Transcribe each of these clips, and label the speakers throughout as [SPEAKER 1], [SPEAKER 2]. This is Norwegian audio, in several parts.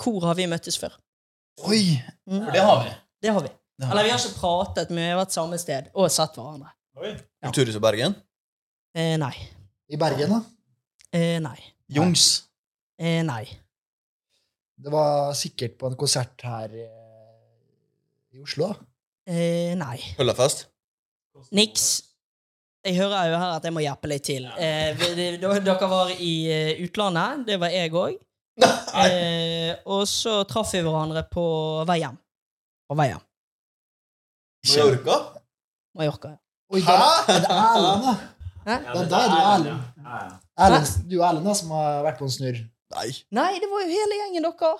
[SPEAKER 1] Hvor har vi møttes før?
[SPEAKER 2] Oi!
[SPEAKER 1] Mm.
[SPEAKER 3] For det har vi.
[SPEAKER 1] Det har vi.
[SPEAKER 2] Det har
[SPEAKER 1] Eller vi har ikke pratet, men vi har vært samme sted og sett hverandre.
[SPEAKER 3] Oi.
[SPEAKER 1] Ja.
[SPEAKER 2] Kulturhuset Bergen.
[SPEAKER 1] Eh, nei.
[SPEAKER 4] I Bergen, da.
[SPEAKER 1] Eh, nei.
[SPEAKER 2] Jungs.
[SPEAKER 1] Eh, nei.
[SPEAKER 4] Det var sikkert på en konsert her eh, i Oslo. da.
[SPEAKER 1] Eh, nei.
[SPEAKER 2] Øllafest.
[SPEAKER 1] Niks. Jeg hører jo her at jeg må hjelpe litt til. Eh, vi- det- d- dere var i eh, utlandet. Det var jeg òg. Eh, og så traff vi hverandre på vei hjem. På vei hjem.
[SPEAKER 2] Mallorca?
[SPEAKER 1] Mallorca.
[SPEAKER 4] Oi, det er det er Erlend, da.
[SPEAKER 3] Ja,
[SPEAKER 4] Det er
[SPEAKER 3] det
[SPEAKER 4] der du er,
[SPEAKER 3] er-
[SPEAKER 4] Erlend.
[SPEAKER 3] ja, ja.
[SPEAKER 4] Erlend, du og Erlend da, som har vært på en snurr.
[SPEAKER 2] Nei.
[SPEAKER 1] Nei, det var jo hele gjengen dere.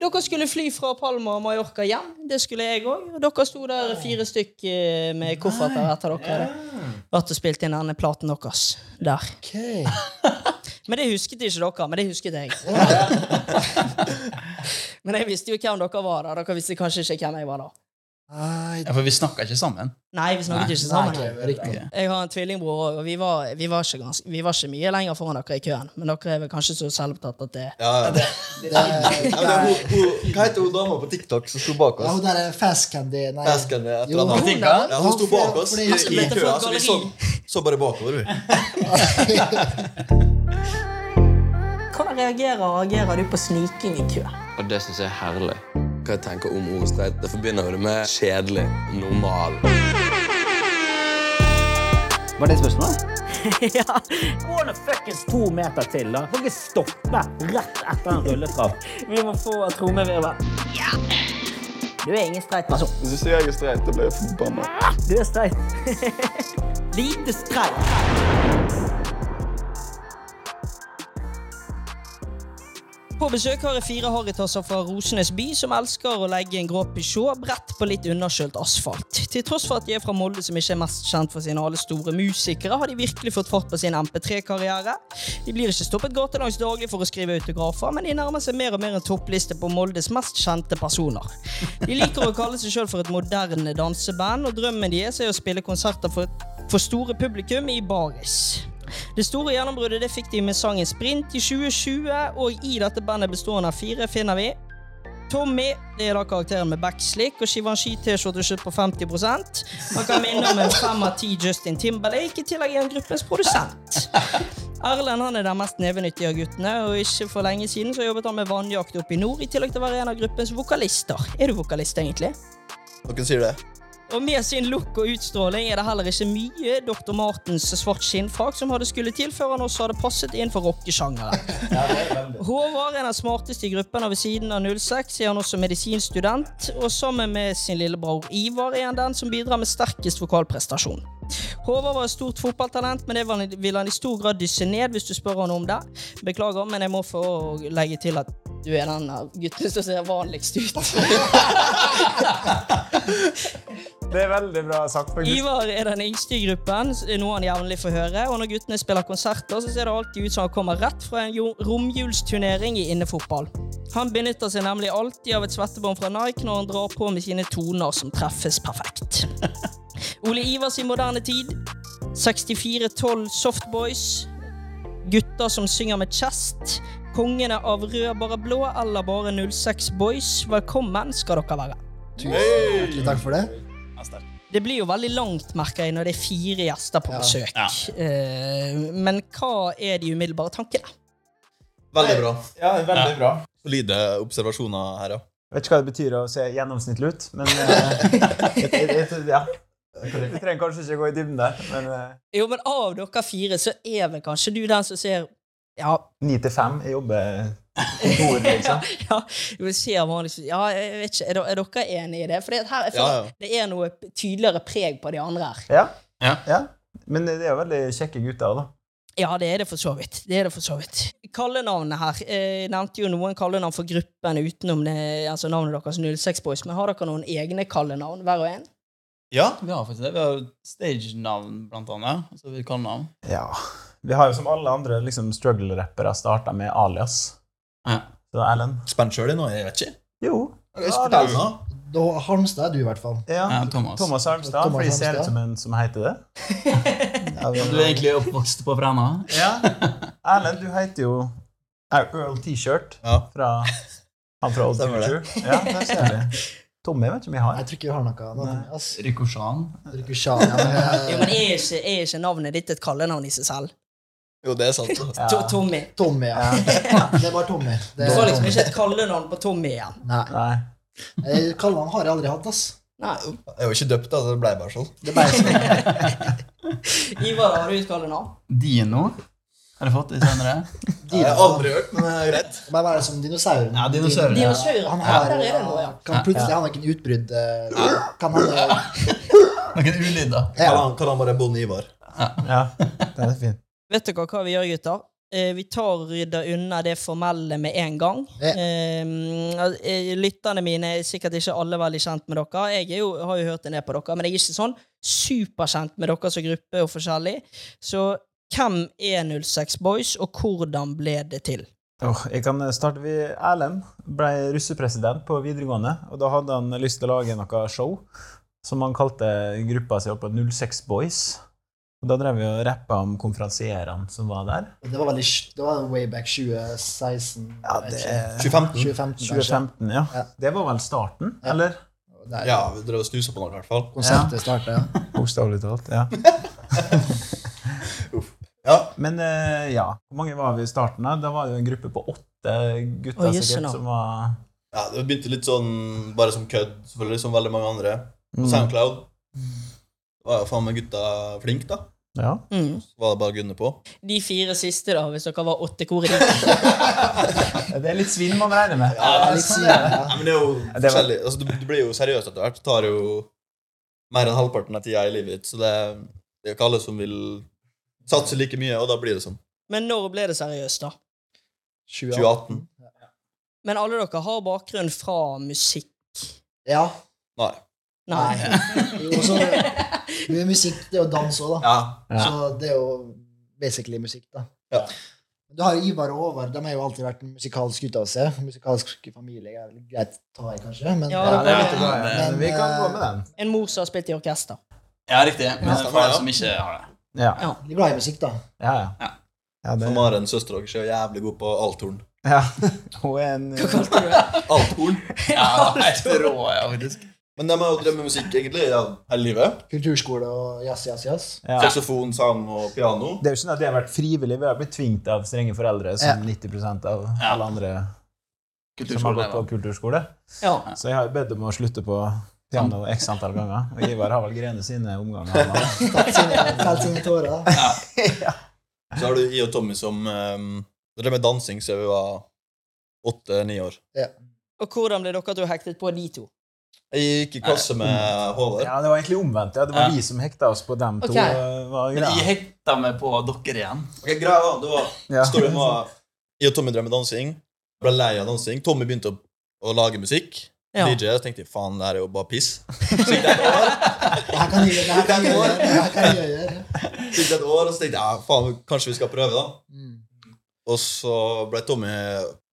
[SPEAKER 1] Dere skulle fly fra Palma og Mallorca hjem. Det skulle jeg òg. Og dere sto der fire stykk eh, med kofferter etter dere. hadde Vært og spilt inn denne platen deres der.
[SPEAKER 4] Okay.
[SPEAKER 1] Men det husket ikke dere, men det husket jeg. men jeg visste jo hvem dere var da. Dere visste kanskje ikke hvem jeg var da.
[SPEAKER 4] Nei,
[SPEAKER 3] Ja, for vi snakka ikke sammen.
[SPEAKER 1] Nei, vi snakket
[SPEAKER 3] Nei.
[SPEAKER 1] ikke
[SPEAKER 4] nei,
[SPEAKER 1] sammen.
[SPEAKER 4] ok, riktig.
[SPEAKER 1] Jeg har en tvillingbror, og vi var, vi, var ikke ganske, vi var ikke mye lenger foran dere i køen. Men dere er vel kanskje så selvopptatt at det
[SPEAKER 2] Ja, ja.
[SPEAKER 4] Det
[SPEAKER 2] Nei, men det er
[SPEAKER 4] er,
[SPEAKER 2] hun- hun- Hva heter hun dama på TikTok som sto
[SPEAKER 4] ja,
[SPEAKER 2] bak oss?
[SPEAKER 4] hun der er fast candy. Nei,
[SPEAKER 2] Esken et eller
[SPEAKER 4] Jo.
[SPEAKER 2] annet.
[SPEAKER 4] Hun
[SPEAKER 3] Tinka?
[SPEAKER 2] Ja, hun sto bak oss i,
[SPEAKER 4] Fordi-
[SPEAKER 2] i
[SPEAKER 1] Dette
[SPEAKER 2] køa,
[SPEAKER 1] var
[SPEAKER 2] så vi så,
[SPEAKER 1] galleri.
[SPEAKER 2] så bare bakover. vi.
[SPEAKER 1] Hvordan reagerer og agerer du på sniking i kø?
[SPEAKER 5] Og det syns jeg er herlig. Hva jeg tenker om ordet streit, det forbinder jo det med kjedelig, normal.
[SPEAKER 6] Var det spørsmålet?
[SPEAKER 7] ja. Gå nå fuckings to meter til, da. Får ikke stoppe rett etter en rulletrapp. Vi må få trommevirvel.
[SPEAKER 1] Du er ingen streit person.
[SPEAKER 8] Hvis jeg er streit, da blir jeg forbanna.
[SPEAKER 7] Du er streit. Lite streit.
[SPEAKER 1] På besøk har jeg fire harrytasser fra Rosenes by som elsker å legge en grå Peugeot bredt på litt underkjølt asfalt. Til tross for at de er fra Molde, som ikke er mest kjent for sine alle store musikere, har de virkelig fått fart på sin MP3-karriere. De blir ikke stoppet gatelangs daglig for å skrive autografer, men de nærmer seg mer og mer en toppliste på Moldes mest kjente personer. De liker å kalle seg sjøl for et moderne danseband, og drømmen deres er å spille konserter for, for store publikum i baris. Det store gjennombruddet det fikk de med sangen Sprint i 2020, og i dette bandet bestående av fire finner vi Tommy, det er da karakteren med backslick og Givenchy-T-skjorte kjøpt på 50 Han kan minne om en fem av ti Justin Timberlake, i tillegg er han gruppens produsent. Erlend han er den mest nevenyttige av guttene, og ikke for lenge siden så jobbet han med vannjakt oppe i nord, i tillegg til å være en av gruppens vokalister. Er du vokalist, egentlig?
[SPEAKER 2] Noen sier det.
[SPEAKER 1] Og med sin look og utstråling er det heller ikke mye Dr. Martens svart skinnfrakk som hadde skulle til før han også hadde passet innenfor rockesjangeren. Håvard er den smarteste i gruppen, og ved siden av 06 er han også medisinstudent. Og sammen med sin lillebror Ivar er han den som bidrar med sterkest vokalprestasjon. Håvard var et stort fotballtalent, men det vil han- vil han i stor grad dysse ned hvis du spør han om det. Beklager, men jeg må få legge til at du er den av gutten som ser vanligst ut.
[SPEAKER 9] Det er veldig bra sagt, faktisk.
[SPEAKER 1] Ivar er den yngste i gruppen, s- noe han jevnlig får høre. Og når guttene spiller konserter, så ser det alltid ut som han kommer rett fra en jo- romjulsturnering i innefotball. Han benytter seg nemlig alltid av et svettebånd fra Nike når han drar på med sine toner som treffes perfekt. Ole Ivars i moderne tid. 6412 Softboys. Gutter som synger med chest. Kongene av rød, bare blå eller bare 06 Boys. Velkommen skal dere være.
[SPEAKER 4] Tusen hjertelig takk for det.
[SPEAKER 1] Det blir jo veldig langt, merker jeg, når det er fire gjester på
[SPEAKER 4] Ja.
[SPEAKER 1] besøk. Eh, men hva er de umiddelbare tankene?
[SPEAKER 2] Veldig bra.
[SPEAKER 9] Ja, det er veldig bra.
[SPEAKER 2] Solide observasjoner her, ja.
[SPEAKER 9] Jeg vet ikke hva det betyr å se gjennomsnittlig ut, men eh, jeg, jeg, jeg, ja. Vi trenger kanskje ikke gå i dybden der, men eh,
[SPEAKER 1] Jo, men av dere fire så er vel kanskje du den som ser Ja,
[SPEAKER 9] ni til fem Jeg jobber kontor, liksom.
[SPEAKER 1] ja, du ser vanligvis Ja, jeg vet ikke, er, dere- er dere enige i det? For her, jeg føler
[SPEAKER 2] Ja, ja.
[SPEAKER 1] at det er noe tydeligere preg på de andre her.
[SPEAKER 9] Ja.
[SPEAKER 3] Ja.
[SPEAKER 9] Men det er jo veldig kjekke gutter òg, da.
[SPEAKER 1] Ja, det er det for så vidt. Det er det for så vidt. Kallenavnet her. Eh, Jeg nevnte jo noen kallenavn for gruppen utenom det, altså navnet deres 06 Boys, men har dere noen egne kallenavn, hver og en?
[SPEAKER 3] ja, vi har faktisk det. Vi har stage-navn, blant annet. Altså vi kan navn.
[SPEAKER 9] Ja. Vi har jo som alle andre liksom, struggle-rappere starta med alias.
[SPEAKER 3] Ja.
[SPEAKER 9] Så Erlend
[SPEAKER 2] Spent sjøl i nå, jeg vet ikke.
[SPEAKER 9] Jo.
[SPEAKER 2] Jeg skal
[SPEAKER 9] Ja, det er-
[SPEAKER 2] fortelle nå.
[SPEAKER 4] Da Harmstad er du, i hvert fall.
[SPEAKER 9] Ja.
[SPEAKER 3] Ja, Thomas.
[SPEAKER 9] Thomas Arnstad,
[SPEAKER 4] Thomas
[SPEAKER 9] for de ser
[SPEAKER 4] Arnstad.
[SPEAKER 9] ut som en som heter det. Ja, vi-
[SPEAKER 3] Ja, Du er egentlig oppvokst på Brenna?
[SPEAKER 9] ja. Erlend, du heter jo Earl T-shirt
[SPEAKER 2] Ja.
[SPEAKER 9] fra Han fra Old
[SPEAKER 2] Stemmer det.
[SPEAKER 9] Future. Ja, der ser du. Tommy vet ikke om jeg har.
[SPEAKER 4] Jeg tror ikke vi har noe annet. ass.
[SPEAKER 3] Rikosjan.
[SPEAKER 4] Jeg tror ikke Shana, men,
[SPEAKER 1] Jo,
[SPEAKER 4] eh,
[SPEAKER 1] men er ikke, er ikke navnet ditt et kallenavn i seg selv?
[SPEAKER 2] Jo, det er sant. da.
[SPEAKER 9] Ja.
[SPEAKER 1] To, Tommy.
[SPEAKER 4] Tommy, ja. Det var Tommy.
[SPEAKER 1] Du
[SPEAKER 4] Det var
[SPEAKER 1] får liksom
[SPEAKER 4] Tommy.
[SPEAKER 1] ikke et kallenavn på Tommy igjen.
[SPEAKER 4] Nei.
[SPEAKER 9] Nei.
[SPEAKER 4] Eh, Kallenavn har jeg aldri hatt, ass.
[SPEAKER 1] Nei,
[SPEAKER 2] Jeg er jo ikke døpt, da, så det ble bare sånn.
[SPEAKER 4] Det ble sånn.
[SPEAKER 1] Ivar, har du et kallenavn?
[SPEAKER 3] Dino. Har jeg fått det senere?
[SPEAKER 2] Jeg har aldri hørt, men det er greit.
[SPEAKER 4] Men hva er det som dinosauren?
[SPEAKER 3] Ja, dinosauren.
[SPEAKER 4] Din-
[SPEAKER 1] Dinosaurer.
[SPEAKER 4] Han
[SPEAKER 1] Ja,
[SPEAKER 4] har,
[SPEAKER 1] der er det noe, ja.
[SPEAKER 4] kan plutselig ha noen utbrudd. eh, Kan han eh,
[SPEAKER 3] Noen ulyder.
[SPEAKER 4] Ja.
[SPEAKER 2] Kall han- Kall han bare Bonde Ivar.
[SPEAKER 9] Ja, den er fin.
[SPEAKER 1] Vet dere hva vi gjør, gutter? Eh, vi tar og rydder unna det formelle med en gang.
[SPEAKER 4] Ja.
[SPEAKER 1] Eh, eh, lytterne mine er sikkert ikke alle veldig kjent med dere. Jeg er jo, har jo hørt en del på dere, men jeg er ikke sånn superkjent med dere som gruppe og forskjellig. Så hvem er 06 Boys, og hvordan ble det til?
[SPEAKER 9] Åh, jeg kan starte ved Erlend. Ble russepresident på videregående. Og da hadde han lyst til å lage noe show som han kalte gruppa si opp på 06 Boys. Og da drev vi og rappa om konferansierene som var der.
[SPEAKER 4] Det var veldig sj- Det var way back 2016.
[SPEAKER 9] Ja, det er
[SPEAKER 2] 2015.
[SPEAKER 4] 2015, kanskje.
[SPEAKER 9] 2015, ja.
[SPEAKER 4] Ja.
[SPEAKER 9] Det var vel starten,
[SPEAKER 4] Ja.
[SPEAKER 9] eller?
[SPEAKER 4] Der
[SPEAKER 2] Ja, vi drev og snusa på noe, i hvert fall.
[SPEAKER 4] konseptet startet.
[SPEAKER 9] Bokstavelig talt, ja.
[SPEAKER 2] Ja,
[SPEAKER 9] Men eh, ja, hvor mange var vi i starten? Da Da var det jo en gruppe på åtte gutter
[SPEAKER 1] Å, jøsse
[SPEAKER 9] sikkert
[SPEAKER 1] navn.
[SPEAKER 9] som var
[SPEAKER 2] ja Det begynte litt sånn bare som kødd, selvfølgelig, som veldig mange andre. På
[SPEAKER 9] mm.
[SPEAKER 2] Soundcloud var jo faen meg gutta flink da.
[SPEAKER 9] Ja.
[SPEAKER 1] Mm.
[SPEAKER 2] Så var det bare å gunne på.
[SPEAKER 1] De fire siste, da, hvis dere var åtte kor i de.
[SPEAKER 9] Det er litt svinn man regner med.
[SPEAKER 4] Ja, litt sånn, ja.
[SPEAKER 2] Nei, men det er jo
[SPEAKER 9] Det var-
[SPEAKER 2] forskjellig. Altså, du, du blir jo seriøs etter hvert. Tar jo mer enn halvparten av tida i livet ditt, så det, det er jo ikke alle som vil satse like mye, og da blir det sånn.
[SPEAKER 1] Men når ble det seriøst, da?
[SPEAKER 2] 2018.
[SPEAKER 1] Men alle dere har bakgrunn fra musikk.
[SPEAKER 4] Ja.
[SPEAKER 2] Nei.
[SPEAKER 1] Nei.
[SPEAKER 4] Jo, så det er musikk, det er jo dans òg, da.
[SPEAKER 2] Ja.
[SPEAKER 4] Så det er jo basically musikk, da.
[SPEAKER 2] Ja.
[SPEAKER 4] Du har jo Ivar og Håvard. De har jo alltid vært en musikalsk utdannelse. Musikalsk familie er vel greit å ta i, kanskje. Men,
[SPEAKER 1] Ja,
[SPEAKER 9] Ja, det er
[SPEAKER 1] Ja,
[SPEAKER 9] litt bra, ja.
[SPEAKER 4] men,
[SPEAKER 9] Vi kan gå
[SPEAKER 4] eh,
[SPEAKER 9] med den.
[SPEAKER 1] En mor som har spilt i orkester.
[SPEAKER 3] Ja, riktig. Men
[SPEAKER 2] Ja.
[SPEAKER 3] for deg som ikke har det.
[SPEAKER 9] Ja,
[SPEAKER 4] de er glad i musikk, da.
[SPEAKER 9] ja. ja.
[SPEAKER 3] Ja.
[SPEAKER 9] ja det,
[SPEAKER 2] For Maren, søstera deres, er jævlig god på althorn.
[SPEAKER 9] ja. Hun er en
[SPEAKER 1] Hva kalte du det?
[SPEAKER 2] Althorn?
[SPEAKER 3] Ja, helt rå, ja, faktisk.
[SPEAKER 2] Men de har jo drevet med musikk egentlig ja, hele livet.
[SPEAKER 4] Kulturskole og jazz, jazz, jazz.
[SPEAKER 9] ja.
[SPEAKER 2] Saksofon, sang og piano.
[SPEAKER 9] Det er jo ikke sånn at vi har vært frivillige, vi har blitt tvunget av strenge foreldre, som 90 av
[SPEAKER 3] Ja.
[SPEAKER 9] alle andre som har
[SPEAKER 3] Kulturskole.
[SPEAKER 9] gått på kulturskole.
[SPEAKER 1] Ja.
[SPEAKER 9] Så jeg har jo bedt om å slutte på piano x antall ganger. Og Ivar har vel grene sine omganger. han.
[SPEAKER 4] Felt sine, felt sine tårer. da.
[SPEAKER 2] Så har du I og Tommy som um, drev med dansing siden vi var åtte-ni år.
[SPEAKER 1] Og hvordan ble dere to hektet på de to?
[SPEAKER 2] Jeg gikk i klasse med Håvard.
[SPEAKER 9] Ja, det var egentlig omvendt. Ja. Det var
[SPEAKER 3] Ja.
[SPEAKER 9] vi som hekta oss på dem to.
[SPEAKER 1] Ok.
[SPEAKER 9] eh, Var
[SPEAKER 3] Men de
[SPEAKER 9] greia.
[SPEAKER 3] hekta meg på dere igjen.
[SPEAKER 2] Ok, greia var, det var
[SPEAKER 9] Ja.
[SPEAKER 2] Storyen var Jeg og Tommy drev med dansing. Ble lei av dansing. Tommy begynte å, å lage musikk.
[SPEAKER 1] Ja.
[SPEAKER 2] DJ. Så tenkte jeg faen, det her er jo bare piss.
[SPEAKER 4] Det her kan jeg gjøre. Det her kan jeg gjøre. Det her kan jeg gjøre.
[SPEAKER 2] Så gikk det et år, og så tenkte jeg ja, faen, kanskje vi skal prøve, da.
[SPEAKER 4] Mm.
[SPEAKER 2] Og så ble Tommy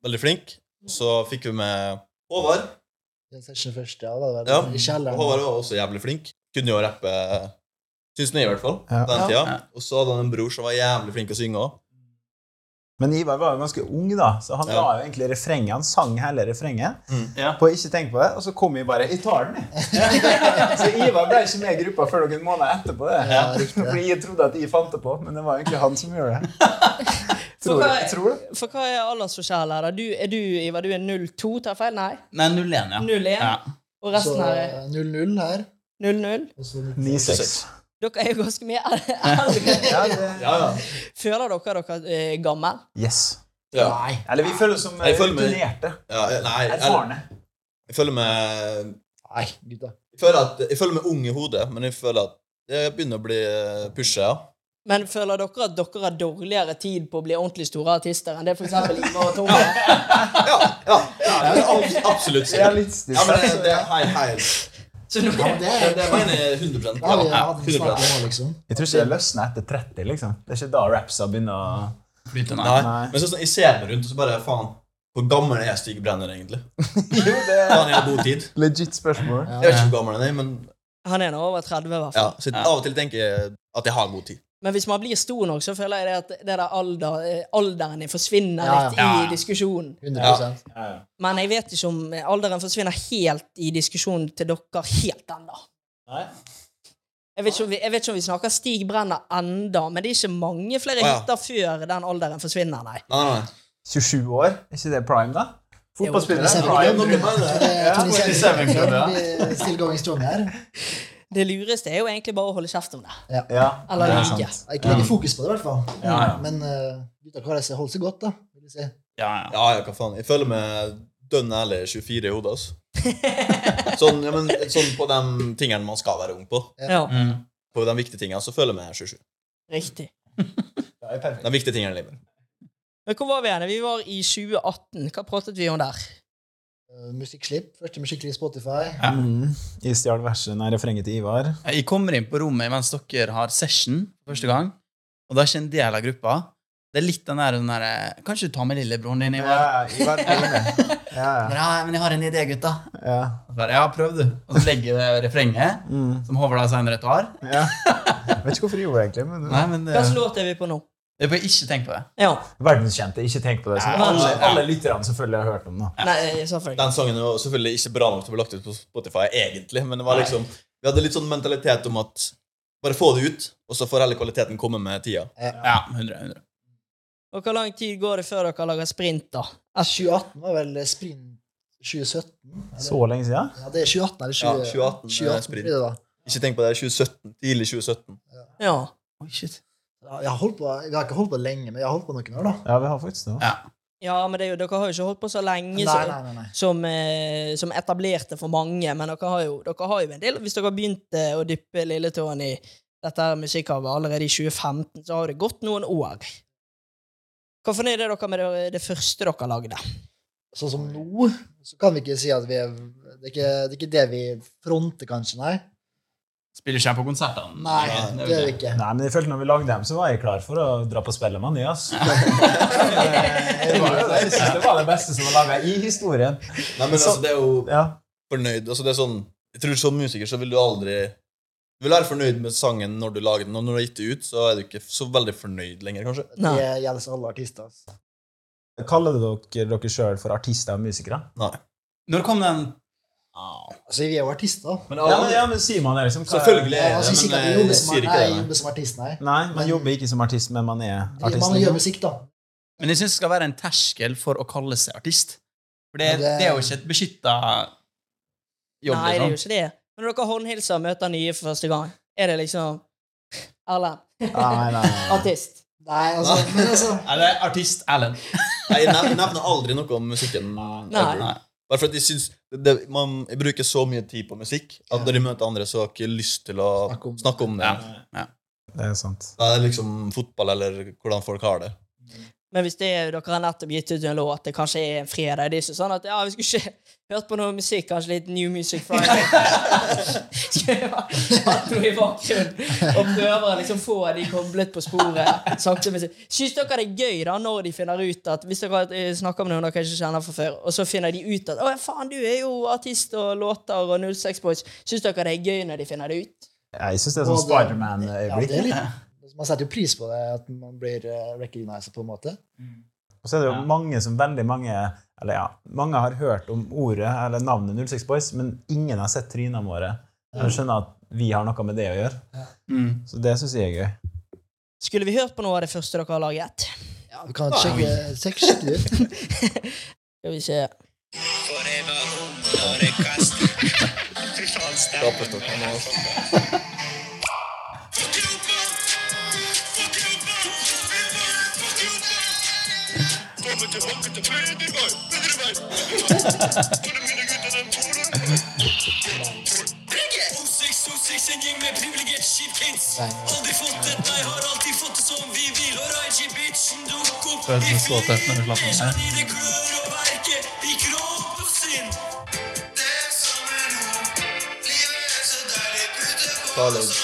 [SPEAKER 2] veldig flink. Så fikk vi med Håvard.
[SPEAKER 4] Den session første, ja. Da, var det
[SPEAKER 2] Ja,
[SPEAKER 4] I
[SPEAKER 2] og
[SPEAKER 4] kjelleren.
[SPEAKER 2] Håvard var også jævlig flink. Kunne jo rappe, syns han i hvert fall,
[SPEAKER 9] Ja.
[SPEAKER 2] den
[SPEAKER 1] Ja.
[SPEAKER 2] tida. Og så hadde han en bror som var jævlig flink å synge òg.
[SPEAKER 9] Men Ivar var jo ganske ung, da, så han
[SPEAKER 2] Ja. Mm,
[SPEAKER 9] la jo egentlig refrenget. Han sang hele refrenget.
[SPEAKER 3] Ja.
[SPEAKER 9] på ikke tenk på det, og så kom jeg bare Jeg tar den, jeg. så Ivar ble ikke med i gruppa før noen måneder etterpå. det.
[SPEAKER 4] Ja, riktig.
[SPEAKER 9] Fordi jeg trodde at jeg fant det på, men det var egentlig han som gjorde det.
[SPEAKER 1] For
[SPEAKER 9] Tror,
[SPEAKER 1] hva,
[SPEAKER 9] tror du?
[SPEAKER 1] for hva er aldersforskjellen her? da? Du, er du, Ivar, du er 02, tar jeg feil? Nei.
[SPEAKER 3] Nei, 01, ja.
[SPEAKER 1] 01.
[SPEAKER 3] Ja.
[SPEAKER 1] Og
[SPEAKER 4] Så
[SPEAKER 1] resten her er
[SPEAKER 4] 0-0 her.
[SPEAKER 1] 00.
[SPEAKER 4] Og så
[SPEAKER 9] 9-6.
[SPEAKER 1] Dere er jo ganske mye eldre.
[SPEAKER 9] Ja, det-
[SPEAKER 2] Ja, ja.
[SPEAKER 1] Føler dere dere eh, gammel?
[SPEAKER 9] yes.
[SPEAKER 2] ja.
[SPEAKER 4] Nei.
[SPEAKER 9] Eller vi føler oss som eh,
[SPEAKER 2] Jeg føler meg-
[SPEAKER 9] rutinerte.
[SPEAKER 2] ja jeg- nei, jeg,
[SPEAKER 9] Erfarne.
[SPEAKER 2] jeg føler med
[SPEAKER 4] Nei, gutta.
[SPEAKER 2] Jeg føler, at, jeg føler meg ung i hodet, men jeg føler at jeg begynner å bli pusha. Ja.
[SPEAKER 1] Men føler dere at dere har dårligere tid på å bli ordentlig store artister enn det for eksempel Ivar og Tommy? er?
[SPEAKER 2] Ja, ja, ja, det er abs absolutt.
[SPEAKER 9] Realistisk.
[SPEAKER 2] Ja, men det, det er hei, hei.
[SPEAKER 1] Så nå,
[SPEAKER 4] Ja, men det
[SPEAKER 2] Det, det mener jeg 100
[SPEAKER 4] da har vi
[SPEAKER 2] Ja,
[SPEAKER 4] hatt en snakk
[SPEAKER 2] 100
[SPEAKER 4] om det, liksom.
[SPEAKER 9] Jeg tror ikke det løsner etter 30, liksom. Det er ikke da rapsa begynner å
[SPEAKER 3] Flytende.
[SPEAKER 2] Nei,
[SPEAKER 9] Nei.
[SPEAKER 2] men så, sånn, jeg ser meg rundt, og så bare faen Hvor gammel er Stig Brenner, egentlig?
[SPEAKER 9] Jo, det er
[SPEAKER 2] Han er god tid.
[SPEAKER 9] legit spørsmål.
[SPEAKER 2] Jeg vet ikke hvor gammel han er, men
[SPEAKER 1] han er nå over 30, i hvert
[SPEAKER 2] Altså, ja,
[SPEAKER 1] fall.
[SPEAKER 2] så av og til tenker jeg at jeg har god tid.
[SPEAKER 1] Men hvis man blir stor nok, så føler jeg det at det der alder, eh, alderen din forsvinner
[SPEAKER 4] Ja, ja.
[SPEAKER 1] litt i diskusjonen.
[SPEAKER 4] 100
[SPEAKER 1] Men jeg vet ikke om eh, alderen forsvinner helt i diskusjonen til dere helt ennå.
[SPEAKER 9] Nei.
[SPEAKER 1] Jeg vet, ikke om vi, jeg vet ikke om vi snakker Stig Brenner enda, men det er ikke mange flere
[SPEAKER 2] Å, ja.
[SPEAKER 1] hytter før den alderen forsvinner, nei.
[SPEAKER 2] Nei, nei, nei.
[SPEAKER 9] 27 år, er ikke det prime, da? Fotballspillere.
[SPEAKER 4] Jo,
[SPEAKER 9] prime.
[SPEAKER 4] det er
[SPEAKER 9] Ja,
[SPEAKER 4] 27
[SPEAKER 9] 27
[SPEAKER 4] Club,
[SPEAKER 9] ja.
[SPEAKER 4] vi- Still going strong her.
[SPEAKER 1] Det lureste er jo egentlig bare å holde kjeft om det.
[SPEAKER 9] Ja,
[SPEAKER 1] Eller
[SPEAKER 9] det er
[SPEAKER 1] lyge.
[SPEAKER 9] sant.
[SPEAKER 4] Ikke legge fokus på det, i hvert fall.
[SPEAKER 9] Ja, ja.
[SPEAKER 4] Men eh, gutta klarer seg holder seg godt, da. Vil jeg si.
[SPEAKER 3] Ja, ja.
[SPEAKER 2] Ja, ja, hva faen. Jeg føler meg dønn ærlig 24 i hodet, altså. Sånn, ja, men, sånn på de tingene man skal være ung på.
[SPEAKER 1] Ja,
[SPEAKER 3] Mm.
[SPEAKER 2] På de viktige tingene så føler jeg meg 27.
[SPEAKER 1] riktig.
[SPEAKER 9] Det er perfekt.
[SPEAKER 2] De viktige tingene i livet.
[SPEAKER 1] Men hvor var vi igjen? Vi var i 2018. Hva pratet vi om der?
[SPEAKER 4] Eh, Musikkslipp. Første musikklipp Spotify.
[SPEAKER 9] Mm. I stjal verset nei, refrenget til Ivar.
[SPEAKER 3] Jeg kommer inn på rommet mens dere har session for første gang, og da er ikke en del av gruppa. Det er litt den der, den der Kanskje du tar med lillebroren din, Ivar?
[SPEAKER 9] Ja, Ivar blir med. ja, ja.
[SPEAKER 3] Ja, men jeg har en idé, gutta.
[SPEAKER 9] ja.
[SPEAKER 3] Og så bare, ja, prøv, du. Og så legger jeg det refrenget,
[SPEAKER 9] Mm.
[SPEAKER 3] som Håvard har senere et år.
[SPEAKER 9] ja. Vet ikke hvorfor jeg gjorde det, egentlig. Men
[SPEAKER 3] Nei, men det,
[SPEAKER 1] Hvilken låt er vi på nå?
[SPEAKER 3] jeg bør ikke tenke på det.
[SPEAKER 1] Ja.
[SPEAKER 9] Verdenskjente. Ikke tenk på det. Som
[SPEAKER 1] Ja.
[SPEAKER 9] alle, alle lytterne selvfølgelig har hørt om. Da.
[SPEAKER 1] Nei, eh, selvfølgelig.
[SPEAKER 2] Den sangen var selvfølgelig ikke bra nok til å bli lagt ut på Spotify, egentlig, men det var liksom Vi hadde litt sånn mentalitet om at bare få det ut, og så får heller kvaliteten komme med tida.
[SPEAKER 3] Ja, 100, 100.
[SPEAKER 1] Og hvor lang tid går det før dere lager sprint, da?
[SPEAKER 4] 2018 Eh, var vel sprint 2017? eller?
[SPEAKER 9] Så lenge siden?
[SPEAKER 4] Ja, det er 2018 eller 20,
[SPEAKER 2] Ja, 2018 er
[SPEAKER 4] 2018,
[SPEAKER 2] sprint.
[SPEAKER 4] blir det da.
[SPEAKER 2] Ikke tenk på det, 2017, tidlig 2017.
[SPEAKER 1] Ja.
[SPEAKER 3] Oi, shit.
[SPEAKER 4] Ja, Jeg har, holdt på, jeg har ikke holdt på lenge, men jeg har holdt på noen år, da.
[SPEAKER 9] Ja, vi har faktisk det.
[SPEAKER 1] Ja, men det er jo, dere har jo ikke holdt på så lenge
[SPEAKER 4] Nei,
[SPEAKER 1] så,
[SPEAKER 4] nei, nei, nei.
[SPEAKER 1] Som, eh, som etablerte for mange, men dere har, jo, dere har jo en del Hvis dere begynte å dyppe lilletåen i dette her musikkhavet allerede i 2015, så har det gått noen år. Hva fornøyd er dere med det, det første dere lagde?
[SPEAKER 4] Sånn som nå, så kan vi ikke si at vi er Det er ikke det, er ikke det vi fronter, kanskje, nei.
[SPEAKER 3] Spiller ikke jeg på konsertene?
[SPEAKER 4] Nei,
[SPEAKER 3] det
[SPEAKER 4] det er
[SPEAKER 3] gjør
[SPEAKER 4] vi
[SPEAKER 3] jeg ikke.
[SPEAKER 4] ikke.
[SPEAKER 9] Nei, men jeg følte når vi lagde dem, så var jeg klar for å dra på Spellemann. Ja, ass.
[SPEAKER 3] Det
[SPEAKER 9] Det
[SPEAKER 3] var
[SPEAKER 9] var jo
[SPEAKER 3] jo det.
[SPEAKER 9] det. Jeg synes det var det beste som var laga i historien.
[SPEAKER 2] Nei, men altså, det er jo
[SPEAKER 9] Ja.
[SPEAKER 2] fornøyd altså, det er sånn, Jeg tror som musiker så vil du aldri Du vil være fornøyd med sangen når du lager den, og når du har gitt det ut, så er du ikke så veldig fornøyd lenger, kanskje.
[SPEAKER 1] Nei.
[SPEAKER 4] Det gjelder alle artister. Altså.
[SPEAKER 9] Kaller dere dere sjøl for artister og musikere?
[SPEAKER 3] Når kom den
[SPEAKER 4] altså, vi er jo artister.
[SPEAKER 2] Men,
[SPEAKER 9] Ja, men, ja, men sier man det, liksom? Hva-
[SPEAKER 2] Selvfølgelig er
[SPEAKER 4] Ja, altså,
[SPEAKER 2] det
[SPEAKER 4] ikke
[SPEAKER 9] eh,
[SPEAKER 4] at vi
[SPEAKER 2] men eh, jeg
[SPEAKER 4] jobber som,
[SPEAKER 2] sier ikke
[SPEAKER 4] nei,
[SPEAKER 2] det. nei.
[SPEAKER 4] jobber som artist, nei.
[SPEAKER 9] Nei, man jobber ikke som artist, men man er artist. liksom.
[SPEAKER 4] Man gjør musikk, da.
[SPEAKER 3] Men jeg syns det skal være en terskel for å kalle seg artist. For det,
[SPEAKER 4] Ja, det-
[SPEAKER 3] det er jo ikke et beskytta jobb.
[SPEAKER 1] Nei, det er jo
[SPEAKER 3] liksom.
[SPEAKER 1] ikke det. Når dere håndhilser og møter nye for første gang, er det liksom Erlend,
[SPEAKER 9] Nei, nei, nei.
[SPEAKER 1] artist.
[SPEAKER 4] Nei, altså, men altså
[SPEAKER 3] Nei, det er artist Erlend.
[SPEAKER 2] Nei, Jeg nevner, nevner aldri noe om musikken.
[SPEAKER 1] Nei.
[SPEAKER 2] ever. Bare for at jeg synes det, det, man, Jeg bruker så mye tid på musikk at når jeg møter andre, så har jeg ikke lyst til å
[SPEAKER 4] Snakke om det.
[SPEAKER 2] snakke om det.
[SPEAKER 9] Det er sant.
[SPEAKER 2] Da er det liksom fotball eller hvordan folk har det.
[SPEAKER 1] Men hvis det er, dere har nettopp gitt ut en låt, det kanskje er en fredag det er ikke sånn at ja, vi skulle ikke hørt på noe musikk, kanskje litt New Music Friday. Skulle ha hatt noe i bakgrunnen og prøver å liksom få de koblet på sporet. sakte, men sikkert. Syns dere det er gøy da når de finner ut at Hvis dere eh, snakker med noen dere ikke kjenner fra før, og så finner de ut at 'Å, faen, du er jo artist og låter og 06 Boys', syns dere det er gøy når de finner det ut?
[SPEAKER 9] Jeg syns det er sånn
[SPEAKER 4] ja, det er
[SPEAKER 9] Spiderman-øyeblikk.
[SPEAKER 4] litt, Man setter jo pris på det, at man blir eh, recognized på en måte.
[SPEAKER 9] Og så er det jo mange som veldig mange Eller ja, mange har hørt om ordet eller navnet 06 Boys, men ingen har sett trynene våre. Jeg skjønner at vi har noe med det å gjøre.
[SPEAKER 3] Mm.
[SPEAKER 9] Så det syns jeg er gøy.
[SPEAKER 1] Skulle vi hørt på noe av det første dere har laget?
[SPEAKER 4] Ja, vi kan sjekke, sjekke skikkelig ut.
[SPEAKER 1] Skal vi se
[SPEAKER 3] Føles som ståltøft når du slapper av.
[SPEAKER 2] College.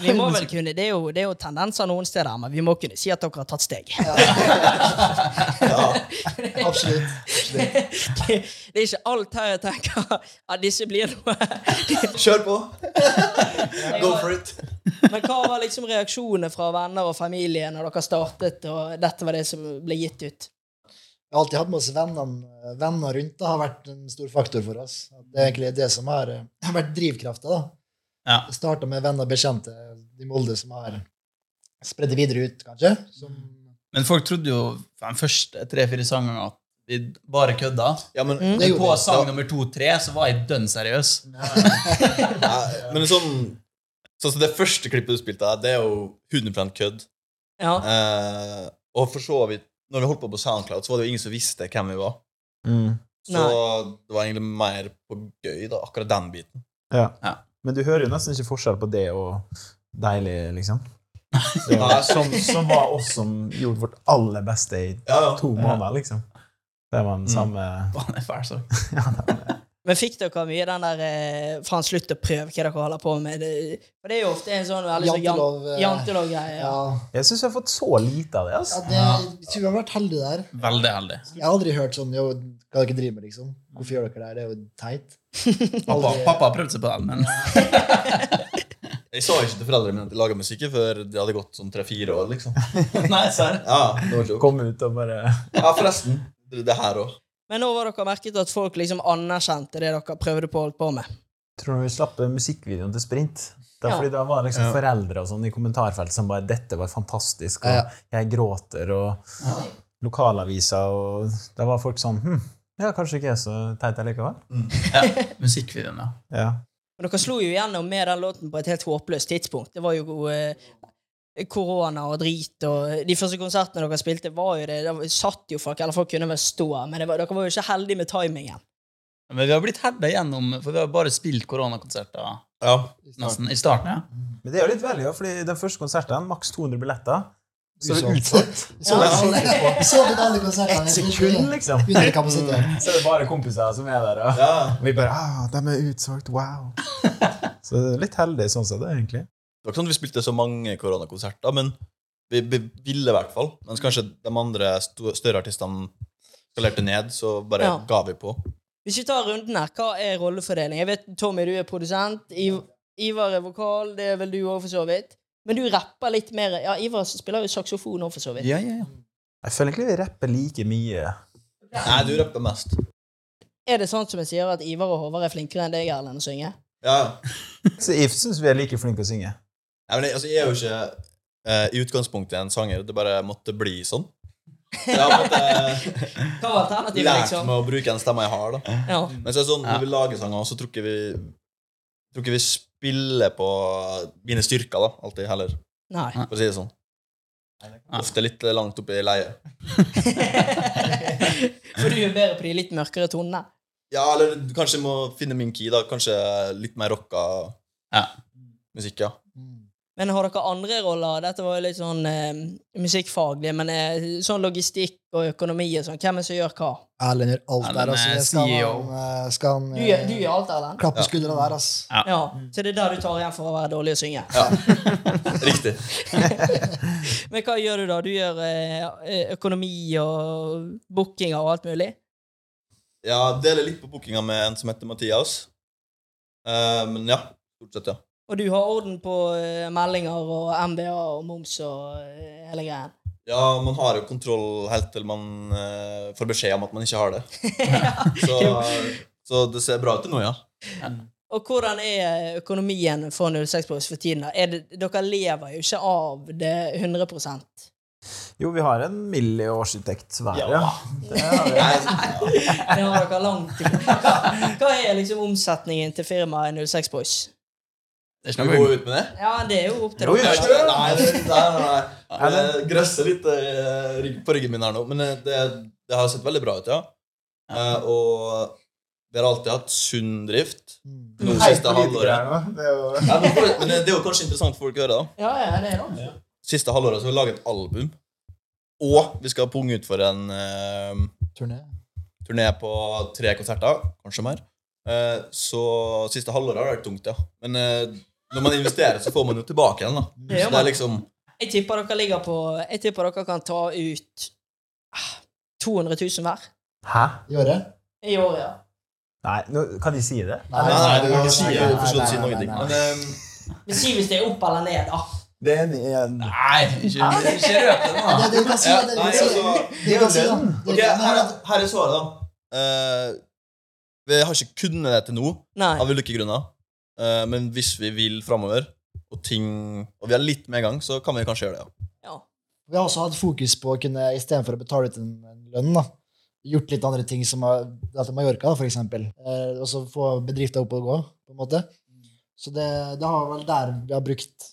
[SPEAKER 1] Vi må vel kunne, det er, jo, det er jo tendenser noen steder, men vi må kunne si at dere har tatt steg.
[SPEAKER 4] Absolutt. absolutt.
[SPEAKER 1] Det er ikke alt her jeg tenker at disse blir noe.
[SPEAKER 2] Kjør på! Go for it.
[SPEAKER 1] Men hva var liksom reaksjonene fra venner og familie når dere startet, og dette var det som ble gitt ut?
[SPEAKER 4] Jeg har alltid hatt med oss venner, venner rundt. Det har vært en stor faktor for oss. At Det er egentlig det som har eh, har vært drivkrafta. da.
[SPEAKER 3] Ja.
[SPEAKER 4] Det starta med venner og bekjente i Molde som har spredd det videre ut, kanskje. Som,
[SPEAKER 3] Men folk trodde jo de første tre-fire sangene at vi bare kødda.
[SPEAKER 2] Ja, men,
[SPEAKER 1] Mm.
[SPEAKER 4] Det gjorde
[SPEAKER 3] På
[SPEAKER 4] jeg.
[SPEAKER 3] sang nummer to-tre så var jeg dønn seriøs.
[SPEAKER 2] ja, men sånn, sånn som det første klippet du spilte av, det er jo 100 kødd.
[SPEAKER 1] Ja.
[SPEAKER 2] Eh, og for så vidt, når vi holdt på på Soundcloud, så var det jo ingen som visste hvem vi var.
[SPEAKER 9] Mm.
[SPEAKER 2] Så
[SPEAKER 1] Nei.
[SPEAKER 2] det var egentlig mer på gøy, da, akkurat den biten.
[SPEAKER 9] Ja.
[SPEAKER 3] Ja.
[SPEAKER 9] Men du hører jo nesten ikke forskjell på det og deilig, liksom. Det
[SPEAKER 2] Nei.
[SPEAKER 9] var, som, som var oss som gjorde vårt aller beste i
[SPEAKER 2] Ja, ja.
[SPEAKER 9] to måneder, liksom. Det var den samme
[SPEAKER 3] Faen, det er fæl sang.
[SPEAKER 1] Men fikk dere mye den der eh, Faen, slutt å prøve hva dere holder på med. Det, for det er jo ofte en sånn veldig sånn jan-
[SPEAKER 4] Jantelov, eh,
[SPEAKER 1] jantelov-greie. Ja.
[SPEAKER 4] ja.
[SPEAKER 9] Jeg syns jeg har fått så lite av det.
[SPEAKER 4] Ja,
[SPEAKER 9] altså.
[SPEAKER 4] det, jeg tror vi har vært heldige der.
[SPEAKER 3] Veldig heldig.
[SPEAKER 4] Jeg har aldri hørt sånn jo, Hva dere driver med, liksom? Hvorfor gjør dere det her? Det er jo teit.
[SPEAKER 3] Pappa,
[SPEAKER 4] Aldri-
[SPEAKER 3] pappa har prøvd seg på den, men
[SPEAKER 2] Jeg sa jo ikke til foreldrene mine at jeg laga musikk før det hadde gått sånn tre-fire år. liksom.
[SPEAKER 3] Nei, serr.
[SPEAKER 2] Ja, det var ikke ok.
[SPEAKER 9] Kom ut og bare
[SPEAKER 2] ja forresten. Det, det her òg.
[SPEAKER 1] Men nå var dere merket at folk liksom anerkjente det dere prøvde på å holde på med.
[SPEAKER 9] Tror du vi slapp musikkvideoen til Sprint? Det er
[SPEAKER 1] Ja.
[SPEAKER 9] fordi det var liksom foreldre og sånn i kommentarfeltet som bare 'Dette var fantastisk', og
[SPEAKER 4] Ja.
[SPEAKER 9] 'Jeg gråter', og lokalaviser og Da var folk sånn hm, Ja, kanskje ikke jeg er så teit jeg likevel.
[SPEAKER 3] Musikkvideoen, ja.
[SPEAKER 9] Ja.
[SPEAKER 1] Men dere slo jo gjennom med den låten på et helt håpløst tidspunkt. Det var jo eh, korona og drit, og de første konsertene dere spilte, var jo det. Det satt jo folk, eller folk kunne vel stå, men det var, dere var jo ikke heldige med timingen.
[SPEAKER 3] Men vi har blitt herda gjennom, for vi har bare spilt koronakonserter
[SPEAKER 2] Ja.
[SPEAKER 3] nesten i starten. ja.
[SPEAKER 9] Men det er jo litt veldig, ja, fordi den første konserten, maks 200 billetter, så er det
[SPEAKER 4] Usolgt.
[SPEAKER 9] utsolgt.
[SPEAKER 4] Så
[SPEAKER 1] Ja,
[SPEAKER 4] vi så vi alle konsertene.
[SPEAKER 9] Ett sekund, liksom.
[SPEAKER 4] Under kapasitet.
[SPEAKER 9] Så er det bare kompiser som er der. Og
[SPEAKER 2] ja.
[SPEAKER 9] og vi bare ah, 'De er utsolgt, wow'. Så det er litt heldig sånn sett, egentlig.
[SPEAKER 2] Det var ikke sånn at vi spilte så mange koronakonserter, men vi, vi ville i hvert fall. Mens kanskje de andre sto, større artistene skalerte ned, så bare
[SPEAKER 1] Ja.
[SPEAKER 2] ga vi på.
[SPEAKER 1] Hvis vi tar runden her, hva er rollefordelingen? Jeg vet, Tommy, du er produsent. Iv Ivar er vokal, det er vel du òg, for så vidt. Men du rapper litt mer. Ja, Ivar spiller jo saksofon òg, for så vidt.
[SPEAKER 3] Ja, ja, ja.
[SPEAKER 9] Jeg føler egentlig vi rapper like mye.
[SPEAKER 2] Nei, du rapper mest.
[SPEAKER 1] Er det sant som jeg sier, at Ivar og Håvard er flinkere enn deg, Erlend, å synge?
[SPEAKER 2] Ja.
[SPEAKER 9] Så jeg syns vi er like flinke å synge.
[SPEAKER 2] Nei, men jeg, altså, jeg er jo ikke eh, i utgangspunktet en sanger. Det bare måtte bli sånn. Så Jeg har på en måte eh,
[SPEAKER 1] Hva var alternativet,
[SPEAKER 2] lært
[SPEAKER 1] liksom?
[SPEAKER 2] meg å bruke den stemma jeg har. da.
[SPEAKER 1] Ja.
[SPEAKER 2] Men så er det sånn, når vi lager sanger, så tror ikke vi tror ikke vi spiller på mine styrker da, alltid heller,
[SPEAKER 1] Nei.
[SPEAKER 2] for å si det sånn. Ofte litt langt oppe i leiet.
[SPEAKER 1] For du er bedre på de litt mørkere tonene.
[SPEAKER 2] Ja, eller kanskje jeg må finne min key, da. Kanskje litt mer rocka
[SPEAKER 3] Ja.
[SPEAKER 2] musikk, ja.
[SPEAKER 1] Men har dere andre roller? Dette var jo litt sånn eh, musikkfaglig, men eh, sånn logistikk og økonomi og sånn. Hvem er det som gjør hva?
[SPEAKER 4] Erlend gjør alt
[SPEAKER 3] Erlend
[SPEAKER 4] der, altså.
[SPEAKER 3] er
[SPEAKER 4] Det skal
[SPEAKER 3] CEO.
[SPEAKER 4] han, eh, skal han
[SPEAKER 1] Du,
[SPEAKER 4] eh,
[SPEAKER 1] gjør- du gjør alt, Erlend?
[SPEAKER 4] klappe skuldra der, altså.
[SPEAKER 1] Ja. Så det er der du tar igjen for å være dårlig å synge?
[SPEAKER 2] Riktig.
[SPEAKER 1] Men hva gjør du da? Du gjør eh, økonomi og bookinger og alt mulig?
[SPEAKER 2] Ja, deler litt på bookinga med en som heter Mathias. Eh, men ja, stort sett, ja.
[SPEAKER 1] Og du har orden på eh, meldinger og MBA og moms og eh, hele greien?
[SPEAKER 2] Ja, man har jo kontroll helt til man eh, får beskjed om at man ikke har det. Så, så det ser bra ut til nå, ja.
[SPEAKER 1] Og hvordan er eh, økonomien for 06 Boys for tiden? da? Er det, dere lever jo ikke av det 100 Det
[SPEAKER 9] Jo, vi har en mild i årsinntekt hver. Ja.
[SPEAKER 1] har dere langt ifra. Hva er liksom omsetningen til firmaet 06 Boys?
[SPEAKER 3] Det er
[SPEAKER 2] Skal
[SPEAKER 3] ikke
[SPEAKER 2] vi
[SPEAKER 3] noe
[SPEAKER 2] gå ut med det?
[SPEAKER 1] Ja, det er jo opp til
[SPEAKER 9] Jo,
[SPEAKER 1] dere.
[SPEAKER 9] jo,
[SPEAKER 1] da.
[SPEAKER 9] jo.
[SPEAKER 2] Nei, det, nei, nei, nei. Jeg grøsser litt eh, rygg- på ryggen min her nå, men eh, det, det har sett veldig bra ut, ja. Eh, og vi har alltid hatt sunn drift.
[SPEAKER 4] Mm.
[SPEAKER 2] Nå siste halvåret. Ja, men, for, men det er jo kanskje interessant for folk å høre, da.
[SPEAKER 1] Ja, ja, det er det.
[SPEAKER 2] Siste halvåret så har vi laget et album, og vi skal punge ut for en eh,
[SPEAKER 4] Turné.
[SPEAKER 2] turné på tre konserter, kanskje mer. Eh, så siste halvåret har vært tungt, ja. Men eh, Når man investerer, så får man jo tilbake igjen, da.
[SPEAKER 1] Det
[SPEAKER 2] Så
[SPEAKER 1] gjør
[SPEAKER 2] det er
[SPEAKER 1] man.
[SPEAKER 2] liksom
[SPEAKER 1] Jeg tipper dere ligger på Jeg tipper dere kan ta ut ah, 200 000 hver
[SPEAKER 9] Hæ?
[SPEAKER 4] I året?
[SPEAKER 1] i året. Ja.
[SPEAKER 9] Nei, nå, kan de si det?
[SPEAKER 2] Nei, nei, det går ikke å si.
[SPEAKER 4] nei,
[SPEAKER 2] Jeg har
[SPEAKER 4] nei,
[SPEAKER 2] forstått å si
[SPEAKER 4] nei,
[SPEAKER 2] noe
[SPEAKER 4] nei,
[SPEAKER 2] ingenting.
[SPEAKER 4] nei.
[SPEAKER 2] Men ehm,
[SPEAKER 1] Men si hvis det er opp eller ned, da.
[SPEAKER 9] Det er en
[SPEAKER 3] Nei, ikke, ikke røp den,
[SPEAKER 4] Ja,
[SPEAKER 3] da.
[SPEAKER 4] det du kan si,
[SPEAKER 2] Ja,
[SPEAKER 4] det du kan
[SPEAKER 2] nei,
[SPEAKER 4] si.
[SPEAKER 1] sånn.
[SPEAKER 2] altså,
[SPEAKER 4] Det sånn. du kan si, da.
[SPEAKER 2] Ok,
[SPEAKER 4] Det du
[SPEAKER 2] her,
[SPEAKER 4] kan-
[SPEAKER 2] er- her er svaret, da. Eh, vi har ikke kunnet det til nå,
[SPEAKER 1] Nei.
[SPEAKER 2] av ulike grunner. Eh, men hvis vi vil framover, og ting Og vi har litt mer gang, så kan vi kanskje gjøre det, ja.
[SPEAKER 1] Ja.
[SPEAKER 4] Vi har også hatt fokus på å kunne, istedenfor å betale ut en, en lønn, da, gjort litt andre ting, som har- dra til Mallorca, da, for eksempel. Eh, og så få bedrifta opp og gå, på en måte. Så det, det har vel der vi har brukt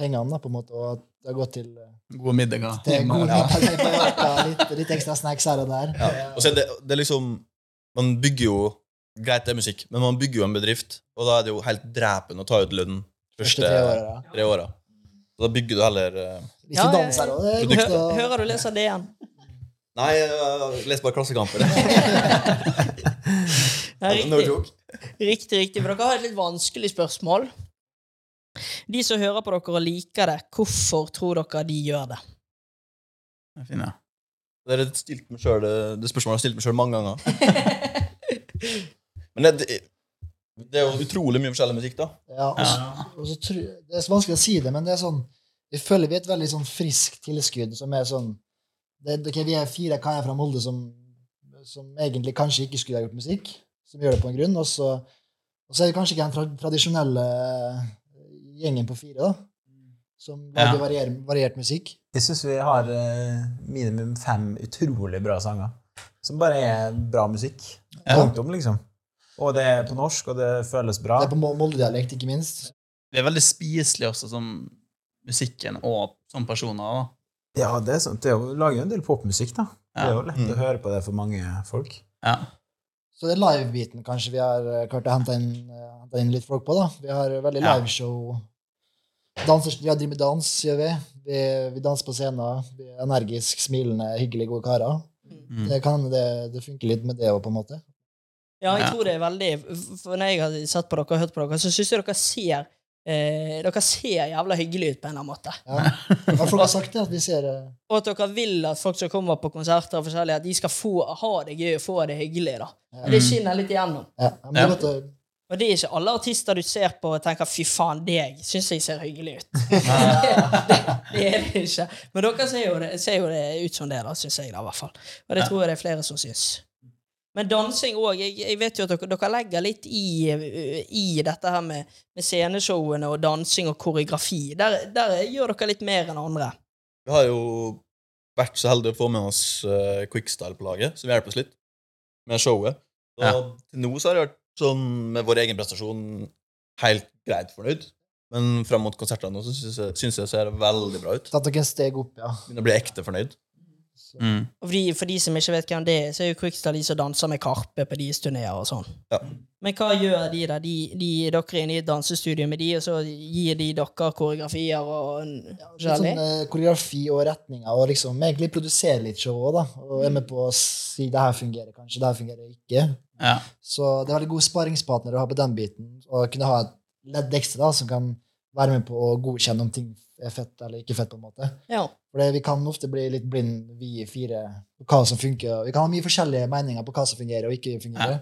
[SPEAKER 4] pengene, da, på en måte, og at det har gått til, eh,
[SPEAKER 3] Gode middager.
[SPEAKER 4] til
[SPEAKER 3] Hjemme,
[SPEAKER 4] god
[SPEAKER 3] ja.
[SPEAKER 4] middag i Mallorca, litt, litt ekstra snacks her og der. Eh,
[SPEAKER 2] ja. Og så er det, det er liksom Man bygger jo Greit, det er musikk, men man bygger jo en bedrift, og da er det jo helt drepende å ta ut lønn første
[SPEAKER 4] tre årene, da.
[SPEAKER 2] tre åra. Så da bygger du heller eh,
[SPEAKER 4] Hvis
[SPEAKER 1] Ja,
[SPEAKER 4] du
[SPEAKER 1] ja,
[SPEAKER 4] danser
[SPEAKER 1] ja.
[SPEAKER 4] òg, det er godt
[SPEAKER 1] Hø
[SPEAKER 4] å
[SPEAKER 1] hører du leser det igjen?
[SPEAKER 2] Nei, eh, les bare Klassekampen.
[SPEAKER 1] Nei,
[SPEAKER 2] No
[SPEAKER 1] riktig.
[SPEAKER 2] joke.
[SPEAKER 1] Riktig, riktig. For dere har et litt vanskelig spørsmål. De som hører på dere og liker det, hvorfor tror dere de gjør det?
[SPEAKER 3] Fin, ja.
[SPEAKER 2] Det, er stilt meg selv, det, det spørsmålet har jeg stilt meg sjøl mange ganger. Men det, det, det er jo utrolig mye forskjellig musikk, da.
[SPEAKER 4] Ja, og så, og så tror, det er så vanskelig å si det, men det er sånn Vi føler vi er et veldig sånn friskt tilskudd som er sånn det, ok, Vi er fire karer fra Molde som, som egentlig kanskje ikke skulle ha gjort musikk, som gjør det på en grunn, og så, og så er vi kanskje ikke den tra tradisjonelle eh, gjengen på fire, da, som lager
[SPEAKER 3] Ja.
[SPEAKER 4] varier, variert musikk.
[SPEAKER 9] Jeg syns vi har eh, minimum fem utrolig bra sanger. Som bare er bra musikk.
[SPEAKER 3] Ja.
[SPEAKER 9] Punktum, liksom. Og det er på norsk, og det føles bra.
[SPEAKER 4] Det er på Mo- Molde-dialekt, ikke minst.
[SPEAKER 3] Vi er veldig spiselige også, som musikken og som personer. da.
[SPEAKER 9] Ja, det er sant. Det er jo- lager jo en del popmusikk, da. Det er jo lett
[SPEAKER 2] Mm.
[SPEAKER 9] å høre på det for mange folk.
[SPEAKER 3] Ja.
[SPEAKER 4] Så det er live-biten kanskje vi har eh, klart å hente inn, eh, hente inn litt folk på. da. Vi har veldig
[SPEAKER 3] Ja.
[SPEAKER 4] liveshow. Danser, vi har driver med dans, gjør vi. vi. Vi danser på scenen. Vi er energisk, smilende, hyggelige, gode karer.
[SPEAKER 3] Mm.
[SPEAKER 4] Det kan det, det funker litt med det òg, på en måte.
[SPEAKER 1] Ja, jeg
[SPEAKER 3] Ja.
[SPEAKER 1] tror det er veldig For når jeg har sett på dere og hørt på dere, så syns jeg dere ser eh, Dere ser jævla hyggelig ut på en eller annen måte.
[SPEAKER 4] Ja. Men folk har sagt det, at vi ser eh,
[SPEAKER 1] Og at dere vil at folk som kommer på konserter, og forskjellig, at de skal få, ha det gøy og få det hyggelig. da. Og Det skinner litt igjennom.
[SPEAKER 4] ja, men det er
[SPEAKER 3] Ja.
[SPEAKER 4] godt å-
[SPEAKER 1] Og det er ikke alle artister du ser på og tenker 'fy faen, deg syns jeg ser hyggelig ut'. det er det ikke. Men dere ser jo det, ser jo det ut som det, da, syns jeg da, i hvert fall. Og det tror jeg det er flere som syns. Men dansing òg. Jeg, jeg vet jo at dere, dere legger litt i, eh, i dette her med, med sceneshowene og dansing og koreografi. Der, der gjør dere litt mer enn andre.
[SPEAKER 2] Vi har jo vært så heldige å få med oss eh, Quickstyle på laget, som hjelper oss litt med showet. Så
[SPEAKER 3] Ja.
[SPEAKER 2] til nå så har det vært sånn med vår egen prestasjon helt greit fornøyd. Men fram mot konsertene nå så syns jeg, synes jeg det ser veldig bra ut.
[SPEAKER 4] tatt dere en steg opp, ja.
[SPEAKER 2] Begynner å bli ekte fornøyd.
[SPEAKER 3] Mm.
[SPEAKER 1] Og for de, for de som ikke vet hvem det er, så er jo Quickstyle de som danser med Karpe på deres turneer og sånn.
[SPEAKER 2] Ja.
[SPEAKER 1] Men hva gjør de der? De, de, dere er inne i et dansestudio med de, og så gir de dere koreografier og en-
[SPEAKER 4] Litt
[SPEAKER 1] forskjellig?
[SPEAKER 4] sånn eh, koreografi og retninger, og liksom egentlig produsere litt show òg, da. Og er med på å si det her fungerer kanskje, det her fungerer ikke.
[SPEAKER 3] Ja.
[SPEAKER 4] Så det er veldig god sparringspartner å ha på den biten. Og kunne ha et ledd ekstra da, som kan være med på å godkjenne om ting er fett eller ikke fett. på en måte.
[SPEAKER 1] Ja.
[SPEAKER 4] For det- vi kan ofte bli litt blind, vi fire, på hva som funker. Vi kan ha mye forskjellige meninger på hva som fungerer og ikke fungerer.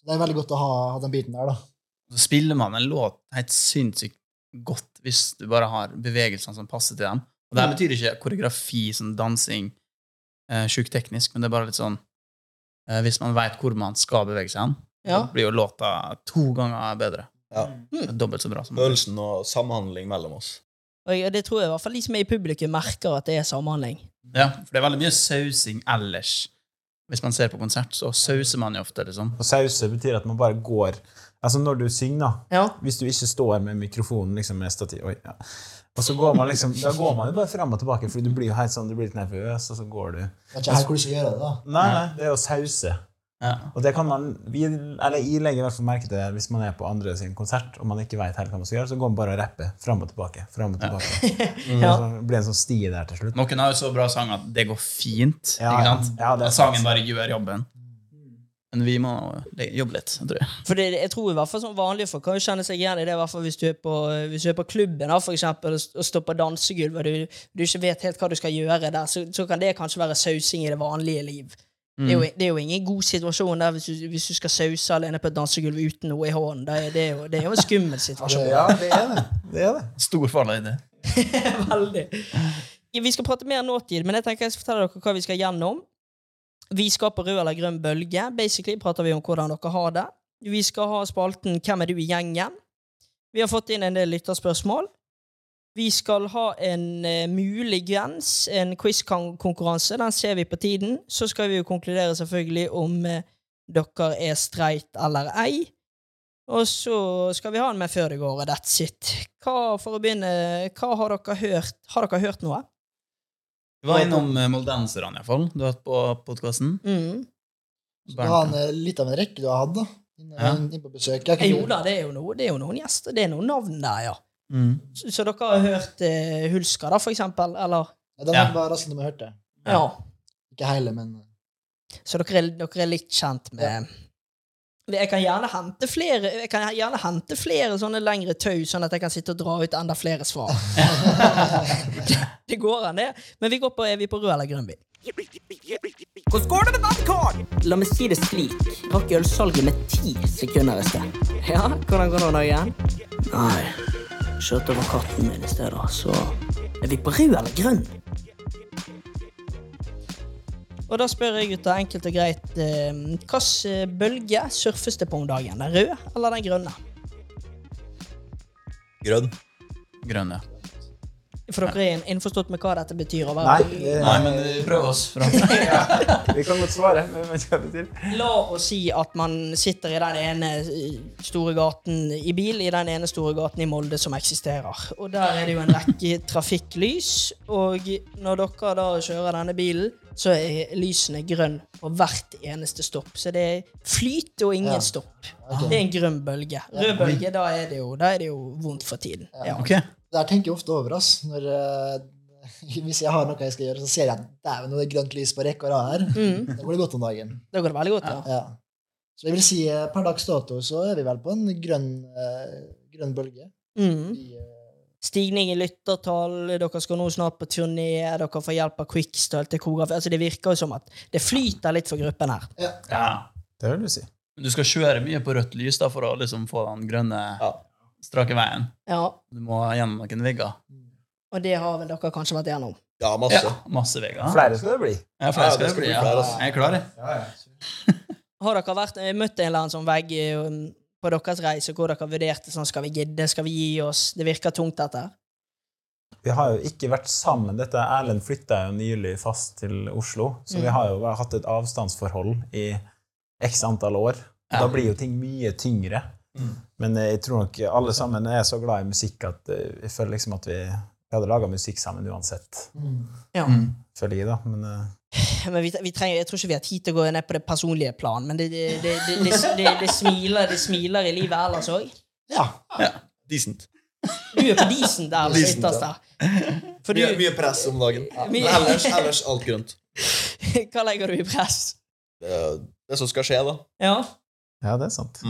[SPEAKER 4] Så det er veldig godt å ha, ha den biten der, da.
[SPEAKER 3] Så spiller man en låt helt sinnssykt godt hvis du bare har bevegelsene som passer til dem. Og det her betyr ikke koreografi, sånn dansing, eh, sjukt teknisk, men det er bare litt sånn eh, Hvis man veit hvor man skal bevege seg hen,
[SPEAKER 1] Ja.
[SPEAKER 3] så blir jo låta to ganger bedre.
[SPEAKER 2] Ja.
[SPEAKER 3] Det er Dobbelt så bra som
[SPEAKER 2] Følelsen og samhandling mellom oss.
[SPEAKER 1] Og jeg- det tror jeg i hvert fall de som er i publikum, merker at det er samhandling.
[SPEAKER 3] Ja, for det er veldig mye sausing ellers. Hvis man ser på konsert, så sauser man jo ofte, liksom.
[SPEAKER 9] Og sause betyr at man bare går Altså når du synger, da.
[SPEAKER 1] Ja.
[SPEAKER 9] Hvis du ikke står med mikrofonen liksom med stativ Oi, ja. Og så går man liksom Da går man jo bare fram og tilbake, for du blir jo helt sånn Du blir litt nervøs, og så går du
[SPEAKER 4] Det er ikke her hvor du skal gjøre det, da.
[SPEAKER 9] Nei, nei, det er jo sause.
[SPEAKER 3] Ja.
[SPEAKER 9] Og det kan man vi, Eller jeg legger i hvert fall merke til det hvis man er på andre sin konsert og man ikke vet helt hva man skal gjøre, så går man bare og rapper fram og tilbake. Frem og tilbake.
[SPEAKER 1] Ja.
[SPEAKER 9] Og så blir det en sånn sti der til slutt.
[SPEAKER 3] Noen har jo så bra sang at det går fint.
[SPEAKER 9] Ja,
[SPEAKER 3] ikke
[SPEAKER 9] ja.
[SPEAKER 3] sant?
[SPEAKER 9] Ja, det er
[SPEAKER 3] At sangen
[SPEAKER 9] sant.
[SPEAKER 3] bare gjør jobben. Men vi må le- jobbe litt, tror jeg.
[SPEAKER 1] For det, jeg tror i hvert fall sånn vanlige folk kan jo kjenne seg igjen i det, i hvert fall hvis du er på, hvis du er på klubben da, for eksempel, og st- og står på dansegulv og du, du ikke vet helt hva du skal gjøre der, så, så kan det kanskje være sausing i det vanlige liv. Det, er jo, det er jo ingen god situasjon der hvis du, hvis du skal sause alene på et dansegulv uten noe i hånden. Det er, det er, jo, det er jo en skummel situasjon.
[SPEAKER 9] Ja, det er det. det, er det.
[SPEAKER 3] Stor fall i det.
[SPEAKER 1] Veldig. Ja, Vi skal prate mer nåtid, men jeg tenker jeg skal fortelle dere hva vi skal gjennom. Vi skal på rød eller grønn bølge. Basically prater vi om hvordan dere har det. Vi skal ha spalten 'Hvem er du i gjengen?' Vi har fått inn en del lytterspørsmål. Vi skal ha en eh, muligens en quiz-konkurranse. Den ser vi på tiden. Så skal vi jo konkludere selvfølgelig om eh, dere er streit eller ei. Og så skal vi ha en med før det går, og that's it. Hva, for å begynne, hva har dere hørt? Har dere hørt noe?
[SPEAKER 3] Vi var innom eh, Moldenserne, iallfall. Du har hatt på podkasten.
[SPEAKER 1] Mm.
[SPEAKER 4] Så det var en, eh, litt av en rekke du har hatt, da. Inn,
[SPEAKER 3] Ja.
[SPEAKER 4] inn på besøk. Jeg
[SPEAKER 1] Jo da, det er jo, noe, det er jo noen gjester. Det er noen navn der, ja.
[SPEAKER 3] Mm.
[SPEAKER 1] Så, så dere har hørt eh, Hulska, da, for eksempel? Eller?
[SPEAKER 4] Ja, den
[SPEAKER 3] Ja.
[SPEAKER 4] var raskende med hørte.
[SPEAKER 1] Ja.
[SPEAKER 4] Ikke hele, men eh,
[SPEAKER 1] Så dere er, dere er litt kjent med Jeg kan gjerne hente flere Jeg kan gjerne hente flere sånne lengre tau, sånn at jeg kan sitte og dra ut enda flere svar. det, det går an, det. Men vi går på, er vi på rød eller grønn bil?
[SPEAKER 7] Hvordan går det med badekar? La meg si det slik. Rakk ølsalget med ti sekunder i sted. Ja, hvordan går det nå igjen? Nei, kjørte over katten min i sted, da, så Er vi på rød eller grønn?
[SPEAKER 1] Og da spør jeg gutta enkelt og greit eh, Hvilken bølge surfes det på om dagen? Den røde eller den grønne?
[SPEAKER 2] Grønn.
[SPEAKER 3] Grønn, ja.
[SPEAKER 1] For dere er innforstått med hva dette betyr. å være
[SPEAKER 9] Nei, eh,
[SPEAKER 1] på-
[SPEAKER 9] det,
[SPEAKER 3] Nei, men vi prøver oss fram.
[SPEAKER 9] vi kan godt svare, men vi vet ikke hva det betyr.
[SPEAKER 1] La oss si at man sitter i den ene eh, store gaten i bil, i den ene store gaten i Molde som eksisterer. Og der er det jo en rekke trafikklys, og når dere da kjører denne bilen, så er lysene grønn på hvert eneste stopp. Så det er flyt og ingen
[SPEAKER 4] Ja.
[SPEAKER 1] stopp.
[SPEAKER 4] Ok.
[SPEAKER 1] Det er en grønn bølge. Rød bølge, da er det jo, da er det jo vondt for tiden. Ja.
[SPEAKER 3] Ok.
[SPEAKER 4] Det her tenker jeg ofte over, ass. Når, eh, hvis jeg har noe jeg skal gjøre, så ser jeg at dæven, nå er det grønt lys på rekke og rad her.
[SPEAKER 1] Mm,
[SPEAKER 4] Da går det godt om dagen.
[SPEAKER 1] da går det veldig godt, ja.
[SPEAKER 4] Ja. Så jeg vil si eh, per dags dato så er vi vel på en grønn, eh, grønn bølge.
[SPEAKER 1] Mm.
[SPEAKER 4] I, eh,
[SPEAKER 1] Stigning i lyttertall, dere skal nå snart på turné, dere får hjelp av Quickstyle til koreografi. Altså, det virker jo som at det flyter litt for gruppen her.
[SPEAKER 3] Ja.
[SPEAKER 9] Det vil du si.
[SPEAKER 3] Men du skal kjøre mye på rødt lys da, for å liksom få den grønne,
[SPEAKER 2] Ja.
[SPEAKER 3] strake veien.
[SPEAKER 1] Ja,
[SPEAKER 3] Du må gjennom noen vegger.
[SPEAKER 1] Og det har vel dere kanskje vært gjennom.
[SPEAKER 2] Ja, masse.
[SPEAKER 3] Ja, masse vegger.
[SPEAKER 9] Flere skal det bli.
[SPEAKER 3] Ja, flere
[SPEAKER 2] Ja,
[SPEAKER 3] skal
[SPEAKER 2] det
[SPEAKER 3] det
[SPEAKER 2] skal
[SPEAKER 3] bli.
[SPEAKER 2] bli
[SPEAKER 3] Ja.
[SPEAKER 2] flere, altså.
[SPEAKER 3] Jeg er klar, jeg.
[SPEAKER 1] Har dere vært, eh, møtt en eller annen sånn vegg eh, um, på deres reise hvor dere vurderte sånn Skal vi gidde? Skal vi gi oss? Det virker tungt, dette. her.
[SPEAKER 9] Vi har jo ikke vært sammen. Dette Erlend flytta jo nylig fast til Oslo, så vi har jo hatt et avstandsforhold i x antall år.
[SPEAKER 3] Ja.
[SPEAKER 9] Da blir jo ting mye tyngre. Men eh, jeg tror nok alle sammen er så glad i musikk at eh, jeg føler liksom at vi, vi hadde laga musikk sammen uansett.
[SPEAKER 1] Ja.
[SPEAKER 9] Mm. Føler jeg, da. Men eh,
[SPEAKER 1] Men vi, tre- vi trenger, jeg tror ikke vi har tid til å gå ned på det personlige plan, men det, det, det, det, det, det, det, smiler, det smiler i livet ellers òg.
[SPEAKER 4] ja.
[SPEAKER 2] Decent.
[SPEAKER 1] Du er på disen der.
[SPEAKER 2] Decent,
[SPEAKER 1] Decent,
[SPEAKER 2] ja.
[SPEAKER 1] der. For
[SPEAKER 2] Mye,
[SPEAKER 1] du,
[SPEAKER 2] mye press om dagen. Men
[SPEAKER 1] Mye-
[SPEAKER 2] ellers, ellers alt grønt.
[SPEAKER 1] hva legger du i press?
[SPEAKER 2] Det er det som skal skje, da.
[SPEAKER 1] Ja.
[SPEAKER 9] ja, det er sant.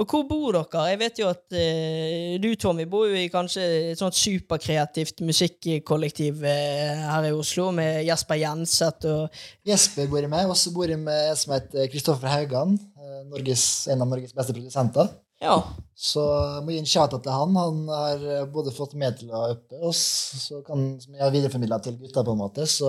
[SPEAKER 1] Og hvor bor dere? Jeg vet jo at eh, du, Tommy, bor jo i kanskje et sånt superkreativt musikkollektiv eh, her i Oslo, med Jesper Jenseth og
[SPEAKER 4] Jesper bor jeg med, og så bor jeg med en som heter Kristoffer Haugan. eh, Norges, en av Norges beste produsenter.
[SPEAKER 1] Ja.
[SPEAKER 4] Så jeg må gi en shout-out til han. Han har eh, både fått med til å uppe oss, så kan, som jeg har videreformidla til gutta, på en måte. Så,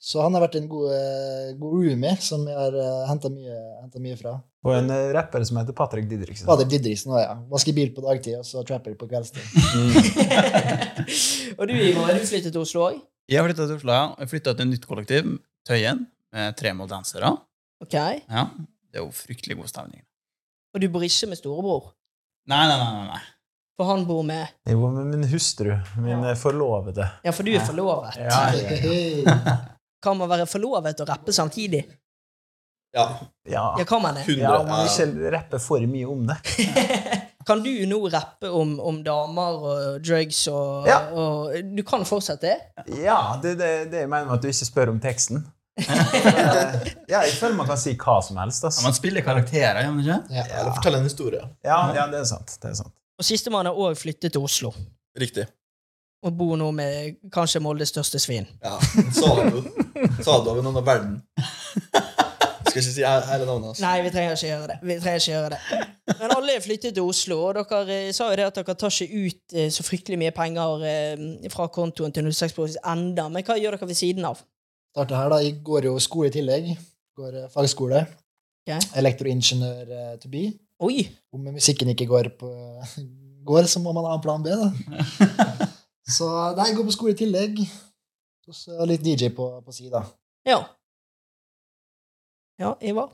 [SPEAKER 4] så han har vært en god, eh, god roomie som jeg har henta mye, hentet mye fra.
[SPEAKER 9] Og en eh, rapper som heter Patrick Didriksen.
[SPEAKER 4] Fader Didriksen òg, ja. Vasker bil på dagtid, og så trapper på kveldstid.
[SPEAKER 1] og du, Ivar, har du flyttet til Oslo òg?
[SPEAKER 3] Jeg flytta til Oslo, ja. Jeg flytta til et nytt kollektiv, Tøyen, med tre moldensere.
[SPEAKER 1] Ok.
[SPEAKER 3] Ja. Det er jo fryktelig god stemning.
[SPEAKER 1] Og du bor ikke med storebror,
[SPEAKER 3] Nei, nei, nei. nei, nei.
[SPEAKER 1] for han bor med
[SPEAKER 9] Jeg bor med min hustru. Min eh, forlovede.
[SPEAKER 1] Ja, for du er forlovet.
[SPEAKER 9] Ja, ja,
[SPEAKER 1] Kan man være forlovet og rappe samtidig?
[SPEAKER 2] Ja.
[SPEAKER 9] ja.
[SPEAKER 1] Ja, kan man det?
[SPEAKER 2] 100.
[SPEAKER 9] Ja, om man ikke rapper for mye om det.
[SPEAKER 1] Kan du nå rappe om, om damer og drugs og,
[SPEAKER 9] Ja.
[SPEAKER 1] og Du kan fortsette det?
[SPEAKER 9] Ja, det, det, det jeg mener med at du ikke spør om teksten. ja, jeg føler man kan si hva som helst. ass.
[SPEAKER 3] Ja, man spiller karakterer, gjør man ikke?
[SPEAKER 4] Ja.
[SPEAKER 2] Eller fortell en historie.
[SPEAKER 9] Ja, ja, det er sant. Det er sant.
[SPEAKER 1] Og Sistemann har òg flyttet til Oslo
[SPEAKER 2] Riktig.
[SPEAKER 1] og bor nå med kanskje Moldes største svin.
[SPEAKER 2] Ja. Sado. Sado over noen av verden. Jeg skal ikke si he- hele navnet hans.
[SPEAKER 1] Nei, vi trenger ikke gjøre det. Vi trenger ikke gjøre det. Men alle er flyttet til Oslo, og dere eh, sa jo det at dere tar ikke ut eh, så fryktelig mye penger eh, fra kontoen til 06 Prosis enda, men hva gjør dere ved siden av?
[SPEAKER 4] Startet her, da. Jeg går jo skole i tillegg. Går eh, fagskole.
[SPEAKER 1] Ok.
[SPEAKER 4] Elektroingeniør eh, to be.
[SPEAKER 1] Oi!
[SPEAKER 4] om musikken ikke går, på, går, så må man ha en plan B, da. Så nei, jeg går på skole i tillegg. Og så litt DJ på, på si, da.
[SPEAKER 1] Ja. Ja, Ivar?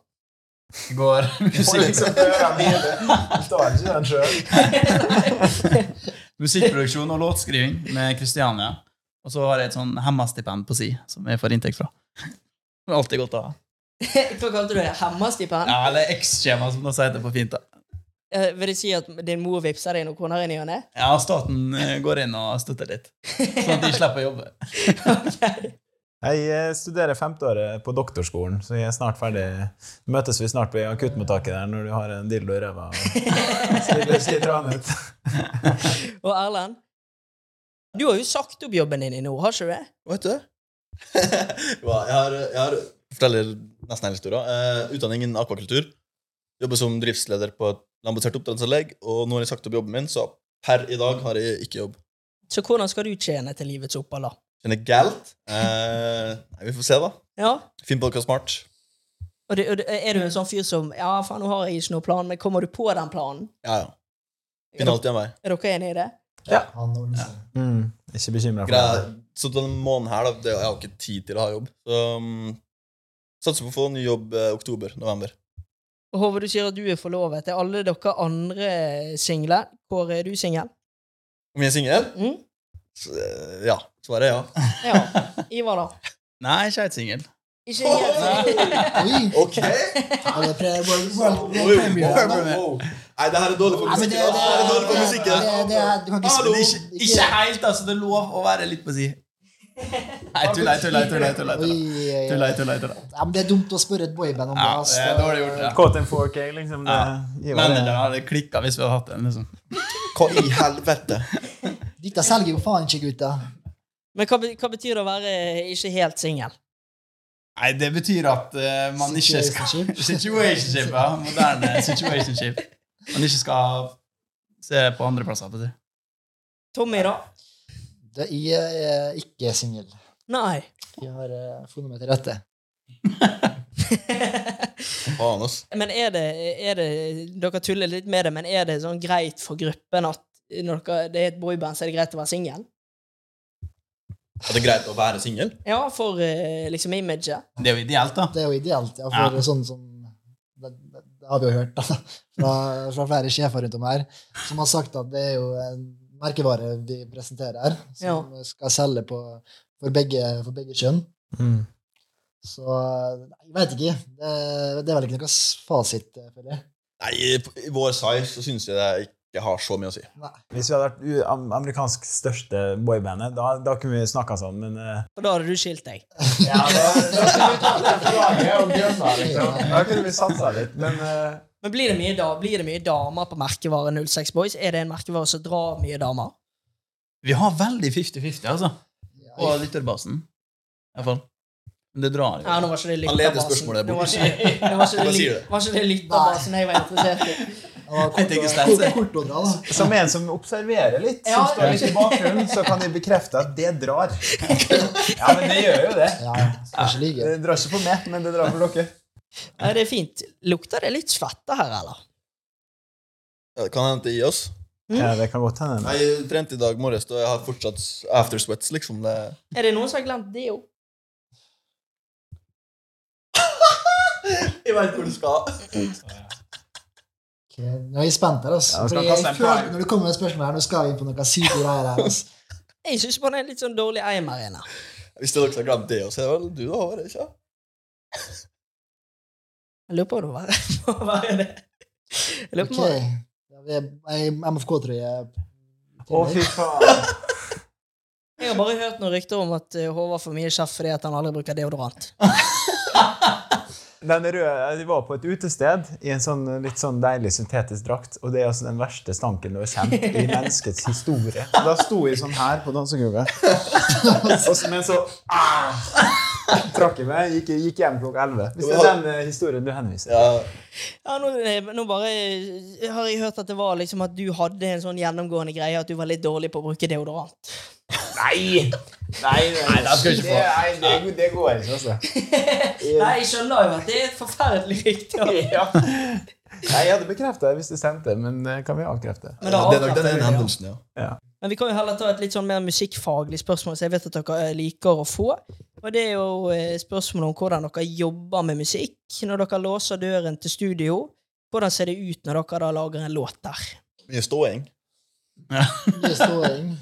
[SPEAKER 3] Det Går liksom. musikk,
[SPEAKER 9] Forstår ikke den sjøl.
[SPEAKER 3] musikkproduksjon og låtskriving med Kristiania. Og så har jeg et sånn hemmastipend på si, som jeg får inntekt fra. Det er alltid godt å ha.
[SPEAKER 1] Hva kalte du det? Hemmastipend?
[SPEAKER 3] Ja, eller X-skjema, som det også heter på fint. da.
[SPEAKER 1] Eh, vil det si at din mor vippser deg noen kroner inn i og ne?
[SPEAKER 3] Ja, staten eh, går inn og støtter litt, sånn at de slipper å jobbe.
[SPEAKER 9] Jeg eh, studerer femteåret på doktorskolen, så jeg er snart ferdig. Møtes vi snart på akuttmottaket der når du har en dildo i ræva og stiller skitran ut?
[SPEAKER 1] Og Erlend? Du har jo sagt opp jobben din i nå, har ikke du det?
[SPEAKER 2] Hva heter det? Jo, jeg har, jeg har forteller nesten hele historia. Eh, utdanning innen akvakultur. Jobber som driftsleder på et landbasert oppdrettsanlegg. Og nå har jeg sagt opp jobben min, så per i dag har jeg ikke jobb.
[SPEAKER 1] Så hvordan skal du tjene til livets opphold, da?
[SPEAKER 2] Kjenner galt. Eh, nei, vi får se, da.
[SPEAKER 1] Ja.
[SPEAKER 2] Finn på noe smart.
[SPEAKER 1] Og, det, og det, er du en sånn fyr som Ja, faen, nå har jeg ikke noen plan, men kommer du på den planen?
[SPEAKER 2] Ja, ja.
[SPEAKER 1] Er,
[SPEAKER 2] Finner alltid en vei.
[SPEAKER 1] dere- er dere enige i det?
[SPEAKER 4] Han ordner seg.
[SPEAKER 9] Mm, ikke bekymra for det.
[SPEAKER 2] Greia- Så denne måneden her, da, det, jeg har ikke tid til å ha jobb. Så um, satser på å få ny jobb eh, oktober-november.
[SPEAKER 1] Og Håvard, du sier at du er forlovet. Er alle dere andre single? Kåre, er du singel?
[SPEAKER 2] Om jeg er singel?
[SPEAKER 1] Mm.
[SPEAKER 2] Så, eh, Ja. Svaret er ja.
[SPEAKER 1] Ja. Ivar, da?
[SPEAKER 3] Nei, ikke helt singel.
[SPEAKER 1] Ikke helt
[SPEAKER 4] Oi!
[SPEAKER 2] Ok!
[SPEAKER 4] Ja, det er pre world, world,
[SPEAKER 2] Wow, wow,
[SPEAKER 4] premiere, da.
[SPEAKER 2] wow, wow. Nei, det her er dårlig for
[SPEAKER 4] Nei, men det, det, det, det,
[SPEAKER 2] musikken. ass. Det her er dårlig for
[SPEAKER 4] det,
[SPEAKER 2] musikken.
[SPEAKER 4] det, du kan ikke
[SPEAKER 2] Hallo!
[SPEAKER 4] spille
[SPEAKER 3] Ikke, ikke helt, altså. Det er lov å være litt på si. Nei, tulla, tulla, tulla.
[SPEAKER 4] Oi,
[SPEAKER 3] tulla, tulla.
[SPEAKER 4] oi,
[SPEAKER 3] Tulla,
[SPEAKER 4] oi.
[SPEAKER 3] tulla, tulla.
[SPEAKER 4] Ja, men det er dumt å spørre et boyband om det. altså. ass.
[SPEAKER 3] Ja, det er dårlig gjort. Ja. eh,
[SPEAKER 9] Caught in 4K, liksom. Det, gir jo det.
[SPEAKER 3] Manageren hadde klikka hvis vi hadde hatt den. liksom.
[SPEAKER 2] Hva i helvete?
[SPEAKER 4] Dette selger jo faen ikke, gutta.
[SPEAKER 1] Men hva, be- hva betyr det å være eh, ikke helt singel?
[SPEAKER 3] Nei, det betyr at eh, man ikke skal
[SPEAKER 4] Situationship.
[SPEAKER 3] Situationship, ja. Moderne situationship. Man ikke skal se på andreplasser. på å si.
[SPEAKER 1] Tommy, da?
[SPEAKER 4] Det- Jeg er ikke singel.
[SPEAKER 1] Nei.
[SPEAKER 4] Jeg har eh, funnet meg til rette.
[SPEAKER 2] Faen, ass.
[SPEAKER 1] Men er det, er det Dere tuller litt med det, men er det sånn greit for gruppen at når dere, det er et boyband, så er det greit å være singel?
[SPEAKER 2] Er det greit å være singel?
[SPEAKER 1] Ja, for eh, liksom imaget.
[SPEAKER 3] Det er jo ideelt, da.
[SPEAKER 4] Det er jo ideelt, ja, for sånn som det, det, det har vi jo hørt da, fra, fra flere sjefer rundt om her, som har sagt at det er jo en merkevare vi presenterer her, som skal selge på, for, begge, for begge kjønn.
[SPEAKER 9] Mm.
[SPEAKER 4] Så nei, jeg vet ikke. Det, det er vel ikke noe s- fasit, eh, føler jeg.
[SPEAKER 2] Nei, i i vår size så syns jeg det ikke har så mye å si.
[SPEAKER 9] Hvis vi hadde vært u- am- amerikansk største boybandet, da, da kunne vi snakka sånn, men eh,
[SPEAKER 1] Og da hadde du skilt deg.
[SPEAKER 9] Ja, da, da skulle vi tatt det flagget og bjørna, liksom. Da kunne vi satsa litt, men eh,
[SPEAKER 1] Men blir det mye, da, blir det mye damer på merkevare 06 Boys? Er det en merkevare som drar mye damer?
[SPEAKER 3] Vi har veldig 50-50, altså.
[SPEAKER 4] Ja,
[SPEAKER 3] På lytterbasen. I hvert fall. Men det drar jo.
[SPEAKER 1] Ja, nå var ikke det
[SPEAKER 2] Han leder
[SPEAKER 1] lytterbasen.
[SPEAKER 2] spørsmålet
[SPEAKER 1] Nå
[SPEAKER 2] bort.
[SPEAKER 1] var ikke, nå var ikke
[SPEAKER 2] Hva
[SPEAKER 1] det,
[SPEAKER 2] sier
[SPEAKER 1] lyt- var ikke det lytterbasen jeg var interessert i.
[SPEAKER 4] og kort,
[SPEAKER 3] Jeg tenker Stense.
[SPEAKER 4] kort- kort å dra, da.
[SPEAKER 9] som en som observerer litt,
[SPEAKER 1] Ja.
[SPEAKER 9] som står litt i bakgrunnen, så kan jeg bekrefte at det drar. Ja, men det gjør jo det.
[SPEAKER 4] Ja, kanskje like.
[SPEAKER 9] Det drar ikke for meg, men det drar for dere.
[SPEAKER 1] Nei, det er fint. Lukter det litt svette her, eller?
[SPEAKER 2] Ja, Det kan hende det gir oss.
[SPEAKER 9] Ja, det kan godt hende.
[SPEAKER 2] Nei, Jeg trente i dag morges, og jeg har fortsatt aftersweats, liksom. Det
[SPEAKER 1] Er det noen som har glemt deo?
[SPEAKER 2] jeg veit hvor du skal.
[SPEAKER 4] Ok, Nå er jeg spent her, altså.
[SPEAKER 9] Ja, skal
[SPEAKER 4] Fordi
[SPEAKER 9] kaste
[SPEAKER 4] jeg
[SPEAKER 9] en
[SPEAKER 4] føler
[SPEAKER 9] pie.
[SPEAKER 4] når du kommer med spørsmål her, nå skal vi inn på noen syke greier her, altså.
[SPEAKER 1] Jeg syns bare det er en litt sånn dårlig eim her inne.
[SPEAKER 2] Hvis det er dere som har glemt det også, er det vel du da, Håvard? ikke?
[SPEAKER 1] Jeg lurer på om det var- må være det. Jeg lurer på
[SPEAKER 4] Ok.
[SPEAKER 1] om det.
[SPEAKER 4] Ja, vi er- jeg er MFK-trøye.
[SPEAKER 9] Å, fy faen.
[SPEAKER 1] Jeg har bare hørt noen rykter om at eh, Håvard får mye kjeft fordi at han aldri bruker deodorant.
[SPEAKER 9] Den røde, Vi var på et utested i en sånn litt sånn deilig syntetisk drakt. Og det er altså den verste stanken du har kjent i menneskets historie. Og da sto jeg sånn her på dansegulvet. Og så- Men så ah, trakk jeg meg. Gikk, gikk hjem klokka 11. Hvis det er den eh, historien du henviser til.
[SPEAKER 2] Ja,
[SPEAKER 1] Ja, nå, eh, nå bare eh, har jeg hørt at det var liksom at du hadde en sånn gjennomgående greie at du var litt dårlig på å bruke deodorant.
[SPEAKER 9] Nei! Nei, nei,
[SPEAKER 3] det skal du ikke få.
[SPEAKER 9] Det, nei, det, det går ikke, altså.
[SPEAKER 1] Nei, jeg skjønner jo at det er et forferdelig rykte.
[SPEAKER 9] Ja. Nei, jeg hadde bekrefta det hvis det stemte, men eh, kan vi avkrefte?
[SPEAKER 1] Men da
[SPEAKER 2] det er nok den
[SPEAKER 1] avkrefter
[SPEAKER 2] ene
[SPEAKER 1] du det, ja.
[SPEAKER 2] hendelsen, ja.
[SPEAKER 1] Men vi kan jo heller ta et litt sånn mer musikkfaglig spørsmål, som jeg vet at dere eh, liker å få. Og det er jo eh, spørsmålet om hvordan dere jobber med musikk. Når dere låser døren til studio, hvordan ser det ut når dere da lager en låt der?
[SPEAKER 2] Mye ståing.
[SPEAKER 4] Mye ståing.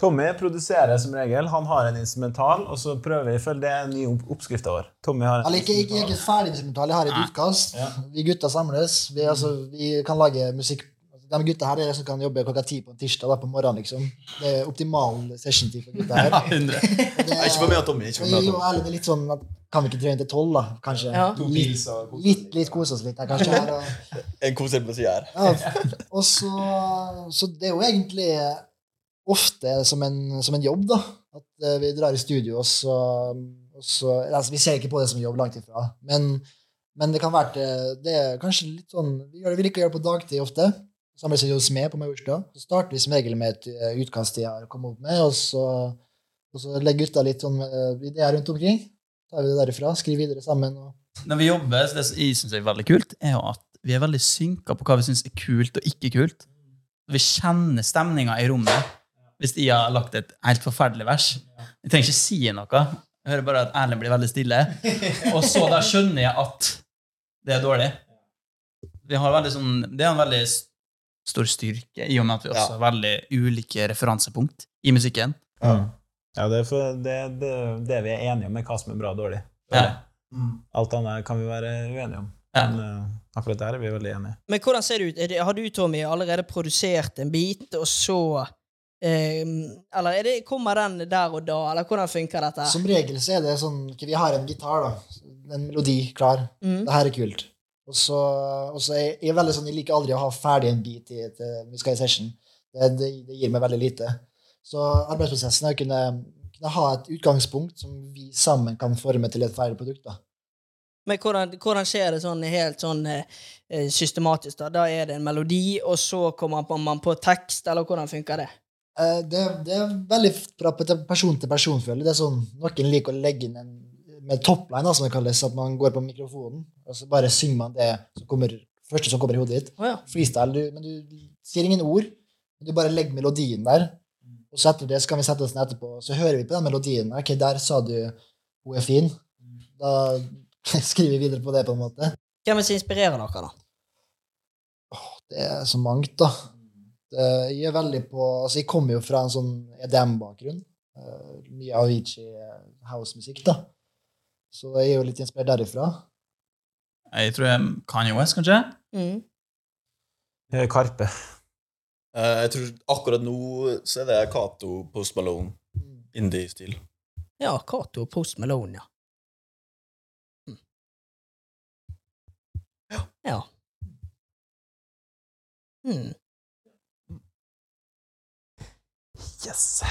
[SPEAKER 9] Tommy produserer som regel. Han har en instrumental, og så prøver vi følge det er den nye opp- oppskriften vår. Tommy har en
[SPEAKER 4] Eller ikke, ikke, jeg er ikke ferdig med instrumental. Jeg har et utkast. Vi gutta samles. Vi, altså,
[SPEAKER 2] Mm.
[SPEAKER 4] vi kan lage musikk Altså, De gutta her er de som kan jobbe klokka ti på en tirsdag da, på morgenen, liksom. Det er optimal session-tid for gutta her. Og det
[SPEAKER 2] Nei, ikke for meg, Tommy. Ikke for meg,
[SPEAKER 4] Jo,
[SPEAKER 2] Tommy.
[SPEAKER 4] eller det er litt sånn at Kan vi ikke trene til tolv, da? Kanskje.
[SPEAKER 1] Ja.
[SPEAKER 9] To
[SPEAKER 4] Litt,
[SPEAKER 9] pils og kose.
[SPEAKER 4] litt, litt kose oss litt her, kanskje. Her, og,
[SPEAKER 2] En konsert på siden her.
[SPEAKER 4] ja. og så, så det er jo egentlig ofte som en, som en jobb, da. At eh, vi drar i studio, og så, og så altså, Vi ser ikke på det som jobb, langt ifra. Men, men det kan være til Det er kanskje litt sånn Vi, gjør det, vi liker å gjøre det på dagtid ofte. Samles vi hos meg på Majorstua. Så starter vi som regel med et eh, utkast jeg har kommet opp med, og så, og så legger gutta litt sånn eh, ideer rundt omkring. Tar vi det derifra, skriver videre sammen. og
[SPEAKER 3] Når vi jobber, så det som jeg syns er veldig kult, er jo at vi er veldig synka på hva vi syns er kult og ikke kult. Vi kjenner stemninga i rommet hvis jeg har lagt et helt forferdelig vers. Jeg trenger ikke si noe. Jeg hører bare at Erlend blir veldig stille. Og så da skjønner jeg at det er dårlig. Vi har veldig sånn, det er en veldig s- stor styrke, i og med at vi også har veldig ulike referansepunkt i musikken.
[SPEAKER 9] Ja, ja det, er for, det, det, det vi er enige om, er hva som er bra og dårlig.
[SPEAKER 3] Ja.
[SPEAKER 9] Alt annet kan vi være uenige om.
[SPEAKER 3] Ja.
[SPEAKER 9] Men eh, akkurat der er vi veldig enige.
[SPEAKER 1] Men hvordan ser det ut? Er det, har du, Tommy, allerede produsert en bit, og så eh, Eller er det, kommer den der og da, eller hvordan funker dette? her?
[SPEAKER 4] Som regel så er det sånn ok, Vi har en gitar, da. En melodi klar.
[SPEAKER 1] Mm.
[SPEAKER 4] Det her er kult. Og så, og så er jeg, jeg er veldig sånn, jeg liker aldri å ha ferdig en beat i et eh, vi skal i session. Det, det, det gir meg veldig lite. Så arbeidsprosessen er å kunne, kunne ha et utgangspunkt som vi sammen kan forme til et ferdig produkt. da.
[SPEAKER 1] Men hvordan, hvordan skjer det sånn helt sånn eh, eh, systematisk? Da Da er det en melodi, og så kommer man- man på tekst, eller hvordan funker det?
[SPEAKER 4] Eh, Det, det er veldig fra pe- til person til person, føler jeg. Det er sånn, noen liker å legge inn en med topline, da, som det kalles, at man går på mikrofonen, og så bare synger man det som kommer, første som kommer i hodet ditt.
[SPEAKER 1] Å ja.
[SPEAKER 4] freestyle, du, men du sier ingen ord. men Du bare legger melodien der, og så etter det så kan vi sette oss ned etterpå, så hører vi på den melodien. Ok, der sa du 'hun er fin'. Da skriver vi videre på det, på en måte.
[SPEAKER 1] Hvem er det som inspirerer dere, da?
[SPEAKER 4] Det er eh, så mangt, da. Det, jeg er veldig på Altså, jeg kommer jo fra en sånn EDM-bakgrunn. eh, Mye Avicii eh, house-musikk, da. Så jeg er jo litt inspirert derifra.
[SPEAKER 3] Jeg tror jeg Kanye West, kanskje?
[SPEAKER 1] Mm.
[SPEAKER 9] Eh, Karpe.
[SPEAKER 2] Eh, Jeg tror akkurat nå så er det Cato Post Malone. Indie-stil.
[SPEAKER 1] Ja, Cato og Post Malone, ja. Mm. Ja. Mm.
[SPEAKER 9] Yes!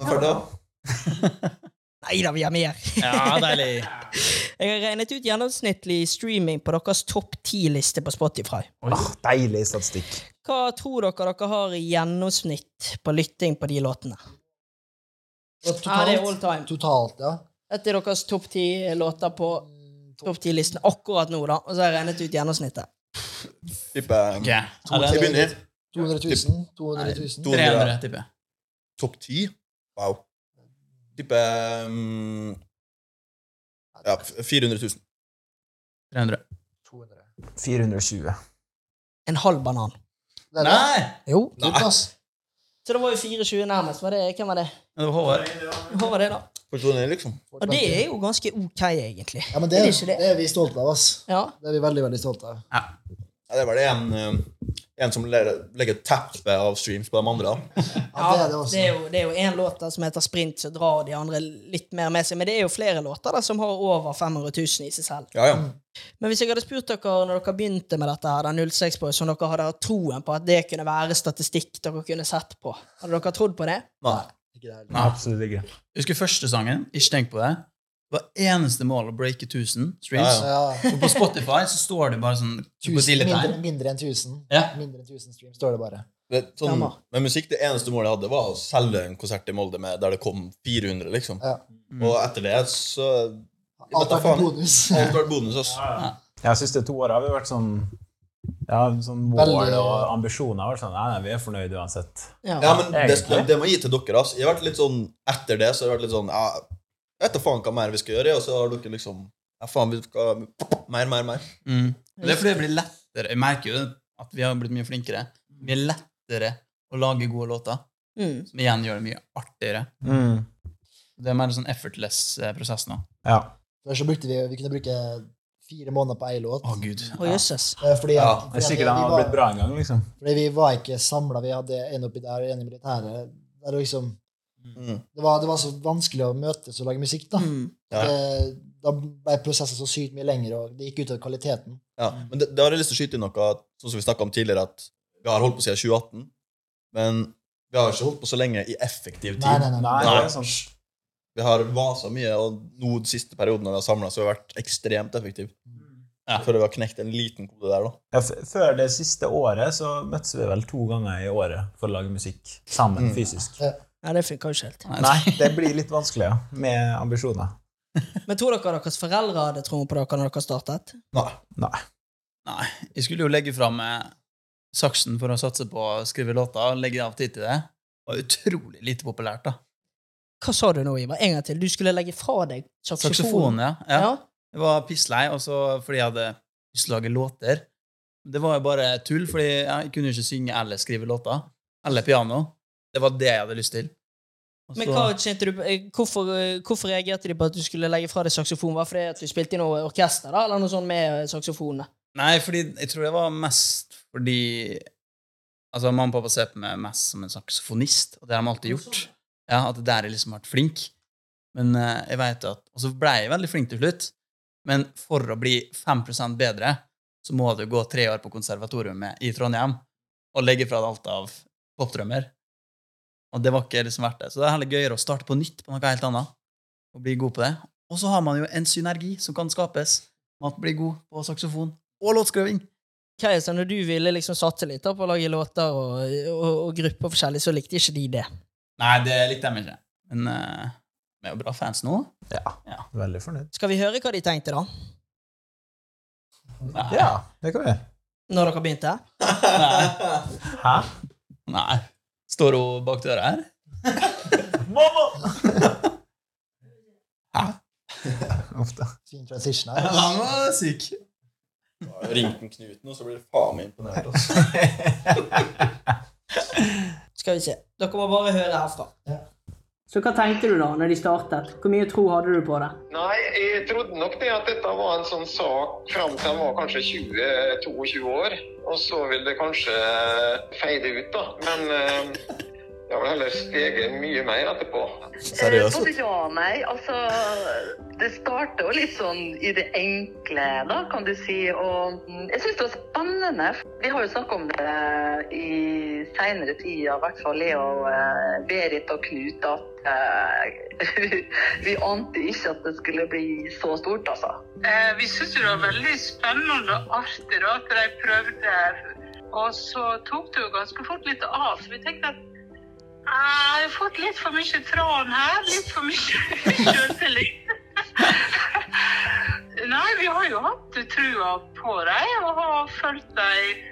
[SPEAKER 2] Men for da,
[SPEAKER 1] Nei da, vi har mer.
[SPEAKER 3] Ja, deilig.
[SPEAKER 1] Jeg har regnet ut gjennomsnittlig streaming på deres topp ti-liste på Spotify.
[SPEAKER 9] Ah, deilig statistikk.
[SPEAKER 1] Hva tror dere dere har i gjennomsnitt på lytting på de låtene?
[SPEAKER 4] Og
[SPEAKER 1] Ja, det er all time.
[SPEAKER 4] totalt, ja. Mm,
[SPEAKER 1] Dette er deres topp ti låter på topp ti-listen akkurat nå, da. Og så har jeg regnet ut gjennomsnittet.
[SPEAKER 2] tipper
[SPEAKER 3] Ok.
[SPEAKER 2] jeg Jeg begynner.
[SPEAKER 4] 200 000. 200 000.
[SPEAKER 3] 300, tipper jeg.
[SPEAKER 2] Topp ti? Wow. Tipper um, Ja, 400 000.
[SPEAKER 3] 300.
[SPEAKER 4] 200.
[SPEAKER 9] 420.
[SPEAKER 1] En halv banan.
[SPEAKER 4] Det er det.
[SPEAKER 3] Nei!
[SPEAKER 1] Jo.
[SPEAKER 4] Kult, ass.
[SPEAKER 1] Så det var jo 24 nærmest. Var det, hvem var det?
[SPEAKER 3] Men det var Håvard.
[SPEAKER 1] Hva var det, da?
[SPEAKER 2] Forstår du det, liksom?
[SPEAKER 1] Og det er jo ganske ok, egentlig.
[SPEAKER 4] Ja, men det,
[SPEAKER 1] Er
[SPEAKER 4] er,
[SPEAKER 1] det ikke det?
[SPEAKER 4] det er vi stolte av, ass.
[SPEAKER 1] Ja.
[SPEAKER 4] Det er vi veldig, veldig stolte av.
[SPEAKER 3] Ja.
[SPEAKER 2] Ja, det er vel en, eh, en som legger, legger teppet av streams på de andre. da.
[SPEAKER 4] Ja, det er det også.
[SPEAKER 1] er jo- det er jo én låt der som heter 'Sprint', som drar de andre litt mer med seg. Men det er jo flere låter der som har over 500 000 i seg selv.
[SPEAKER 2] Ja, ja.
[SPEAKER 1] Men hvis jeg hadde spurt dere når dere begynte med dette, her, den 06 Boys, om dere hadde hatt troen på at det kunne være statistikk dere kunne sett på, hadde dere trodd på det?
[SPEAKER 2] Nei.
[SPEAKER 4] Ikke det heller.
[SPEAKER 3] Ja.
[SPEAKER 9] Absolutt ikke.
[SPEAKER 3] Husker første sangen, ikke tenk på det. Var eneste mål å breake 1000 streams.
[SPEAKER 2] Ja,
[SPEAKER 4] Ja,
[SPEAKER 3] Og på Spotify så står det bare sånn
[SPEAKER 4] tusen, mindre,
[SPEAKER 3] krokodilletegn.
[SPEAKER 4] mindre enn 1000.
[SPEAKER 3] Ja.
[SPEAKER 4] Mindre enn 1000 streams, står det bare.
[SPEAKER 2] Det, er sånn,
[SPEAKER 1] Stemmer.
[SPEAKER 2] med musikk, det eneste målet jeg hadde, var å selge en konsert i Molde med, der det kom 400, liksom.
[SPEAKER 4] Ja.
[SPEAKER 2] Og etter det så
[SPEAKER 4] Alt
[SPEAKER 2] Vet da
[SPEAKER 4] har vært
[SPEAKER 2] faen.
[SPEAKER 4] bonus.
[SPEAKER 2] Alt vært bonus, ass.
[SPEAKER 9] Jeg synes de to årene har vi vært sånn ja, sånn mål
[SPEAKER 4] Veldig-
[SPEAKER 9] og ambisjoner. har vært Sånn, nei, nei, vi er fornøyd uansett.
[SPEAKER 2] Ja, men det,
[SPEAKER 9] Egentlig.
[SPEAKER 2] det må jeg gi til dere, ass. Jeg har vært litt sånn, etter det så har jeg vært litt sånn ja, Jeg vet da faen hva mer vi skal gjøre, og så har dere liksom ja, faen, vi skal Mer, mer, mer.
[SPEAKER 3] Mm. Og Det er fordi det blir lettere. Jeg merker jo at vi har blitt mye flinkere. Vi er lettere å lage gode låter,
[SPEAKER 1] Mm.
[SPEAKER 3] som igjen gjør det mye artigere.
[SPEAKER 9] Mm.
[SPEAKER 3] Det er mer en sånn effortless eh, prosess nå.
[SPEAKER 9] Ja.
[SPEAKER 4] Før så brukte vi, vi kunne bruke fire måneder på ei låt.
[SPEAKER 3] Å, gud.
[SPEAKER 1] Å, jøsses.
[SPEAKER 4] Eh, Fordi,
[SPEAKER 2] Ja,
[SPEAKER 4] fordi
[SPEAKER 9] Det er
[SPEAKER 4] at
[SPEAKER 9] sikkert han
[SPEAKER 4] vi
[SPEAKER 9] har
[SPEAKER 4] var-
[SPEAKER 9] blitt bra en gang, liksom.
[SPEAKER 4] Fordi vi var ikke samla. Vi hadde en oppi der og en i militæret. Det, er liksom,
[SPEAKER 2] Mm.
[SPEAKER 4] det, var, det var så vanskelig å møtes og lage musikk, da.
[SPEAKER 1] Mm.
[SPEAKER 2] Ja.
[SPEAKER 4] Det, da ble prosessen så sykt mye lengre, og det gikk utover kvaliteten.
[SPEAKER 2] Ja, men det, det har jeg lyst til å skyte inn noe, at- sånn som vi snakket om tidligere, at vi har holdt på siden 2018, men vi har ikke holdt på så lenge i effektiv tid.
[SPEAKER 4] Nei, nei, nei.
[SPEAKER 9] Nei, det er sånn.
[SPEAKER 2] Vi har vasa mye, og nå de siste perioden når vi har samlet, så har vi vært ekstremt effektive.
[SPEAKER 3] Ja.
[SPEAKER 2] Før vi har knekt en liten kode der, da.
[SPEAKER 9] Ja, f- før det siste året så møttes vi vel to ganger i året for å lage musikk sammen
[SPEAKER 2] Mm.
[SPEAKER 9] fysisk.
[SPEAKER 1] Ja, det funka jo ikke helt.
[SPEAKER 9] Nei, det blir litt vanskelig, ja. Med ambisjoner.
[SPEAKER 1] Men tror dere deres foreldre hadde troen på dere når dere startet?
[SPEAKER 2] Nei.
[SPEAKER 3] Jeg skulle jo legge fram saksen for å satse på å skrive låter, og legge av tid til det. Det var utrolig lite populært, da.
[SPEAKER 1] Hva sa du nå, Ivar? En gang til. Du skulle legge fra deg saksofonen.
[SPEAKER 3] Saksofon, ja.
[SPEAKER 1] Ja.
[SPEAKER 3] ja. Jeg var pisslei, og så fordi jeg hadde lyst til å lage låter. Det var jo bare tull, fordi jeg kunne jo ikke synge eller skrive låter. Eller piano. Det var det jeg hadde lyst til. Og
[SPEAKER 1] Men
[SPEAKER 3] så-
[SPEAKER 1] hva kjente du, eh, hvorfor, eh, hvorfor reagerte de på at du skulle legge fra deg saksofon? Var det fordi at du spilte i noe orkester, da, eller noe sånt med eh, saksofonene?
[SPEAKER 3] Nei, fordi jeg tror det var mest fordi Altså, Mamma og pappa ser på meg mest som en saksofonist, og det har de alltid gjort. Ja, At der jeg liksom har vært flink. Men eh, jeg vet at, Og så ble jeg veldig flink til slutt, men for å bli 5 bedre, så må du gå tre år på konservatoriet i Trondheim og legge fra deg alt av popdrømmer. Og det var ikke liksom verdt det. Så det er heller gøyere å starte på nytt på noe helt annet. Og bli god på det. Og så har man jo en synergi som kan skapes. Man blir god på saksofon og låtskriving.
[SPEAKER 1] Hva er det sånn, Når du ville liksom satse litt da, på å lage låter og, eh, og, og grupper forskjellig, så likte ikke de det.
[SPEAKER 3] Nei, det likte jeg meg ikke. Men eh, vi er jo bra fans nå.
[SPEAKER 9] Veldig fornøyd.
[SPEAKER 1] Skal vi høre hva de tenkte, da?
[SPEAKER 3] Nei.
[SPEAKER 9] Ja, det kan vi.
[SPEAKER 1] Når dere begynte?
[SPEAKER 3] Nei.
[SPEAKER 9] Hæ?
[SPEAKER 3] Nei. Står hun bak døra her?
[SPEAKER 9] Mamma! Ofte.
[SPEAKER 4] Fin transition her.
[SPEAKER 3] Han var syk.
[SPEAKER 2] Ringten Knut nå, så blir det faen meg imponert. Altså.
[SPEAKER 1] Skal vi se. Dere må bare høre herfra. Så hva tenkte du da når de startet? Hvor mye tro hadde du på det?
[SPEAKER 6] Nei, jeg trodde nok det at dette var en sånn sak fram til jeg var kanskje 20-22 år. Og så vil det kanskje feide ut, da. Men eh, det har vel heller steget mye mer etterpå.
[SPEAKER 2] Seriøst.
[SPEAKER 10] Eh, Både ja og nei. Altså, det starter jo litt sånn i det enkle, da, kan du si. Og mm, jeg syns det var spennende. Vi har jo snakket om det i seinere tid, i hvert fall jeg og eh, Berit og Knut, at eh, vi ante ikke at det skulle bli så stort, altså. vi syntes det var veldig spennende og artig at de prøvde. Og så tok det jo ganske fort litt av, så vi tenkte at "Ah, jeg har fått litt for mye tran her. Litt for mye sjøltillit. Nei, vi har jo hatt trua på dem og har fulgt dem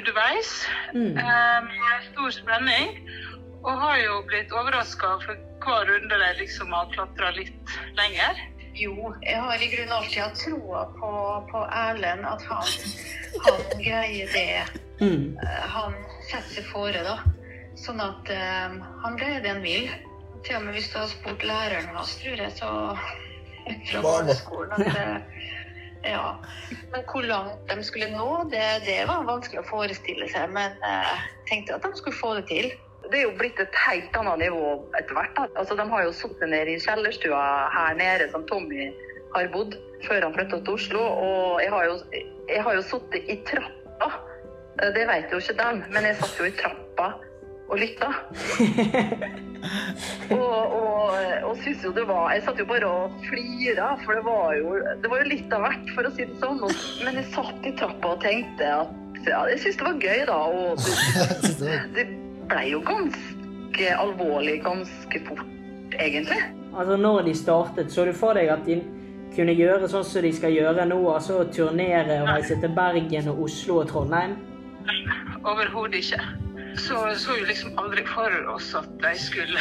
[SPEAKER 10] underveis eh, med stor spenning. Og har jo blitt overraska for hver runde de liksom har klatra litt lenger. Jo, jeg har i grunnen alltid hatt troa på, Erlend, at han, greier det han setter seg fore, da. Sånn at eh, han greier det han vil. Til og med hvis du har spurt læreren hans, tror jeg, så fra barneskolen at eh, Ja. Men hvor langt de skulle nå, det, det var vanskelig å forestille seg. Men jeg tenkte at de skulle få det til. Det er jo blitt et helt annet nivå etter hvert. Da. Altså, de har jo sittet nede i kjellerstua her nede som Tommy har bodd før han flytta til Oslo. Og jeg har jo, jeg har jo sittet i trappa. Eh, Det vet jo ikke dem, men jeg satt jo i trappa og lytta. og, og, og syntes jo det var Jeg satt jo bare og flira, for det var jo, det var jo litt av hvert, for å si det sånn. Og, men jeg satt i trappa og tenkte at ja, Jeg syntes det var gøy, da. Og det, det blei jo ganske alvorlig ganske fort, egentlig.
[SPEAKER 7] Altså, når de startet, så du for deg at de kunne gjøre sånn som de skal gjøre nå, altså å turnere og reise til Bergen og Oslo og Trondheim?
[SPEAKER 10] Overhodet ikke. Så så jo liksom aldri for oss at de skulle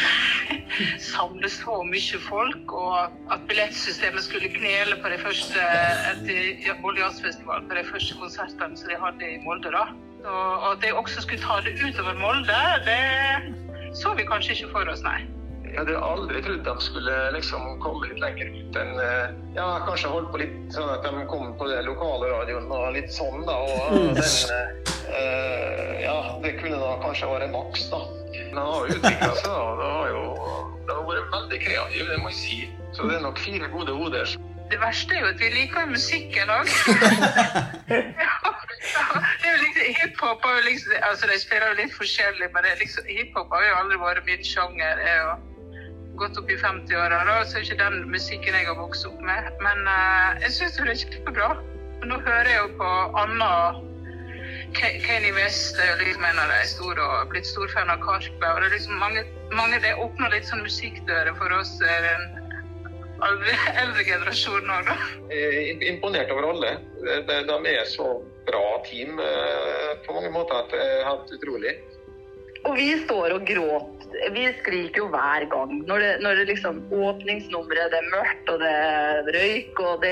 [SPEAKER 10] samle så mye folk, og at billettsystemet skulle knele på de første etter Olje- og jazzfestivalen, på de første konsertene som de hadde i Molde. da. Så, og at de også skulle ta det utover Molde, det så vi kanskje ikke for oss, nei.
[SPEAKER 6] Jeg hadde aldri trodd de skulle liksom komme litt lenger ut enn eh, Ja, kanskje holdt på litt sånn at de kom på den lokale radioen og litt sånn, da. Og den eh, eh, Ja, det kunne da kanskje vært maks, da. Men han har jo utvikla seg, da. og Det har jo det har vært veldig kreativ, det må jeg si. Så det er nok fire gode hoder.
[SPEAKER 10] Det verste er jo at vi liker musikk i lag. Det er jo liksom, hiphop er jo liksom, altså De spiller jo litt forskjellig, men det er liksom, hiphop har jo aldri vært min sjanger. Jeg har gått opp i 50-åra, da, så er ikke den musikken jeg har vokst opp med. Men eh, jeg syns det er kjempebra. Og Nå hører jeg jo på Anna Ke- Kanye West er jo liksom en av de store og blitt stor fan av Karpe. Og det er liksom mange, mange det åpner litt sånn musikkdører for oss, eh, den aldri- eldre generasjonen òg, da.
[SPEAKER 6] Eh, im- imponert over alle. De, de- de er så bra team eh, på mange måter at det er helt utrolig.
[SPEAKER 10] Og vi står og gråter. Vi skriker jo hver gang. Når det, når det liksom åpningsnummeret, det er mørkt, og det er røyk, og det,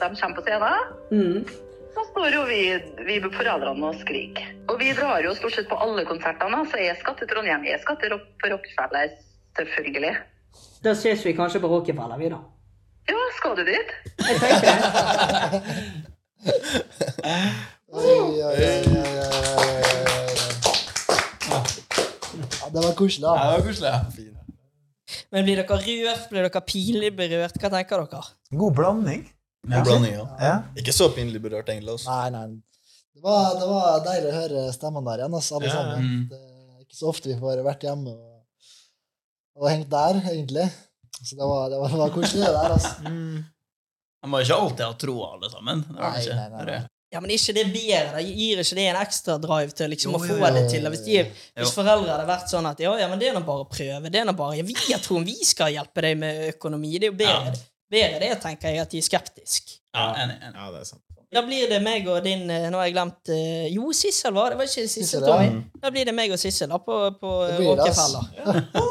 [SPEAKER 10] de kommer på scenen,
[SPEAKER 7] Mm.
[SPEAKER 10] så står jo vi, vi foreldrene og skriker. Og vi drar jo stort sett på alle konsertene. Så jeg skal til Trondheim, jeg skal til Rock- Rockefeller, selvfølgelig.
[SPEAKER 7] Da ses vi kanskje på Rockefeller, vi, da.
[SPEAKER 10] Ja, skal du dit?
[SPEAKER 4] Oi, oi, oi, oi, oi, oi, oi, oi. Ja, det var koselig. da.
[SPEAKER 3] Ja, det var koselig. ja.
[SPEAKER 1] Men blir dere rørt? Blir dere pinlig berørt? Hva tenker dere?
[SPEAKER 9] God blanding.
[SPEAKER 2] God blanding, ja.
[SPEAKER 9] Ja.
[SPEAKER 2] Ikke så pinlig berørt, egentlig. Altså.
[SPEAKER 4] Nei, nei. Det var, det var deilig å høre stemmene der igjen, ass, alle
[SPEAKER 2] Ja.
[SPEAKER 4] sammen.
[SPEAKER 3] Mm.
[SPEAKER 4] Det er ikke så ofte vi får vært hjemme og, og hengt der, egentlig. Så det var, det var, det var koselig, det der. ass.
[SPEAKER 3] Man må jo ikke alltid ha troa, alle sammen. Det var det
[SPEAKER 4] Nei,
[SPEAKER 3] ikke.
[SPEAKER 4] nei, nei, nei.
[SPEAKER 1] Ja, men er ikke det bedre? da? Gir ikke det en ekstra drive til liksom,
[SPEAKER 3] Jo,
[SPEAKER 1] å
[SPEAKER 3] jo,
[SPEAKER 1] få
[SPEAKER 4] jo,
[SPEAKER 1] det
[SPEAKER 4] jo,
[SPEAKER 1] til?
[SPEAKER 4] jo,
[SPEAKER 1] Hvis,
[SPEAKER 4] jo.
[SPEAKER 1] de, hvis
[SPEAKER 3] Jo.
[SPEAKER 1] foreldre hadde vært sånn at ja, ja, men det er nå bare å prøve, det er nå bare ja, Vi har troen vi skal hjelpe deg med økonomi. Det er jo bedre,
[SPEAKER 3] Ja.
[SPEAKER 1] bedre det, tenker jeg, at de er skeptiske.
[SPEAKER 3] Ja, enig, enig.
[SPEAKER 9] Ja, det er sant.
[SPEAKER 1] Da blir det meg og din eh, Nå har jeg glemt eh, Jo, Sissel var det. Var ikke Sissel
[SPEAKER 4] Sissel, ja.
[SPEAKER 1] Tommy?
[SPEAKER 3] Mm.
[SPEAKER 1] Da blir det meg og Sissel da, på, på
[SPEAKER 4] Det
[SPEAKER 1] eh,
[SPEAKER 4] blir det, ass.
[SPEAKER 1] Rockefeller.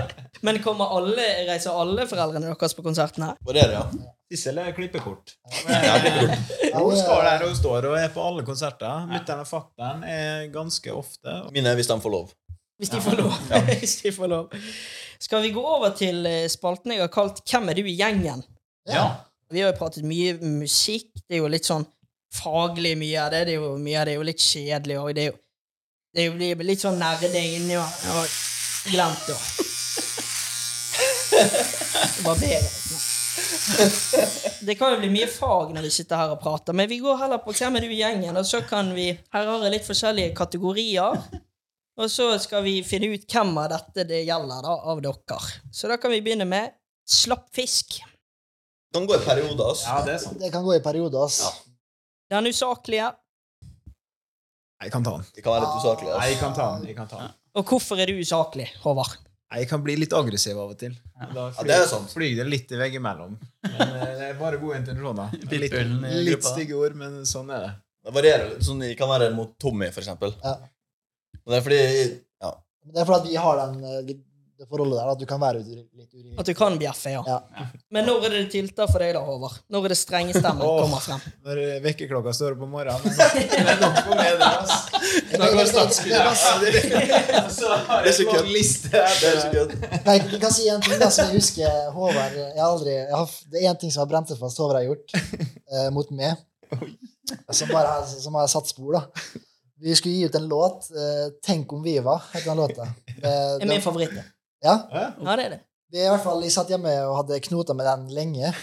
[SPEAKER 1] Men kommer alle, reiser alle foreldrene deres på konserten her?
[SPEAKER 2] Varierer, ja.
[SPEAKER 9] Sissel er klippekort.
[SPEAKER 2] ja klippekort.
[SPEAKER 4] Ja,
[SPEAKER 9] Hun
[SPEAKER 4] det-
[SPEAKER 9] står der hun står og er på alle konserter. Mutter'n og fatter'n er ganske ofte.
[SPEAKER 2] Mine hvis de får lov.
[SPEAKER 1] Hvis de får lov. Hvis de får lov. Skal vi gå over til eh, spalten jeg har kalt 'Hvem er du i gjengen'?
[SPEAKER 3] Ja.
[SPEAKER 1] Vi har jo pratet mye musikk. Det er jo litt sånn faglig mye av det. Det er jo, mye av det er jo litt kjedelig, og det er jo, det er jo det blir litt sånn nerding inni og jeg har Glemt det. Det var bedre. Det kan jo bli mye fag når vi sitter her og prater, men vi går heller på 'Hvem er du i gjengen', og så kan vi Her har jeg litt forskjellige kategorier. Og så skal vi finne ut hvem av dette det gjelder, da, av dere. Så da kan vi begynne med slapp fisk.
[SPEAKER 2] Kan gå i perioder, altså.
[SPEAKER 9] Ja, det er sant.
[SPEAKER 4] Det kan gå i perioder, ass.
[SPEAKER 1] Den usaklige.
[SPEAKER 9] Jeg kan ta den.
[SPEAKER 2] Det kan være litt usaklig.
[SPEAKER 9] Nei, Jeg
[SPEAKER 2] Altså.
[SPEAKER 9] kan ta den. Jeg kan, ta den.
[SPEAKER 1] Og hvorfor er du usaklig, Håvard?
[SPEAKER 9] Jeg kan bli litt aggressiv av og til. Da flyr,
[SPEAKER 2] det er sant.
[SPEAKER 9] flyr det litt veggimellom. Men eh, det er bare gode intensjoner. Litt,
[SPEAKER 3] Pitbullen i
[SPEAKER 9] litt
[SPEAKER 3] gruppa.
[SPEAKER 9] stygge ord, men sånn er det.
[SPEAKER 2] Det varierer litt. Sånn, jeg kan være mot Tommy, for eksempel.
[SPEAKER 4] Ja.
[SPEAKER 2] Og det er fordi ja.
[SPEAKER 4] Men Det er fordi at vi har den eh, det forholdet der, at du kan være uri- litt urimelig.
[SPEAKER 1] At du kan bjeffe, ja. Men når er det tiltak for deg, da, Håvard? Når er det strengestemmen
[SPEAKER 9] Åh,
[SPEAKER 1] kommer frem?
[SPEAKER 9] Når vekkerklokka står opp om morgenen Det er nok for meg, det, ass.
[SPEAKER 4] Snakker om statskudd.
[SPEAKER 9] Så har jeg en lang liste
[SPEAKER 4] Nei, vi kan si en ting da, som jeg husker Håvard jeg har aldri, jeg har, Det er en ting som har brent seg fast Håvard har gjort eh, mot meg, som, bare, har- som har satt spor. da. Vi skulle gi ut en låt. Eh, 'Tenk om vi var', het den låta. Eh,
[SPEAKER 1] Det er min favoritt. det.
[SPEAKER 4] Ja.
[SPEAKER 1] Ja, det er det.
[SPEAKER 4] Vi i hvert fall, jeg satt hjemme og hadde knota med den lenge.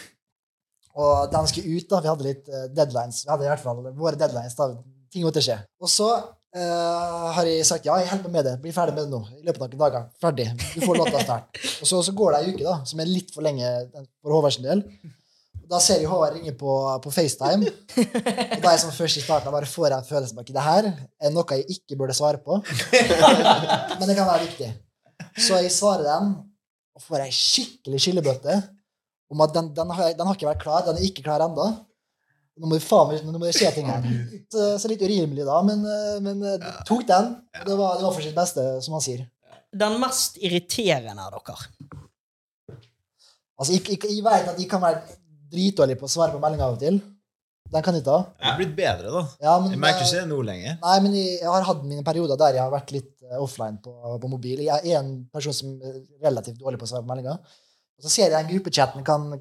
[SPEAKER 4] Og den skulle ut, da. Vi hadde litt eh, deadlines. Vi hadde i hvert fall våre deadlines. da. Ting måtte skje. Og så eh, har jeg sagt ja, jeg hjelper med det. Bli ferdig med det nå. I løpet av noen dager. Ferdig. Du får låta snart. Og så, så går det ei uke, da, som er litt for lenge for Håvards del. Og Da ser jeg Håvard ringe på, på FaceTime. Og da er jeg som først i starten bare får jeg en følelse bak i det her. Er noe jeg ikke burde svare på. Men det kan være viktig. Så jeg svarer den, og får ei skikkelig skyllebøtte om at den, den, har, jeg- den har ikke vært klar. Den er ikke klar ennå. Nå må, det faen, meg- nå må det skje ting her. Så, så litt urimelig da, men, eh, men eh, tok den. og Det var, det var for sitt beste, som han sier.
[SPEAKER 1] Den mest irriterende av dere.
[SPEAKER 4] Altså, jeg, jeg, jeg vet at jeg kan være dritdårlig på å svare på meldinger av og til. Den kan jeg ta.
[SPEAKER 9] Jeg er blitt bedre, da.
[SPEAKER 4] Ja, men,
[SPEAKER 9] Jeg merker
[SPEAKER 4] eh,
[SPEAKER 9] ikke det nå lenger.
[SPEAKER 4] Nei, men jeg, jeg har hatt mine perioder der jeg har vært litt eh, offline på, på mobil. Jeg er en person som er relativt dårlig på å svare på meldinger. Og så ser jeg den gruppechatten kan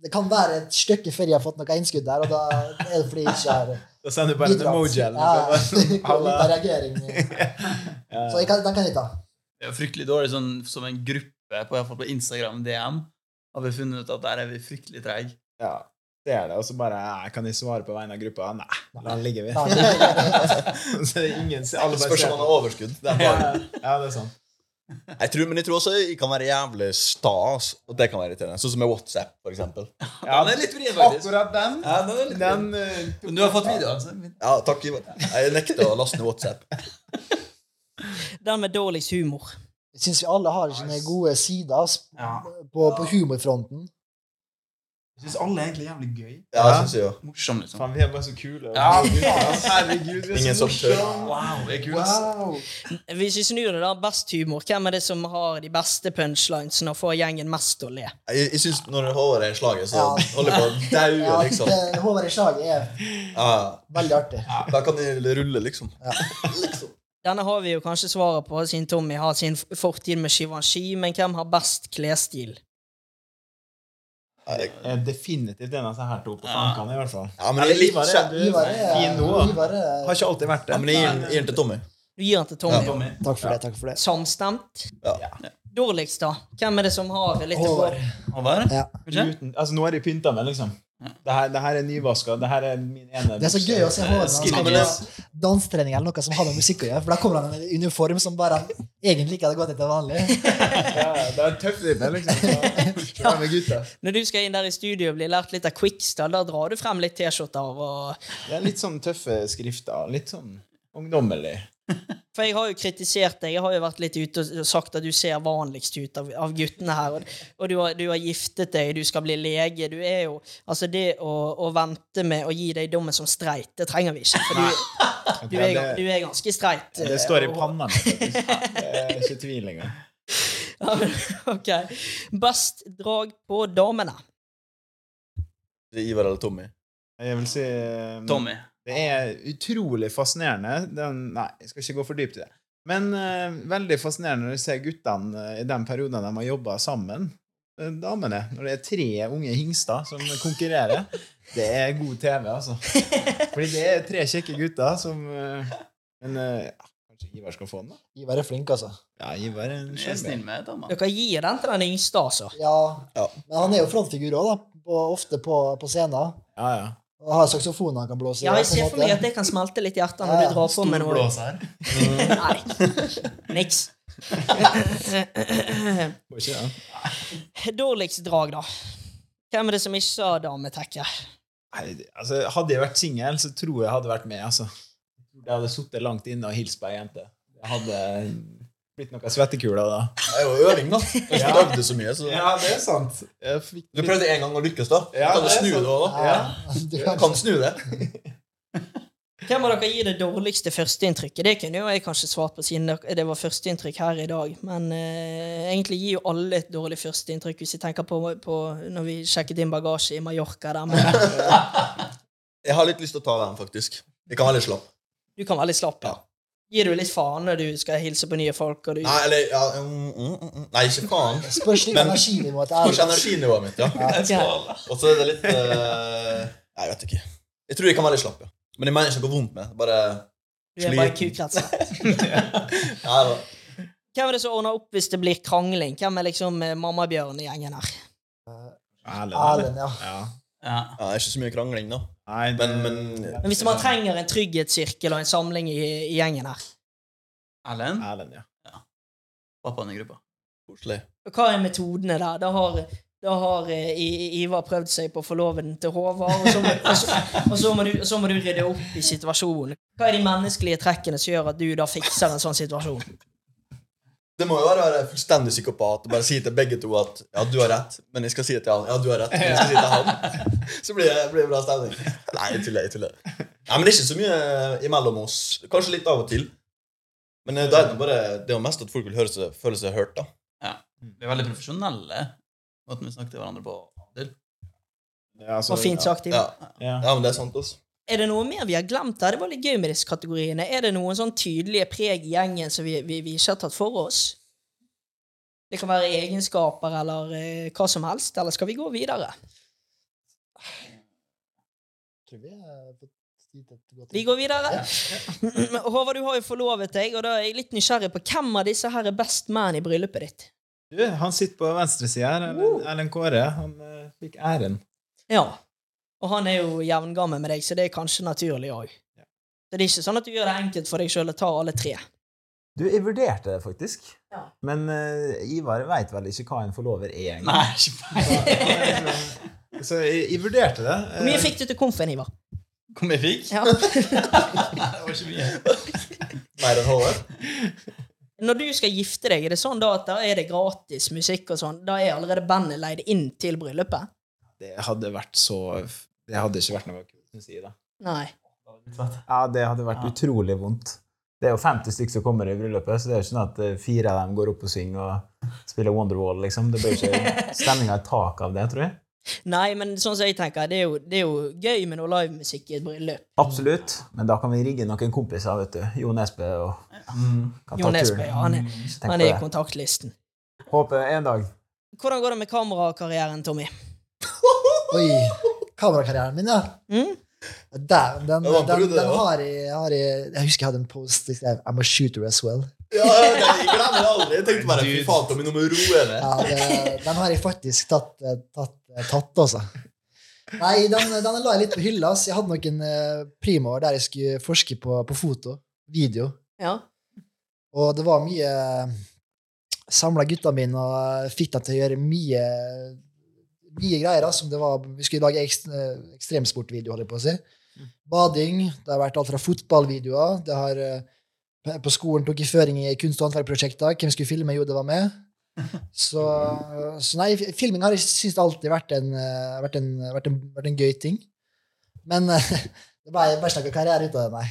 [SPEAKER 4] Det kan være et stykke før jeg har fått noe innskudd der, og da er det fordi jeg ikke har
[SPEAKER 9] Da sender du bare en
[SPEAKER 4] bidratt.
[SPEAKER 9] emoji eller
[SPEAKER 4] Ja,
[SPEAKER 9] noe.
[SPEAKER 4] det kommer litt av
[SPEAKER 9] Halla.
[SPEAKER 4] reagering.
[SPEAKER 9] Ja.
[SPEAKER 4] Så jeg kan, den kan jeg ta.
[SPEAKER 3] Det er jo fryktelig dårlig sånn, som en gruppe, på, i hvert fall på Instagram DM, har vi funnet ut at der er vi fryktelig treige.
[SPEAKER 9] Ja, det er det. Og så bare nei, Kan jeg svare på vegne av gruppa? Nei, la den ligge, vi.
[SPEAKER 4] Nei, det er
[SPEAKER 9] Så det er ingen alle bare
[SPEAKER 2] Spørs om
[SPEAKER 9] ser
[SPEAKER 2] man
[SPEAKER 9] på.
[SPEAKER 2] har overskudd. Det er
[SPEAKER 9] Ja,
[SPEAKER 2] bare.
[SPEAKER 9] ja, det er sant.
[SPEAKER 2] Jeg tror, men jeg tror også jeg kan være jævlig sta. ass. Og det kan være irriterende. Sånn som med WhatsApp, for eksempel.
[SPEAKER 9] Ja,
[SPEAKER 3] den er litt vrien, faktisk.
[SPEAKER 9] akkurat den.
[SPEAKER 2] Ja, den er litt
[SPEAKER 9] Den eh,
[SPEAKER 3] Men du har fått altså. videoen, så
[SPEAKER 2] Ja, takk, Ivar. Jeg nekter å laste ned WhatsApp.
[SPEAKER 1] Den med dårligst humor.
[SPEAKER 4] Jeg syns vi alle har sine gode sider ass,
[SPEAKER 3] Ja.
[SPEAKER 4] på, på humorfronten.
[SPEAKER 3] Jeg syns alle er egentlig jævlig gøy.
[SPEAKER 2] Ja, det synes jeg jo.
[SPEAKER 3] Morsom, liksom.
[SPEAKER 9] Faen, vi er bare så kule.
[SPEAKER 3] Ja.
[SPEAKER 9] Herregud, vi er
[SPEAKER 2] Ingen
[SPEAKER 9] så
[SPEAKER 2] som tør.
[SPEAKER 9] morsomme.
[SPEAKER 3] Wow, det er kult. ass.
[SPEAKER 9] Wow.
[SPEAKER 1] Hvis vi snur det, da. Best humor. Hvem er det som har de beste punchlinesene og får gjengen mest til å le?
[SPEAKER 2] Jeg, jeg synes når Håvard er i slaget, så
[SPEAKER 4] Ja.
[SPEAKER 2] holder jeg på å daue,
[SPEAKER 4] Ja,
[SPEAKER 2] liksom.
[SPEAKER 4] det- Håvard i slaget er
[SPEAKER 2] Ja,
[SPEAKER 4] veldig artig.
[SPEAKER 2] da kan jeg rulle, liksom.
[SPEAKER 1] Denne har vi jo kanskje svaret på, siden Tommy har sin f- fortid med Shivanshi, men hvem har best klesstil?
[SPEAKER 2] Ja, jeg-
[SPEAKER 9] Eh, Definitivt en av disse her to på flankene, i hvert fall.
[SPEAKER 2] Ja, men jeg
[SPEAKER 9] Eller
[SPEAKER 2] liker
[SPEAKER 9] Ivar
[SPEAKER 2] ikke
[SPEAKER 9] er du
[SPEAKER 4] Ivar
[SPEAKER 9] er fin nå.
[SPEAKER 4] er,
[SPEAKER 9] da.
[SPEAKER 4] Ivar er
[SPEAKER 9] Har ikke alltid vært det.
[SPEAKER 2] Ja, men jeg gir den- jeg gir den til Tommy.
[SPEAKER 1] Du gir den til Tommy.
[SPEAKER 3] Tommy.
[SPEAKER 4] Takk for det. takk for det.
[SPEAKER 1] Samstemt.
[SPEAKER 2] Ja.
[SPEAKER 1] Dårligst, da? Hvem er det som har litt
[SPEAKER 4] Håvard.
[SPEAKER 3] Håvard?
[SPEAKER 4] Ja.
[SPEAKER 3] Kanskje?
[SPEAKER 9] Uten, altså, nå har jeg pynta meg, liksom. Det her, det her er nyvaska. Det her er min ene
[SPEAKER 4] Det er så gøy å se
[SPEAKER 2] Eh,
[SPEAKER 4] Håvard når han skal
[SPEAKER 3] Skinny
[SPEAKER 4] på dansetrening eller noe som har med musikk å gjøre. For da kommer han i en uniform som bare han egentlig ikke hadde gått etter vanlig.
[SPEAKER 9] Ja, det er tøffere, liksom. Så- Ja, med gutta.
[SPEAKER 1] Når du skal inn der i studio og bli lært litt av Quickstyle, da drar du frem litt T-skjorter og
[SPEAKER 9] Det er litt sånn tøffe skrifter. Litt sånn ungdommelig.
[SPEAKER 1] For jeg har jo kritisert deg. Jeg har jo vært litt ute og sagt at du ser vanligst ut av, av guttene her. Og, og du, har, du har giftet deg, du skal bli lege. Du er jo Altså, det å, å vente med å gi deg dommen som streit, det trenger vi ikke. For du, du, er,
[SPEAKER 9] det,
[SPEAKER 1] du er ganske streit.
[SPEAKER 9] det står i panna mi. faktisk. eh, Det er ikke tvil engang.
[SPEAKER 1] Ja, men, ok. Best drag på damene.
[SPEAKER 2] Det er Ivar eller Tommy.
[SPEAKER 9] Jeg vil si eh,
[SPEAKER 3] Tommy.
[SPEAKER 9] Det er utrolig fascinerende. Den, nei, jeg skal ikke gå for dypt i det. Men eh, veldig fascinerende når du ser guttene eh, i den perioden de har jobba sammen. Eh, Damene. Når det er tre unge hingster som konkurrerer. Det er god TV, altså. Fordi det er tre kjekke gutter som eh, Men eh, ja, kanskje Ivar skal få den, da?
[SPEAKER 4] Ivar er flink, altså.
[SPEAKER 9] Ja, Ivar er en
[SPEAKER 3] Jeg er
[SPEAKER 9] sjarmør.
[SPEAKER 3] snill med dama.
[SPEAKER 1] Dere gir den til den yngste, altså.
[SPEAKER 4] Ja,
[SPEAKER 2] Ja.
[SPEAKER 4] men han er jo frontfigur òg, da. På, ofte på, på scenen.
[SPEAKER 9] Ja, ja.
[SPEAKER 4] Og har saksofonen han kan blåse
[SPEAKER 1] Ja, jeg
[SPEAKER 4] på en
[SPEAKER 1] ser for meg
[SPEAKER 4] måte.
[SPEAKER 1] at det kan smelte litt i hjertet når du drar på med noe.
[SPEAKER 3] her.
[SPEAKER 1] Nei. Niks.
[SPEAKER 9] Får ikke den.
[SPEAKER 1] Dårligst drag, da. Hvem er det som ikke har dametekke?
[SPEAKER 9] Nei, det- altså, hadde jeg vært singel, så tror jeg hadde vært med. Altså. Jeg hadde sittet langt inne og hilst på ei jente. Jeg hadde blitt noen svettekuler da.
[SPEAKER 2] Det er jo øving, da. Jeg har ikke øvd det så mye. Så.
[SPEAKER 9] det er sant. Jeg fikk
[SPEAKER 2] Du prøvde en gang å lykkes, da.
[SPEAKER 9] Ja,
[SPEAKER 2] kan du
[SPEAKER 9] det er
[SPEAKER 2] snu
[SPEAKER 9] sant.
[SPEAKER 2] det òg, da?
[SPEAKER 4] Ja, du
[SPEAKER 2] Du
[SPEAKER 4] kan-
[SPEAKER 2] kan snu det.
[SPEAKER 1] Hvem av dere gir det dårligste førsteinntrykket? Det kunne jo jeg kanskje svart på, siden det det var førsteinntrykk her i dag. Men eh, egentlig gir jo alle et dårlig førsteinntrykk, hvis jeg tenker på, på når vi sjekket inn bagasje i Mallorca. der. Men,
[SPEAKER 2] Jeg har litt lyst til å ta den, faktisk. Jeg kan være litt slapp.
[SPEAKER 1] du kan være litt slapp. Ja. Gir du litt faen når du skal hilse på nye folk? Og du,
[SPEAKER 2] Nei, eller ja, mm, mm, mm, Nei, ikke faen.
[SPEAKER 4] Spørs litt
[SPEAKER 2] Men-
[SPEAKER 4] energinivået til
[SPEAKER 2] Spørs
[SPEAKER 4] Erlend.
[SPEAKER 2] energinivået mitt, ja.
[SPEAKER 1] Ok.
[SPEAKER 2] Og så er det litt eh, Nei, jeg vet ikke. Jeg tror jeg kan være litt slapp, ja. Men jeg mener ikke noe vondt med det. Bare
[SPEAKER 1] du er bare
[SPEAKER 2] sliten.
[SPEAKER 1] kukrenser.
[SPEAKER 2] Ja, da.
[SPEAKER 1] Hvem er det som ordner opp hvis det blir krangling? Hvem er liksom eh, mammabjørn i gjengen her?
[SPEAKER 9] Erlend.
[SPEAKER 4] Erlend, ja.
[SPEAKER 9] Ja.
[SPEAKER 3] Ja.
[SPEAKER 2] Ja, det er ikke så mye krangling, da.
[SPEAKER 9] Nei, det,
[SPEAKER 2] Men, men
[SPEAKER 1] Men hvis man trenger en trygghetssirkel og en samling i, i gjengen her,
[SPEAKER 3] Erlend?
[SPEAKER 9] Erlend, ja.
[SPEAKER 3] Pappaen i gruppa.
[SPEAKER 2] koselig.
[SPEAKER 1] hva er metodene der? Da har, da har eh, I- Ivar prøvd seg på forloveden til Håvard, og så, må, og, så, og, så må du, og så må du rydde opp i situasjonen. Hva er de menneskelige trekkene som gjør at du da fikser en sånn situasjon?
[SPEAKER 2] Det må jo være å være fullstendig psykopat og bare si til begge to at ja, du har rett, men jeg skal si det til han. Ja, du har rett, men jeg skal si det til han. Så blir det, blir det bra stemning. Nei, jeg tuller. jeg tuller. Nei, men det er ikke så mye eh, imellom oss. Kanskje litt av og til. Men eh, da er det, bare, det er jo mest at folk vil høre seg, føle seg hørt, da.
[SPEAKER 3] Vi er veldig profesjonelle, måten vi snakker til hverandre på.
[SPEAKER 9] altså- Ja, så-
[SPEAKER 1] Og fint sagt, Ivar.
[SPEAKER 2] Ja,
[SPEAKER 9] Ja.
[SPEAKER 2] ja men det er sant, altså.
[SPEAKER 1] Er det noe mer vi har glemt her? Det var litt gøy med disse kategoriene. Er det noen sånn tydelige preg i gjengen som vi, vi, vi ikke har tatt for oss? Det kan være egenskaper eller eh, hva som helst. Eller skal vi gå videre?
[SPEAKER 4] Tror vi eh, er på tid til å gå til-
[SPEAKER 1] Vi går videre. Håvard, du har jo forlovet deg, og da er jeg litt nysgjerrig på hvem av disse her er best man i bryllupet ditt?
[SPEAKER 9] Du, han sitter på venstresida her. Erlend- Erlend Kåre. Han eh, fikk æren.
[SPEAKER 1] Ja. Og han er jo jevngammel med deg, så det er kanskje naturlig òg. Så det er ikke sånn at du gjør det enkelt for deg sjøl og tar alle tre.
[SPEAKER 9] Du, jeg vurderte det faktisk.
[SPEAKER 1] Ja.
[SPEAKER 9] Men eh, Ivar veit vel ikke hva en forlover er, egentlig.
[SPEAKER 3] Nei, ikke feil.
[SPEAKER 9] Så jeg, jeg vurderte det. eh,
[SPEAKER 1] Hvor mye fikk du til konfen, Ivar?
[SPEAKER 3] Hvor mye fikk?
[SPEAKER 1] Ja.
[SPEAKER 3] Nei, det var ikke mye.
[SPEAKER 2] Mer enn Håvard.
[SPEAKER 1] Når du skal gifte deg, er det sånn da at da er det gratis musikk og sånn? Da er allerede bandet leid inn til bryllupet?
[SPEAKER 9] Det hadde vært så Det hadde ikke vært noe kult, syns jeg. da.
[SPEAKER 1] Nei.
[SPEAKER 9] Ja, det hadde vært utrolig vondt. Det er jo 50 stykker som kommer i bryllupet, så det er jo ikke sånn at eh, fire av dem går opp og synger og spiller Wonderwall, liksom. Det blir ikke stemninga i taket av det, tror jeg.
[SPEAKER 1] Nei, men sånn som jeg tenker, det er jo, det er jo gøy med noe livemusikk i et bryllup.
[SPEAKER 9] Absolutt. Men da kan vi rigge noen kompiser, vet du. Jo Nesbø og kan
[SPEAKER 1] Mm.
[SPEAKER 9] Mm.
[SPEAKER 1] Jo Nesbø, ja, han er,
[SPEAKER 9] Tenk
[SPEAKER 1] han
[SPEAKER 9] på
[SPEAKER 1] er i
[SPEAKER 9] det.
[SPEAKER 1] kontaktlisten.
[SPEAKER 9] Håper en dag
[SPEAKER 1] Hvordan går det med kamerakarrieren, Tommy?
[SPEAKER 4] Oi. Kamerakarrieren min, ja.
[SPEAKER 1] Mm?
[SPEAKER 4] Dæven, den, den,
[SPEAKER 2] Det var en
[SPEAKER 4] den,
[SPEAKER 2] periode, det også.
[SPEAKER 4] har jeg, har jeg Jeg husker jeg hadde en post jeg skrev I'm a shooter as well.
[SPEAKER 2] Ja, ja, nei, jeg glemmer det aldri. Jeg tenkte bare fy faen, Tommy, nå må du roe ned.
[SPEAKER 4] Ja, det, den har jeg faktisk tatt, eh, tatt, eh, tatt altså. Nei, den, den la jeg litt på hylla. ass. Jeg hadde noen eh, primaår der jeg skulle forske på, på foto, video.
[SPEAKER 1] Ja.
[SPEAKER 4] Og det var mye Samla gutta mine og fikk dem til å gjøre mye mye greier. ass, Som det var, vi skulle lage ekst, eh, ekstremsportvideo, holder jeg på å si. Bading. Det har vært alt fra fotballvideoer det har, eh, På skolen tok jeg føring i kunst- og håndverkprosjekter. Hvem skulle filme? Jo, det var meg. Så, så nei, filming har jeg syntes alltid vært en, eh, vært en, vært en, vært en gøy ting. Men eh, det ble bare snakka karriere ut av det, nei.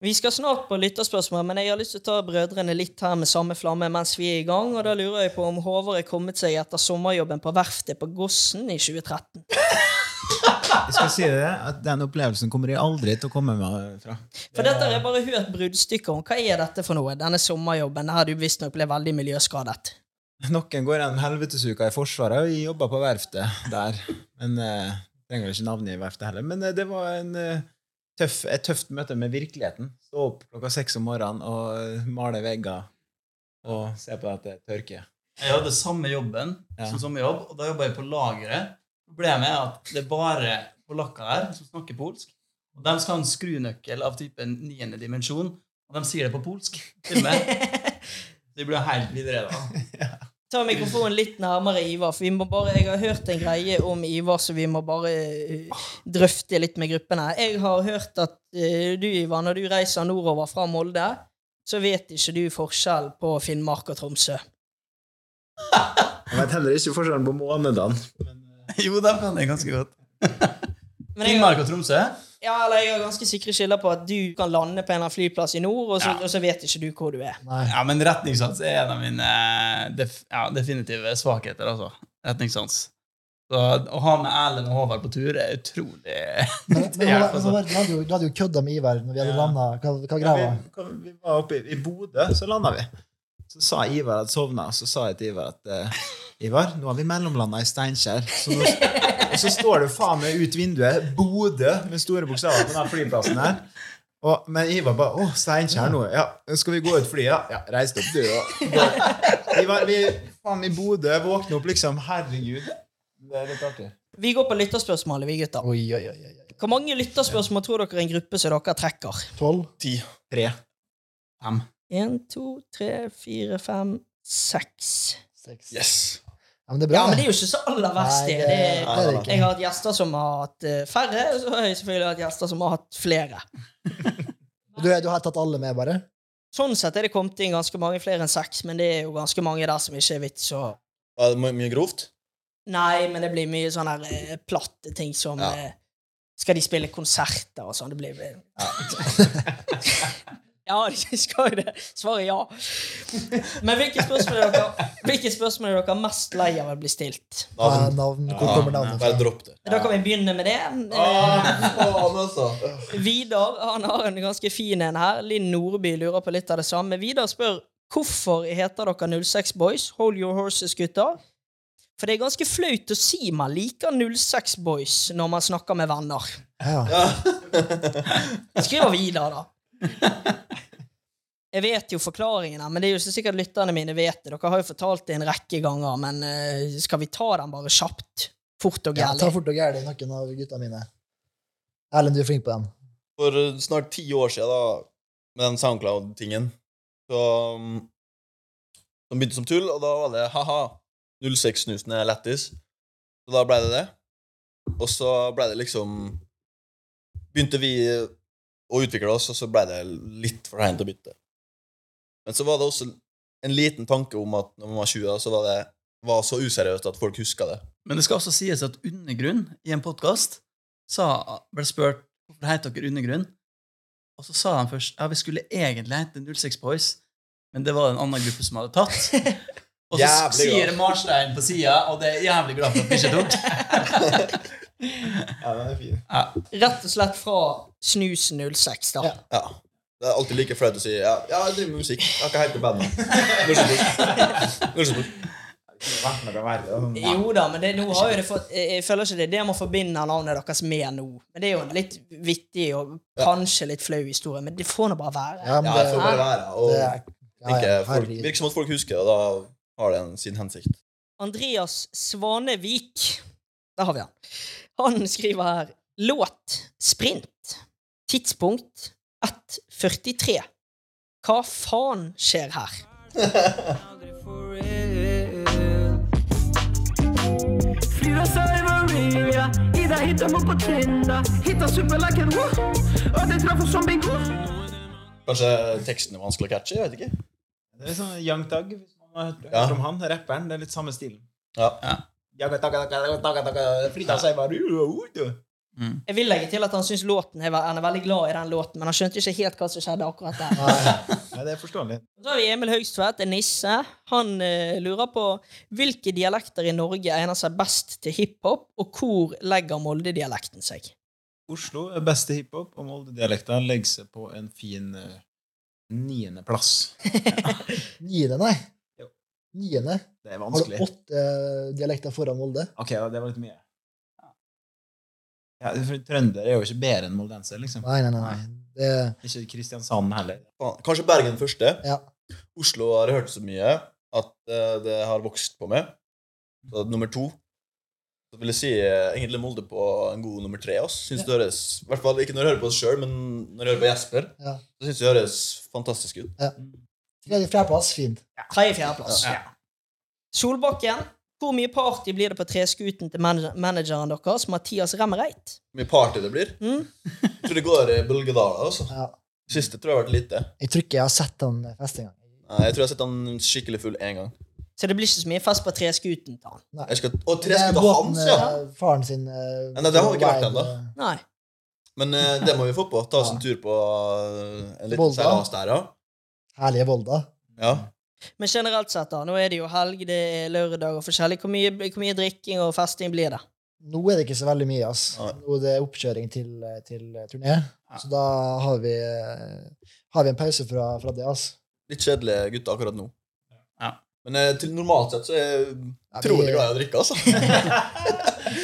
[SPEAKER 1] Vi skal snart på lytterspørsmål, men jeg har lyst til å ta brødrene litt her med samme flamme mens vi er i gang, og da lurer jeg på om Håvard er kommet seg etter sommerjobben på verftet på Gossen i 2013.
[SPEAKER 9] Jeg skal si det, at den opplevelsen kommer jeg aldri til å komme meg fra.
[SPEAKER 1] For dette har jeg bare hørt bruddstykker om. Hva er dette for noe? Denne sommerjobben der du visstnok ble veldig miljøskadet.
[SPEAKER 9] Noen går en helvetesuke i Forsvaret, og jeg jobber på verftet der. Men eh, trenger vel ikke navnet i verftet heller. Men eh, det var en, eh, tøff, et tøft møte med virkeligheten. Stå opp klokka seks om morgenen og eh, male vegger og se på at det tørker.
[SPEAKER 3] Jeg hadde samme jobben
[SPEAKER 9] Ja.
[SPEAKER 3] som sommerjobb, og da jobba jeg på lageret. Problemet er at det er bare polakker her som snakker polsk. Og de skal ha en skrunøkkel av typen niende dimensjon, og de sier det på polsk. Til og med. De blir helt videre da.
[SPEAKER 1] Ta mikrofonen litt nærmere Ivar, for vi må bare, jeg har hørt en greie om Ivar, så vi må bare eh, drøfte litt med gruppen her. Jeg har hørt at eh, du, Ivar, når du reiser nordover fra Molde, så vet ikke du forskjell på Finnmark og Tromsø.
[SPEAKER 9] Jeg vet heller ikke forskjellen på månedene.
[SPEAKER 3] Jo, de kan det ganske godt.
[SPEAKER 1] Men jeg,
[SPEAKER 3] Finnmark og Tromsø?
[SPEAKER 1] Ja, eller jeg har ganske sikre skiller på at du kan lande på en eller annen flyplass i nord, og så, og så vet ikke du hvor du er.
[SPEAKER 3] Ja, men retningssans er en av mine eh, def ja, definitive svakheter, altså. Retningssans. Så å ha med Erlend og Håvard på tur er utrolig
[SPEAKER 4] Men Håvard, men
[SPEAKER 3] sånn.
[SPEAKER 4] Håvard, du hadde jo, du hadde jo kødda med Ivar når vi hadde landa. Hva, hva
[SPEAKER 9] Ja,
[SPEAKER 4] greia?
[SPEAKER 9] vi,
[SPEAKER 4] var?
[SPEAKER 9] kom- vi var oppe i, i Bodø, så landa vi. Så sa Ivar at sovna, og så sa jeg til Ivar at eh, Ivar, nå har vi mellomlanda i Steinkjer. Så nå, og så står det faen meg ut vinduet Bodø med store bokstaver på denne flyplassen her. Og, men Ivar bare Å, Steinkjer nå. Ja, skal vi gå ut flyet? Ja, ja reis deg opp, du. Og, gå. Ivar, vi faen i Bodø. Våkne opp, liksom. Herregud. Det er litt artig.
[SPEAKER 1] Vi går på lytterspørsmålet, vi gutter. Hvor mange lytterspørsmål tror dere er en gruppe som dere trekker?
[SPEAKER 4] Tolv?
[SPEAKER 2] Ti.
[SPEAKER 9] Tre.
[SPEAKER 1] Én, to, tre, fire, fem, seks.
[SPEAKER 2] Yes!
[SPEAKER 4] Ja, men det er bra,
[SPEAKER 1] Ja, men det er jo ikke så aller verst, det.
[SPEAKER 4] Nei, eh,
[SPEAKER 1] det er,
[SPEAKER 4] det er det
[SPEAKER 1] jeg
[SPEAKER 4] ikke.
[SPEAKER 1] har hatt gjester som har hatt eh, færre, og så har jeg selvfølgelig hatt gjester som har hatt flere.
[SPEAKER 4] Du, du har tatt alle med, bare?
[SPEAKER 1] Sånn sett er det kommet inn ganske mange flere enn seks, men det er jo ganske mange der som ikke er vits å
[SPEAKER 2] Var det my- mye grovt?
[SPEAKER 1] Nei, men det blir mye sånne her, eh, platte ting som
[SPEAKER 2] Ja.
[SPEAKER 1] eh, Skal de spille konserter og sånn? Det blir Ja, ja de skal jo det. Svaret er ja. Men hvilke spørsmål er dere, hvilke spørsmål er dere mest lei av å bli stilt?
[SPEAKER 4] Hva
[SPEAKER 2] Navn.
[SPEAKER 4] er navn? Hvor
[SPEAKER 2] Ja,
[SPEAKER 4] kommer navnet
[SPEAKER 2] Bare
[SPEAKER 4] fra?
[SPEAKER 2] dropp det.
[SPEAKER 1] Da kan vi begynne med det. Eh,
[SPEAKER 2] Ah, faen, altså.
[SPEAKER 1] Vidar han har en ganske fin en her. Linn Nordby lurer på litt av det samme. Vidar spør hvorfor heter dere 06 Boys? Hold your horses, gutter. For det er ganske flaut å si man liker 06 Boys når man snakker med venner.
[SPEAKER 4] Ja.
[SPEAKER 2] Ja.
[SPEAKER 1] Skriver Vidar, da. Jeg vet jo forklaringen, her, men det er jo så sikkert lytterne mine vet det. Dere har jo fortalt det en rekke ganger, men eh, skal vi ta den bare kjapt? Fort og
[SPEAKER 4] Ja,
[SPEAKER 1] gærlig?
[SPEAKER 4] ta fort og gærlig noen av gutta mine. Erlend, du er flink på den.
[SPEAKER 2] For eh, snart ti år siden, da, med den SoundCloud-tingen, så um, De begynte som tull, og da var det ha-ha, 06-snusen er lættis. Så da ble det det. Og så ble det liksom Begynte vi å utvikle oss, og så ble det litt for seint å bytte. Men så var det også en liten tanke om at når man var 20, da, så var det var så useriøst at folk huska det.
[SPEAKER 3] Men det skal også sies at Undergrunn i en podkast ble spurt hvorfor heter dere Undergrunn. Og så sa han først ja, vi skulle egentlig hete 06 Boys, men det var en annen gruppe som hadde tatt. Og så
[SPEAKER 2] Jævlig
[SPEAKER 3] sier
[SPEAKER 2] glad.
[SPEAKER 3] Marstein på sida, og det er jeg jævlig glad for at vi ikke tok.
[SPEAKER 9] Ja, den er fin.
[SPEAKER 1] Rett og slett fra Snusen 06, da.
[SPEAKER 2] Ja. Det er alltid like flaut å si ja, ja, jeg driver med musikk. Jeg har ikke helt band. Nullseport.
[SPEAKER 9] Det har vært noe verre. da.
[SPEAKER 1] Jo da, men det, nå har jo det fått Jeg jeg føler ikke det er det man forbinder navnet deres med nå. Men det er jo en litt vittig og kanskje litt flau historie, men det får nå bare være.
[SPEAKER 4] Ja, men
[SPEAKER 2] Ja,
[SPEAKER 4] det,
[SPEAKER 2] jeg får bare være. Og
[SPEAKER 4] det er ja,
[SPEAKER 2] tenker
[SPEAKER 4] ja,
[SPEAKER 2] jeg, folk,
[SPEAKER 4] herregud.
[SPEAKER 2] virker som at folk husker, og da har det en sin hensikt.
[SPEAKER 1] Andreas Svanevik. Der har vi han. Han skriver her Låt sprint. Tidspunkt 1.43. Hva faen skjer her?
[SPEAKER 7] Flyr av Saivaria, Ida hittar mig på Tinder Hittar superlacken, woo! Ödet träffar som bingo
[SPEAKER 2] Kanskje teksten er vanskelig å catche? Jeg vet ikke.
[SPEAKER 9] Det er sånn Young Thug, hvis man har hørt,
[SPEAKER 2] Ja.
[SPEAKER 9] hørt om han, rapperen. Det er litt samme stilen.
[SPEAKER 2] Ja.
[SPEAKER 9] Young Thug, Thug, Thug, Thug, Thug, Frida sier bare, "Uh, uh, uh."
[SPEAKER 1] Jeg vil legge til at han syns låten er, han er veldig glad i den låten, men han skjønte ikke helt hva som skjedde akkurat der.
[SPEAKER 9] Ja, det er forståelig.
[SPEAKER 1] Så har vi Emil Høgstvedt, en nisse. Han eh, lurer på hvilke dialekter i Norge egner seg best til hiphop, og hvor legger Molde-dialekten seg?
[SPEAKER 9] Oslo er beste hiphop, og Molde-dialekta legger seg på en fin eh, niendeplass.
[SPEAKER 4] Niende, nei.
[SPEAKER 9] Jo.
[SPEAKER 4] Niende.
[SPEAKER 9] Det er
[SPEAKER 4] Har du
[SPEAKER 9] vanskelig.
[SPEAKER 4] åtte eh, dialekter foran Molde?
[SPEAKER 9] Ok, ja, det var litt mye. Ja, for Trønder er jo ikke bedre enn moldenser, liksom.
[SPEAKER 4] Nei, nei, nei. nei. Det,
[SPEAKER 9] Ikke Kristiansand heller.
[SPEAKER 2] Faen, Kanskje Bergen første.
[SPEAKER 4] ja.
[SPEAKER 2] Oslo har jeg hørt så mye at eh, det har vokst på meg. Så nummer to. Så vil jeg si eh, egentlig Molde på en god nummer tre. ass. Synes det høres, i hvert fall Ikke når jeg hører på oss sjøl, men når jeg hører på Jesper,
[SPEAKER 4] Ja.
[SPEAKER 2] så syns jeg det høres fantastisk ut.
[SPEAKER 4] Tredje, fjerdeplass, fint.
[SPEAKER 1] Tredje-fjerdeplass. Solbakken, hvor mye party blir det på treskuten til man manageren deres, Mathias Remmereit?
[SPEAKER 2] Hvor mye party det blir.
[SPEAKER 1] Mm.
[SPEAKER 2] Jeg tror det går i Bølgedaler. altså.
[SPEAKER 4] Ja.
[SPEAKER 2] Siste tror jeg har vært lite.
[SPEAKER 4] Jeg tror ikke jeg har sett den fest engang.
[SPEAKER 2] Nei, Jeg tror jeg har sett han skikkelig full én gang.
[SPEAKER 1] Så det blir ikke så mye fest på treskuten til han.
[SPEAKER 2] Jeg skal, å, tre
[SPEAKER 4] Det er
[SPEAKER 2] skudd av hans, ja!
[SPEAKER 4] eh, Faren sin eh,
[SPEAKER 2] Nei, det har vi ikke vært
[SPEAKER 4] vibe,
[SPEAKER 2] ennå.
[SPEAKER 1] Nei.
[SPEAKER 2] Men eh, det må vi få på. Ta oss en tur på eh, en liten
[SPEAKER 4] Volda.
[SPEAKER 2] seilas der, ja.
[SPEAKER 4] Herlige Volda.
[SPEAKER 2] ja.
[SPEAKER 1] Men generelt sett, da. Nå er det jo helg, det er lørdag og forskjellig. Hvor mye, hvor mye drikking og festing blir det?
[SPEAKER 4] Nå er det ikke så veldig mye, ass. Nå er det oppkjøring til, eh, til turné. Så da har vi, eh, har vi en pause fra, fra det, ass.
[SPEAKER 2] Litt kjedelige gutter akkurat nå. Men eh, til normalt sett så er jeg
[SPEAKER 4] vi-
[SPEAKER 2] utrolig glad i å drikke, altså.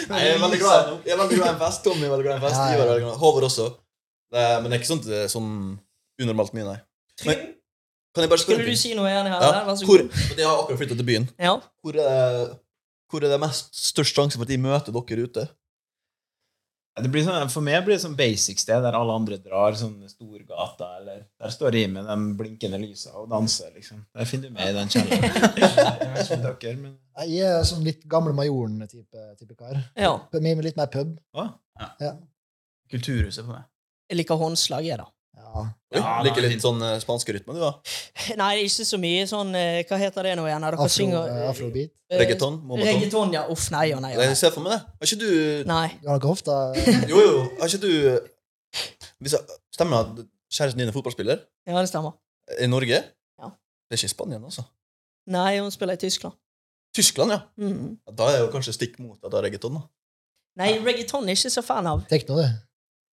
[SPEAKER 2] Nei, jeg er veldig glad Jeg er veldig glad i en fest. Tommy er veldig glad i en fest.
[SPEAKER 4] Ja, ja.
[SPEAKER 2] Ivar er veldig glad. Håvard også. Det, er- men det er ikke sånn, det er sånn unormalt mye, nei. Men, kan jeg bare spørre
[SPEAKER 1] Skulle du
[SPEAKER 2] en ting?
[SPEAKER 1] si noe igjen her?
[SPEAKER 2] Ja.
[SPEAKER 1] eller? Vær så
[SPEAKER 2] Hvor,
[SPEAKER 1] god.
[SPEAKER 2] jeg har akkurat flyttet til byen.
[SPEAKER 1] Ja.
[SPEAKER 2] Hvor er det, hvor er det mest størst sjanse for at de møter dere ute?
[SPEAKER 9] Det blir sånn, for meg blir det sånn basic sted der alle andre drar, sånn Storgata eller Der står jeg med de blinkende lysa og danser, liksom. Der finner du meg i den kjelleren. Jeg vet ikke om dere, men
[SPEAKER 4] Jeg er sånn litt gamle Majoren-type type kar.
[SPEAKER 1] Ja.
[SPEAKER 4] Med med litt mer pub.
[SPEAKER 3] Kulturhuset på meg.
[SPEAKER 1] Jeg liker håndslag, jeg, da.
[SPEAKER 2] Oi, liker litt sånn eh, spanske rytme, du, da?
[SPEAKER 1] Nei, det er ikke så mye sånn eh, Hva heter det nå igjen? Dere
[SPEAKER 4] Afro,
[SPEAKER 1] synger eh,
[SPEAKER 4] afrobeat.
[SPEAKER 1] eh,
[SPEAKER 2] Reggaeton? Momoton?
[SPEAKER 1] Reggaeton, ja. Uff, nei og nei. Og
[SPEAKER 2] Jeg ser for meg det. Har ikke du
[SPEAKER 1] nei.
[SPEAKER 4] Du har ikke hofta eh,
[SPEAKER 2] Jo, jo, har ikke du hvis jeg, Stemmer det at kjæresten din er fotballspiller
[SPEAKER 1] Ja, det stemmer.
[SPEAKER 2] i Norge?
[SPEAKER 1] Ja.
[SPEAKER 2] Det er ikke i Spania, altså.
[SPEAKER 1] Nei, hun spiller i Tyskland.
[SPEAKER 2] Tyskland, ja.
[SPEAKER 1] Mhm.
[SPEAKER 2] Ja, Da er jeg jo kanskje stikk motsatt av reggaeton. da.
[SPEAKER 1] Nei, reggaeton er jeg ikke så fan av.
[SPEAKER 4] tekno, du.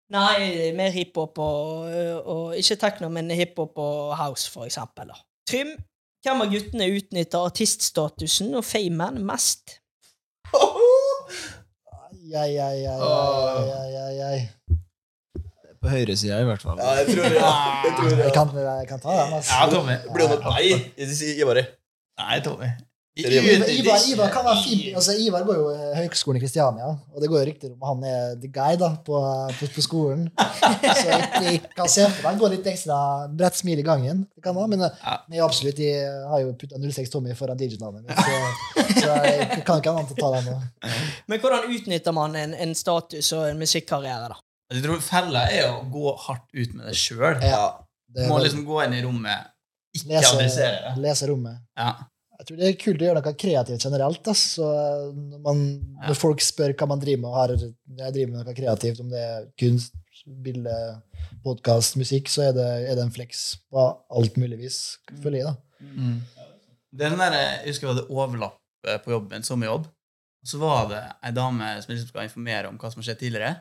[SPEAKER 1] Nei, mer hiphop og, eh, og Ikke techno, men hiphop og house, for eksempel. Da. Trym, hvem av guttene utnytter artiststatusen og famen mest?
[SPEAKER 4] Ai, ai, ai, ai, ai, ai, ai.
[SPEAKER 9] på høyresida i hvert fall.
[SPEAKER 2] Ja, jeg tror ja. Jeg tror,
[SPEAKER 4] Jeg
[SPEAKER 2] ja.
[SPEAKER 4] kan, jeg kan ta den, ass.
[SPEAKER 3] Ja, Tommy.
[SPEAKER 2] Det Blir det nei? Jeg sier Ivar. jeg.
[SPEAKER 3] Nei, Tommy.
[SPEAKER 4] Ivar, Ivar, Ivar kan være fin. Altså, Ivar går jo eh, høgskolen i Kristiania, og det går jo rykter om han er the guy da, på, på, på skolen. Så jeg, jeg kan se for meg han går litt ekstra bredt smil i gangen. Det kan han, men eh,
[SPEAKER 3] Ja.
[SPEAKER 4] men jeg absolutt, jeg har jo putta 06 Tommy foran DJ-navnet mitt, så, så jeg kan ikke annet enn å ta den nå.
[SPEAKER 1] Men hvordan utnytter man en, en status og en musikkarriere, da?
[SPEAKER 3] Jeg tror fella er å gå hardt ut med det sjøl.
[SPEAKER 4] Ja,
[SPEAKER 3] Du
[SPEAKER 4] det
[SPEAKER 3] må
[SPEAKER 4] er
[SPEAKER 3] liksom gå inn i rommet, ikke
[SPEAKER 4] lese,
[SPEAKER 3] adressere det.
[SPEAKER 4] lese rommet.
[SPEAKER 3] Ja.
[SPEAKER 4] Jeg tror det er kult å gjøre noe kreativt generelt. ass. Så når, man,
[SPEAKER 3] Ja.
[SPEAKER 4] når folk spør hva man driver med, og har, jeg driver med noe kreativt, om det er kunst, bilde, podkast, musikk, så er det, er det en flex på alt mulig vis, føler jeg. da.
[SPEAKER 3] Mm. Den der, jeg husker vi hadde overlapp eh, på jobben, sommerjobb. Og så var det ei dame som liksom skal informere om hva som har skjedd tidligere.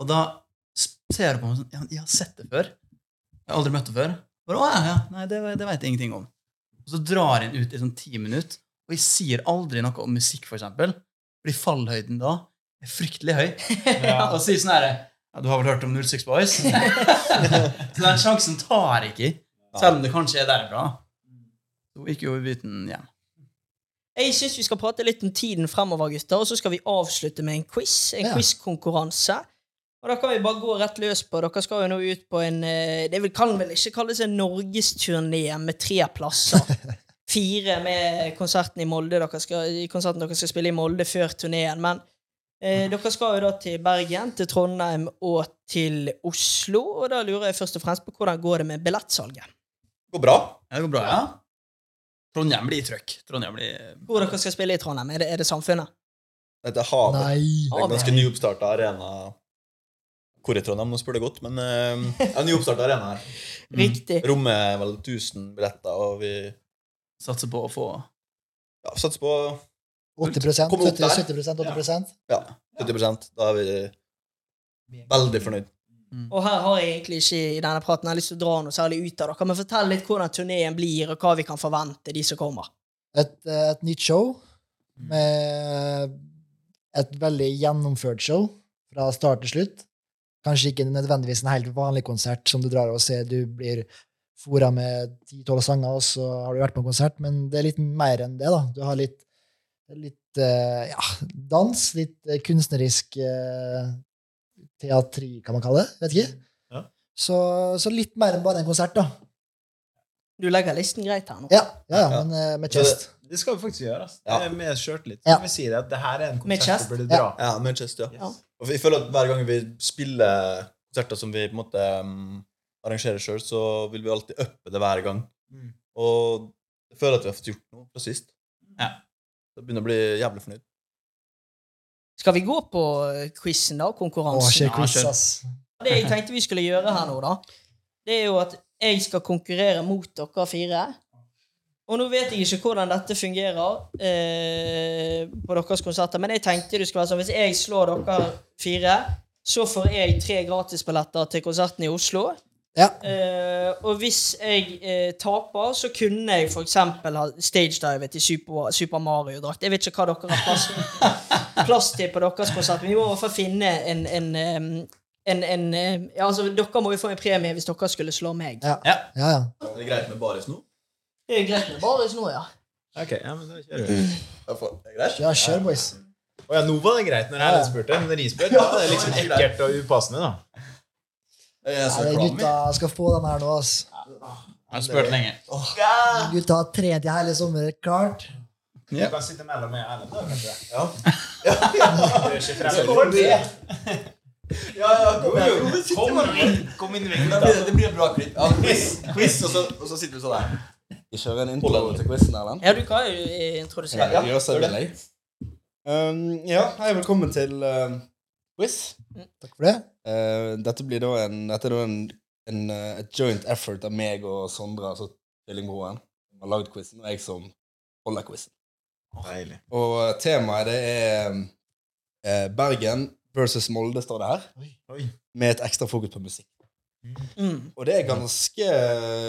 [SPEAKER 3] Og da s- ser jeg på meg sånn «Ja, Jeg har sett det før. Jeg har aldri møtt det før. Bare, «Å, ja, ja. Nei, det, det vet jeg ingenting om. Og så drar jeg den ut i sånn ti minutter, og jeg sier aldri noe om musikk, for eksempel. Fordi fallhøyden da er fryktelig høy. Og sier sånn herre ja, Du har vel hørt om 06 Boys? så den sjansen tar jeg ikke, selv om det kanskje er derfra. Hun gikk jo i biten hjem.
[SPEAKER 1] Jeg syns vi skal prate litt om tiden fremover, gutter, og så skal vi avslutte med en quiz. En
[SPEAKER 4] Ja.
[SPEAKER 1] quizkonkurranse. Og da kan vi bare gå rett løs på Dere skal jo nå ut på en eh, Det vel- kan vel ikke kalles en norgesturné med tre plasser. Fire med konserten i Molde dere skal, i konserten dere skal spille i Molde før turneen. Men eh, dere skal jo da til Bergen, til Trondheim og til Oslo. Og da lurer jeg først og fremst på hvordan går det med billettsalget?
[SPEAKER 2] Går bra.
[SPEAKER 3] Ja, det går bra, ja. Trondheim blir trøkk. Trondheim blir
[SPEAKER 1] Hvor dere skal spille i Trondheim? Er det, er det Samfunnet?
[SPEAKER 2] Dette er havet.
[SPEAKER 4] Nei!
[SPEAKER 2] Det er en ganske nyoppstarta arena. Hvor i Trondheim? Nå spør det godt, men eh, ja, nyoppstarta arena her.
[SPEAKER 1] Riktig.
[SPEAKER 2] Rommet er vel 1000 billetter, og vi ja,
[SPEAKER 3] Satser på å få
[SPEAKER 2] satser på
[SPEAKER 4] 80
[SPEAKER 2] Kom opp
[SPEAKER 4] 70,
[SPEAKER 2] der.
[SPEAKER 4] 70 80
[SPEAKER 2] ja, 70 Da er vi veldig fornøyd.
[SPEAKER 1] Og her har jeg egentlig ikke i denne praten jeg har lyst til å dra noe særlig ut av dere, men fortell litt hvordan turneen blir, og hva vi kan forvente, de som kommer.
[SPEAKER 4] et, eh, et nytt show
[SPEAKER 2] Mm.
[SPEAKER 4] med et veldig gjennomført show fra start til slutt. Kanskje ikke nødvendigvis en helt vanlig konsert som du drar og ser. Du blir fora med ti-tolv sanger, og så har du vært på en konsert, men det er litt mer enn det. da. Du har litt, litt eh, ja, dans, litt eh, kunstnerisk eh, teatri, kan man kalle det. Vet ikke.
[SPEAKER 9] Ja.
[SPEAKER 4] Så, så litt mer enn bare en konsert, da.
[SPEAKER 1] Du legger listen greit her nå.
[SPEAKER 4] Ja, ja, ja,
[SPEAKER 2] Ja.
[SPEAKER 4] men eh, med
[SPEAKER 2] Så det-
[SPEAKER 4] chest.
[SPEAKER 9] Det skal vi faktisk gjøre. ass.
[SPEAKER 2] Ja.
[SPEAKER 9] Det er Med sjøltillit.
[SPEAKER 4] Ja.
[SPEAKER 9] Vi sier at det her er en
[SPEAKER 1] Med
[SPEAKER 9] konsert
[SPEAKER 1] chest.
[SPEAKER 9] du burde
[SPEAKER 4] Ja.
[SPEAKER 9] dra.
[SPEAKER 2] Ja, Manchester, ja.
[SPEAKER 1] Ja.
[SPEAKER 2] Og jeg føler at hver gang vi spiller konserter som vi på en måte um, arrangerer sjøl, så vil vi alltid uppe det hver gang.
[SPEAKER 9] Mm.
[SPEAKER 2] Og jeg føler at vi har fått gjort noe fra sist.
[SPEAKER 3] Ja.
[SPEAKER 2] Så jeg begynner å bli jævlig fornøyd.
[SPEAKER 1] Skal vi gå på quizen, da?
[SPEAKER 4] Å,
[SPEAKER 1] Konkurransen?
[SPEAKER 4] kjør quiz, ass.
[SPEAKER 1] Det jeg tenkte vi skulle gjøre her nå, da, det er jo at jeg skal konkurrere mot dere fire. Og nå vet jeg ikke hvordan dette fungerer eh, på deres konserter, men jeg tenkte det skulle være sånn hvis jeg slår dere fire, så får jeg tre gratisbilletter til konserten i Oslo. Eh, og hvis jeg eh, taper, så kunne jeg f.eks. ha stagedivet i Super, Super Mario-drakt. Jeg vet ikke hva dere har plass, plass til på deres konsert, men vi må i hvert fall finne en, en, em, en, en em, ja, altså, Dere må jo få en premie hvis dere skulle slå meg.
[SPEAKER 4] Ja. Ja, ja.
[SPEAKER 2] Er det greit med baris nå?
[SPEAKER 1] Det er greit med baris nå, ja.
[SPEAKER 9] Ok, ja, men da kjører vi.
[SPEAKER 2] Er det greit?
[SPEAKER 4] Ja, kjør, boys.
[SPEAKER 9] Å ja, nå var det greit når Erlend spurte, men når jeg spurte, da var det liksom ekkelt og upassende, da.
[SPEAKER 2] Jeg
[SPEAKER 4] Nei,
[SPEAKER 2] skal
[SPEAKER 4] de
[SPEAKER 2] klamme.
[SPEAKER 4] gutta skal få den her nå, ass.
[SPEAKER 3] Jeg har spurt lenge.
[SPEAKER 4] De Gutta har trent i hele sommer, klart.
[SPEAKER 9] Du kan sitte mellom meg og Erlend, da, kanskje.
[SPEAKER 2] Ja.
[SPEAKER 9] Du er ikke fremmed.
[SPEAKER 2] Ja, ja, kom igjen. Kom igjen.
[SPEAKER 9] Kom inn, kom inn vekk,
[SPEAKER 2] Det
[SPEAKER 9] da.
[SPEAKER 2] blir- Det blir et bra klipp. Ja, quiz, quiz og, så, og så sitter du sånn der.
[SPEAKER 5] Vi kjører en intro til quizen, Erlend.
[SPEAKER 1] Ja, du kan jo eh, introdusere.
[SPEAKER 2] Ja,
[SPEAKER 5] Gjør seg
[SPEAKER 2] gjør det.
[SPEAKER 5] villig. Um, ja, hei, velkommen til um, quiz.
[SPEAKER 4] Takk for det.
[SPEAKER 5] Eh, dette blir da en, dette er da en, en eh, et joint effort av meg og Sondre, altså tvillingbroren, som har lagd quizen, og jeg som holder quizen.
[SPEAKER 2] Deilig.
[SPEAKER 5] Og eh, temaet det er eh, Bergen versus Molde, står det her.
[SPEAKER 9] oi.
[SPEAKER 5] Med et ekstra fokus på musikk.
[SPEAKER 1] Mm.
[SPEAKER 5] Og det er ganske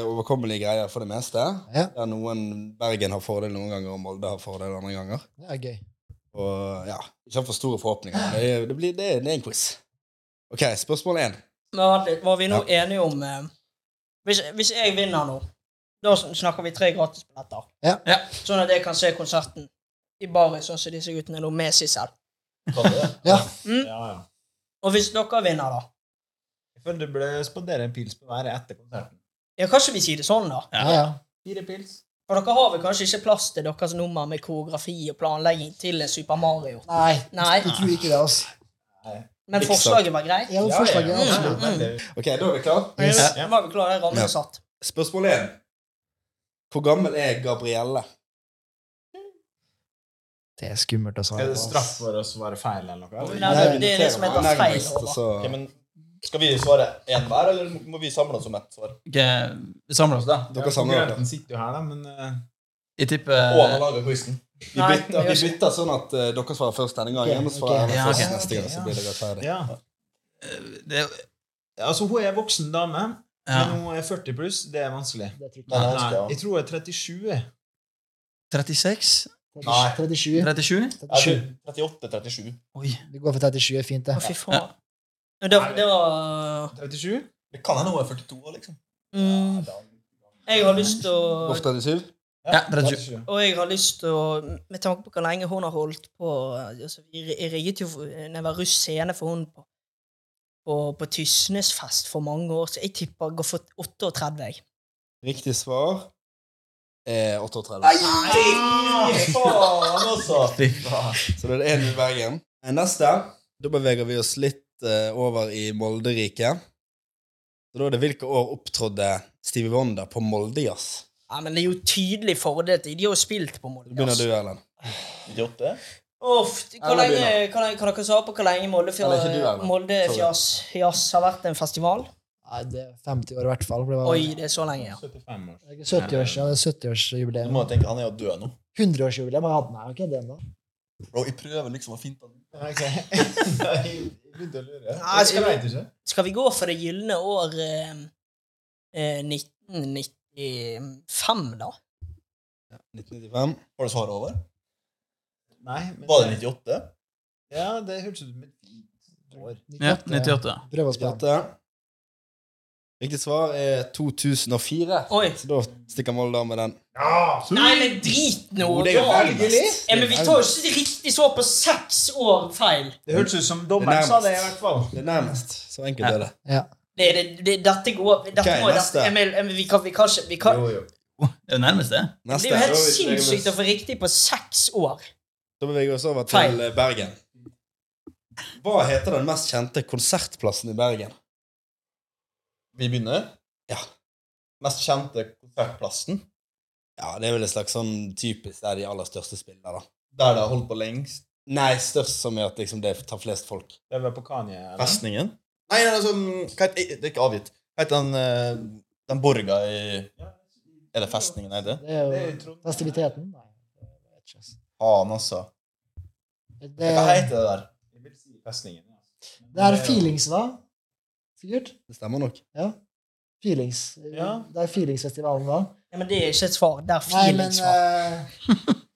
[SPEAKER 5] overkommelige greier for det meste.
[SPEAKER 4] Ja.
[SPEAKER 5] Der noen Bergen har fordel noen ganger, og Molde har fordel andre ganger.
[SPEAKER 4] Det er gøy.
[SPEAKER 5] Og ja, Ikke ha for store forhåpninger. men Det, det, blir, det, det er en quiz. OK, spørsmål én.
[SPEAKER 1] Men vent litt, var vi nå enige om eh, hvis, hvis jeg vinner nå, da sn- snakker vi tre gratisbilletter.
[SPEAKER 4] Ja.
[SPEAKER 3] Ja.
[SPEAKER 1] Sånn at jeg kan se konserten i baris, sånn som disse guttene nå, med Sissel.
[SPEAKER 4] Ja.
[SPEAKER 9] Ja, ja.
[SPEAKER 1] Og hvis dere vinner, da?
[SPEAKER 9] Jeg føler du burde spandere en pils på hver etter konserten.
[SPEAKER 1] Ja, kanskje vi sier det sånn, da?
[SPEAKER 4] Ja, ja.
[SPEAKER 9] Fire pils.
[SPEAKER 1] For dere har vel kanskje ikke plass til deres nummer med koreografi og planlegging til Super Mario?
[SPEAKER 4] Nei,
[SPEAKER 1] Nei,
[SPEAKER 4] jeg tror ikke det, ass.
[SPEAKER 1] men
[SPEAKER 5] Ikke sant.
[SPEAKER 1] forslaget var greit?
[SPEAKER 4] Ja, men forslaget er
[SPEAKER 9] ja,
[SPEAKER 4] absolutt.
[SPEAKER 9] veldig.
[SPEAKER 5] Ok, da er vi klar.
[SPEAKER 4] Yes.
[SPEAKER 1] Ja. Var vi klare? Rammen
[SPEAKER 5] Ja.
[SPEAKER 1] er satt.
[SPEAKER 5] Spørsmål 1. Hvor gammel er Gabrielle?
[SPEAKER 4] Det er skummelt å svare
[SPEAKER 9] Er det
[SPEAKER 4] på, ass.
[SPEAKER 9] straff for å svare feil eller noe? eller?
[SPEAKER 1] Nei, det, det er det som
[SPEAKER 5] noterer
[SPEAKER 1] heter
[SPEAKER 5] meg.
[SPEAKER 1] feil.
[SPEAKER 5] Nærmest,
[SPEAKER 1] Håvard.
[SPEAKER 5] så...
[SPEAKER 2] Ok, men skal vi svare én hver, eller må vi samle oss om ett svar?
[SPEAKER 3] Ok, vi samler oss, da.
[SPEAKER 5] Dere
[SPEAKER 9] Ja,
[SPEAKER 5] samler dere.
[SPEAKER 9] Konkurrenten sitter jo her, da, men eh,
[SPEAKER 3] Jeg
[SPEAKER 2] Og han har
[SPEAKER 3] tipper
[SPEAKER 2] laget quizen.
[SPEAKER 5] Vi
[SPEAKER 1] Nei,
[SPEAKER 5] bytter,
[SPEAKER 1] vi
[SPEAKER 5] vi
[SPEAKER 1] gjør ikke.
[SPEAKER 5] bytter sånn at eh, dere svarer først denne gangen.
[SPEAKER 4] Ok,
[SPEAKER 5] Jeg må svare
[SPEAKER 4] ok.
[SPEAKER 5] okay.
[SPEAKER 3] Ja,
[SPEAKER 5] først
[SPEAKER 3] ok.
[SPEAKER 5] neste gang, så blir det rettferdig.
[SPEAKER 9] ja.
[SPEAKER 3] eh, det,
[SPEAKER 9] Altså, hun er en voksen dame,
[SPEAKER 3] ja.
[SPEAKER 9] men hun er 40 pluss. Det er vanskelig.
[SPEAKER 4] Det er tricky.
[SPEAKER 2] Nei, vanskelig, ja.
[SPEAKER 9] Nei, jeg tror hun er 37.
[SPEAKER 3] 36?
[SPEAKER 4] 37.
[SPEAKER 3] 37?
[SPEAKER 4] 37.
[SPEAKER 2] 38-37.
[SPEAKER 3] Oi.
[SPEAKER 4] Vi går for 37, er fint, det.
[SPEAKER 1] Å, fy faen. Men Det, det var
[SPEAKER 9] 37?
[SPEAKER 2] Det kan hende hun er 42 år, liksom.
[SPEAKER 1] mm, Jeg har lyst til å
[SPEAKER 5] Ofte er det syv.
[SPEAKER 3] Ja, 37.
[SPEAKER 1] Og jeg har lyst til å Med tanke på hvor lenge hun har holdt på altså, Jeg jeg rigget jo for- når jeg var russ scene for hun på, på, på Tysnesfest for mange år så Jeg tipper går for 38. jeg.
[SPEAKER 5] Riktig svar eh, er 38.
[SPEAKER 2] Faen, altså!
[SPEAKER 5] Så det er én i Bergen. Eh, Neste. Da beveger vi oss litt eh, over i Molderiket. Så da er det hvilke år opptrådte Stevie Wonder på Moldejazz?
[SPEAKER 1] Ja, men det er jo tydelig fordel til De har jo spilt på
[SPEAKER 5] Da
[SPEAKER 1] Molde.
[SPEAKER 5] begynner
[SPEAKER 1] altså.
[SPEAKER 5] du, Erlend.
[SPEAKER 2] 98?
[SPEAKER 1] Uff, hvor
[SPEAKER 5] Eller
[SPEAKER 1] lenge, kan, jeg- kan dere svare på hvor lenge Molde
[SPEAKER 5] Eller ikke du, Erlend. Sorry.
[SPEAKER 1] Fjazz Jazz har vært en festival?
[SPEAKER 4] Nei, det er 50 år i hvert fall. for Det var
[SPEAKER 1] Oi, det er så lenge, ja.
[SPEAKER 9] 75 år.
[SPEAKER 4] Det er ikke 70-års, ja, det er
[SPEAKER 2] Du
[SPEAKER 4] 70-årsjubileum.
[SPEAKER 2] må jo tenke, han er jo død nå.
[SPEAKER 4] 100-årsjubileum har jeg hatt. Nei, ok, det ennå.
[SPEAKER 2] Bro, jeg prøver liksom å finte han.
[SPEAKER 9] Ok. Jeg begynte å lure.
[SPEAKER 1] Nei, skal
[SPEAKER 9] Jeg
[SPEAKER 1] vi-
[SPEAKER 9] vet ikke.
[SPEAKER 1] Skal vi gå for det gylne år eh, eh, 1995, da?
[SPEAKER 5] 1995.
[SPEAKER 2] Har du svaret over?
[SPEAKER 9] Nei, men
[SPEAKER 2] Var det 98?
[SPEAKER 9] Ja, det hørtes ut som et år.
[SPEAKER 3] Ja, 98.
[SPEAKER 4] Prøv å spille.
[SPEAKER 5] Bjarte. Riktig svar er 2004.
[SPEAKER 1] Oi!
[SPEAKER 5] Så da stikker Molde av med den.
[SPEAKER 1] Nei, men drit nå!
[SPEAKER 5] Jo, det er jo
[SPEAKER 1] da.
[SPEAKER 5] veldig.
[SPEAKER 1] ja, men vi tar jo ikke riktig svar på seks år feil.
[SPEAKER 9] Det hørtes ut som dommeren sa det, i hvert fall.
[SPEAKER 5] Det er nærmest. Så enkelt er det.
[SPEAKER 4] Ja.
[SPEAKER 1] Det, det, det, dette går dette
[SPEAKER 5] Ok,
[SPEAKER 1] må,
[SPEAKER 5] neste.
[SPEAKER 1] dette, Emil, Emil, vi kan, vi kan ikke vi kan,
[SPEAKER 3] Det er jo nærmest det.
[SPEAKER 1] Det er jo
[SPEAKER 5] Neste.
[SPEAKER 1] helt sinnssykt å få riktig på seks år.
[SPEAKER 5] Da beveger vi oss over
[SPEAKER 1] Feil.
[SPEAKER 5] til eh, Bergen. Hva heter den mest kjente konsertplassen i Bergen?
[SPEAKER 2] Vi begynner?
[SPEAKER 5] Ja.
[SPEAKER 2] Mest kjente konsertplassen,
[SPEAKER 5] Ja, Det er vel et slags sånn typisk der de aller største spiller, da.
[SPEAKER 2] der det har holdt på lengst.
[SPEAKER 5] Nei, størst som gjør at liksom, det tar flest folk.
[SPEAKER 9] Det var på Kanye. eller?
[SPEAKER 2] Festningen?
[SPEAKER 3] Nei, nei,
[SPEAKER 5] sånn,
[SPEAKER 3] altså, hva heter, eh, det er ikke avgitt. Hva heter den, eh, den borga i Er det festningen, er det?
[SPEAKER 4] Det er jo festiviteten. Nei,
[SPEAKER 3] Faen, altså.
[SPEAKER 4] Det,
[SPEAKER 3] Hva heter det der?
[SPEAKER 9] Festningen.
[SPEAKER 4] det er feelings, hva? Sikkert?
[SPEAKER 2] Det stemmer nok.
[SPEAKER 4] Ja. Feelings. Det er feelingsfestivalen, hva?
[SPEAKER 1] Ja, men det er ikke et svar. Det er
[SPEAKER 4] Nei, men
[SPEAKER 1] feelings. svar.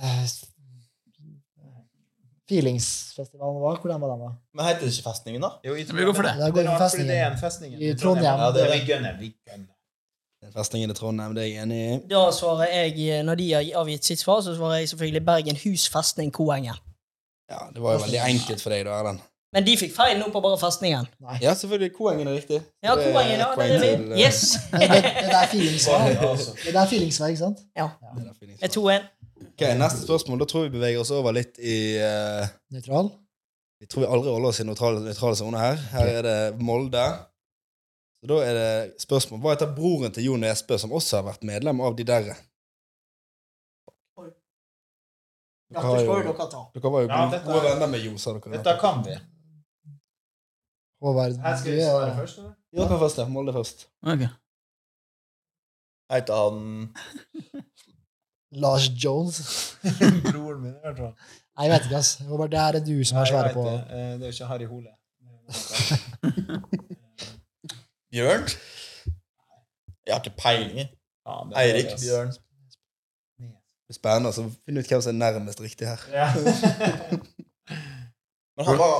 [SPEAKER 4] eh, eh, Feelingsfestivalen var Hvordan var den, da?
[SPEAKER 3] Men heter det ikke Festningen, da?
[SPEAKER 9] Jo, i
[SPEAKER 11] Men vi går for det.
[SPEAKER 4] Da går vi for
[SPEAKER 9] rart, fordi det er
[SPEAKER 4] festningen.
[SPEAKER 9] en festning.
[SPEAKER 4] I Trondheim.
[SPEAKER 3] Ja, det er
[SPEAKER 9] Vi gønner, vi gønner.
[SPEAKER 2] Festningen i Trondheim, det er jeg enig i.
[SPEAKER 1] Da svarer jeg, eh, når de har avgitt sitt svar, så svarer jeg selvfølgelig Bergen Hus festning Koengen.
[SPEAKER 2] Ja, Det var jo veldig enkelt for deg, da, Erlend.
[SPEAKER 1] Men de fikk feil nå på bare festningen.
[SPEAKER 2] Ja, selvfølgelig. Koengen er riktig.
[SPEAKER 1] Ja,
[SPEAKER 2] Det er
[SPEAKER 1] Koengen, ja.
[SPEAKER 2] ett
[SPEAKER 1] Det
[SPEAKER 2] poeng
[SPEAKER 1] er
[SPEAKER 2] til,
[SPEAKER 1] vi.
[SPEAKER 2] eh,
[SPEAKER 1] Yes!
[SPEAKER 4] Det, det, det der feelings var.
[SPEAKER 3] altså.
[SPEAKER 4] Det der feelings var, ikke sant?
[SPEAKER 1] Ja.
[SPEAKER 2] det er fint.
[SPEAKER 1] Det er 2-1.
[SPEAKER 2] Ok, Neste spørsmål. Da tror vi beveger oss over litt i eh,
[SPEAKER 4] Nøytral.
[SPEAKER 2] Vi tror vi aldri holder oss i nøytrale, nøytrale soner her. Her er det Molde. Så da er det spørsmål Hva heter broren til Jo Nesbø, som også har vært medlem av de derre? Dere, har jo, dere var jo
[SPEAKER 9] Ja,
[SPEAKER 2] gode,
[SPEAKER 9] dette-
[SPEAKER 2] gode venner med Jo, sa dere.
[SPEAKER 9] Dette kan vi.
[SPEAKER 4] Håvard,
[SPEAKER 9] Her
[SPEAKER 4] du
[SPEAKER 9] skal vi svare
[SPEAKER 4] er
[SPEAKER 9] først. eller?
[SPEAKER 2] Ja, dere først, ja. Molde først.
[SPEAKER 11] Ok.
[SPEAKER 3] Heter han
[SPEAKER 4] Lars Jones.
[SPEAKER 9] Broren min, i hvert fall.
[SPEAKER 4] Nei, jeg vet ikke, ass. Håvard, det er det du som
[SPEAKER 9] Nei,
[SPEAKER 4] er
[SPEAKER 9] jeg
[SPEAKER 4] svære
[SPEAKER 9] vet
[SPEAKER 4] på.
[SPEAKER 9] Det Eh, Det er jo ikke Harry Hole.
[SPEAKER 3] Bjørn? Jeg har ikke peiling. jeg.
[SPEAKER 9] Ja, det er
[SPEAKER 3] Eirik
[SPEAKER 9] det, ass.
[SPEAKER 3] altså. Bjørn.
[SPEAKER 2] Det blir spennende å finne ut hvem som er nærmest riktig her.
[SPEAKER 9] Ja.
[SPEAKER 3] Men han var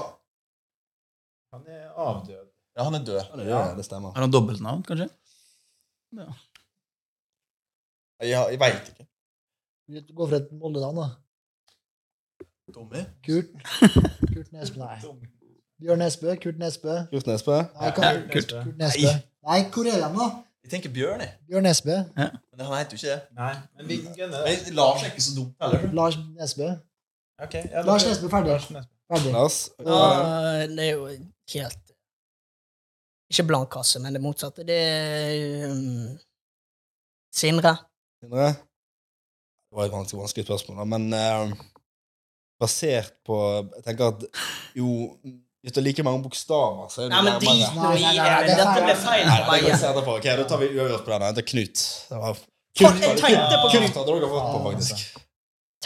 [SPEAKER 9] Han er avdød.
[SPEAKER 3] Ja, han er død.
[SPEAKER 2] Ja, det stemmer.
[SPEAKER 11] Har han dobbeltnavn, kanskje?
[SPEAKER 3] Jeg, jeg veit ikke.
[SPEAKER 4] Du går for et Molde-navn, da.
[SPEAKER 3] Tommy?
[SPEAKER 4] Kurt. Kurt Nesbø. Nei. Bjørn Nesbø. Kurt Nesbø.
[SPEAKER 2] Kurt Nesbø.
[SPEAKER 4] Nei, kan,
[SPEAKER 11] Kult.
[SPEAKER 4] Kurt Nesbø. Nei, hvor er den, da?
[SPEAKER 3] Jeg tenker Bjørn, jeg.
[SPEAKER 4] Bjørn Nesbø.
[SPEAKER 3] Men han heter jo ikke det.
[SPEAKER 9] Nei, men vi gønner. det.
[SPEAKER 3] Men Lars er ikke så dum heller.
[SPEAKER 4] Lars Nesbø.
[SPEAKER 9] Ok, ja, da-
[SPEAKER 4] Lars Nesbø, ferdig.
[SPEAKER 9] Lars Nesbø.
[SPEAKER 4] Ferdig.
[SPEAKER 2] Lars.
[SPEAKER 1] Ja, det er jo helt Ikke blank kasse, men det motsatte. Det er um, Sindre.
[SPEAKER 2] Sindre? Det var et vanskelig, vanskelig spørsmål, da. men eh, basert på Jeg tenker at jo Hvis det er like mange bokstaver, så er det
[SPEAKER 1] Nei, men drit
[SPEAKER 2] nærmere.
[SPEAKER 1] nå i
[SPEAKER 4] Nei, nei, nei,
[SPEAKER 1] det. Dette ble
[SPEAKER 2] Nei,
[SPEAKER 1] feil.
[SPEAKER 2] det kan
[SPEAKER 1] Bergen.
[SPEAKER 2] jeg se etterpå. Ok, Da tar vi uavgjort på den. Jeg heter Knut. Det var
[SPEAKER 1] Fuck, jeg tenkte på Knut.
[SPEAKER 2] Kurt hadde dere fått på, faktisk.
[SPEAKER 3] altså.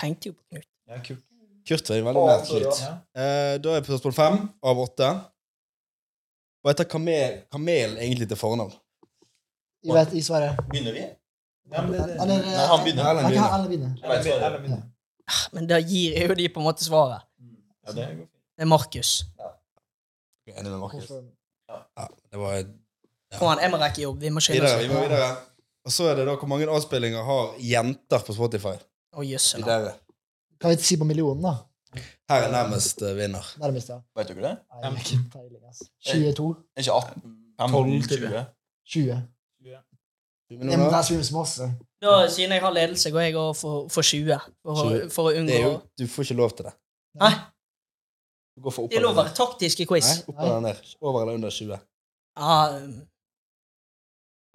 [SPEAKER 1] Tenkte jo på Knut.
[SPEAKER 9] Ja, kult.
[SPEAKER 2] Kurt var veldig nær Knut.
[SPEAKER 9] Ja.
[SPEAKER 2] Eh, da er vi på spørsmål fem av åtte. Hva heter kamel, kamel egentlig til fornavn?
[SPEAKER 4] Jeg vet, jeg svarer.
[SPEAKER 3] Begynner vi?
[SPEAKER 9] Ja, men det, det.
[SPEAKER 4] Eller
[SPEAKER 3] Nei, han begynner.
[SPEAKER 4] Nei, ikke han, Alle begynner.
[SPEAKER 9] Eller min- eller min.
[SPEAKER 1] Ah, Men da gir jeg jo de på en måte svaret.
[SPEAKER 3] Ja, det er
[SPEAKER 1] Det er Markus.
[SPEAKER 2] Jeg er Enig med Markus.
[SPEAKER 4] Hvorfor?
[SPEAKER 2] Ja, det var
[SPEAKER 1] Kom an, jeg må rekke jobb. Vi må skynde
[SPEAKER 2] videre, vi
[SPEAKER 1] oss.
[SPEAKER 2] må videre. Og så er det da hvor mange avspillinger har jenter på Spotify?
[SPEAKER 1] Å, jøsse navn.
[SPEAKER 2] Videre.
[SPEAKER 4] Kan vi ikke si på millionen, da?
[SPEAKER 2] Her er nærmest eh, vinner.
[SPEAKER 4] Nærmest, ja.
[SPEAKER 3] Vet dere det?
[SPEAKER 4] Nei, ikke peiling, ass. 22.
[SPEAKER 3] Er ikke 18? 15, 20?
[SPEAKER 4] 20. Ja, men
[SPEAKER 2] Millioner.
[SPEAKER 4] der skrives masse.
[SPEAKER 1] Da, siden jeg har ledelse, går jeg over for, for 20. For, å-
[SPEAKER 2] 20.
[SPEAKER 1] for å
[SPEAKER 2] Det
[SPEAKER 1] unngå
[SPEAKER 2] er jo, du får ikke lov til det.
[SPEAKER 1] Nei,
[SPEAKER 2] Du går for opp
[SPEAKER 1] det er lov å
[SPEAKER 2] eller
[SPEAKER 1] være taktisk i quiz.
[SPEAKER 2] Nei, opp eller ned. Over eller under 20.
[SPEAKER 1] Ja, um,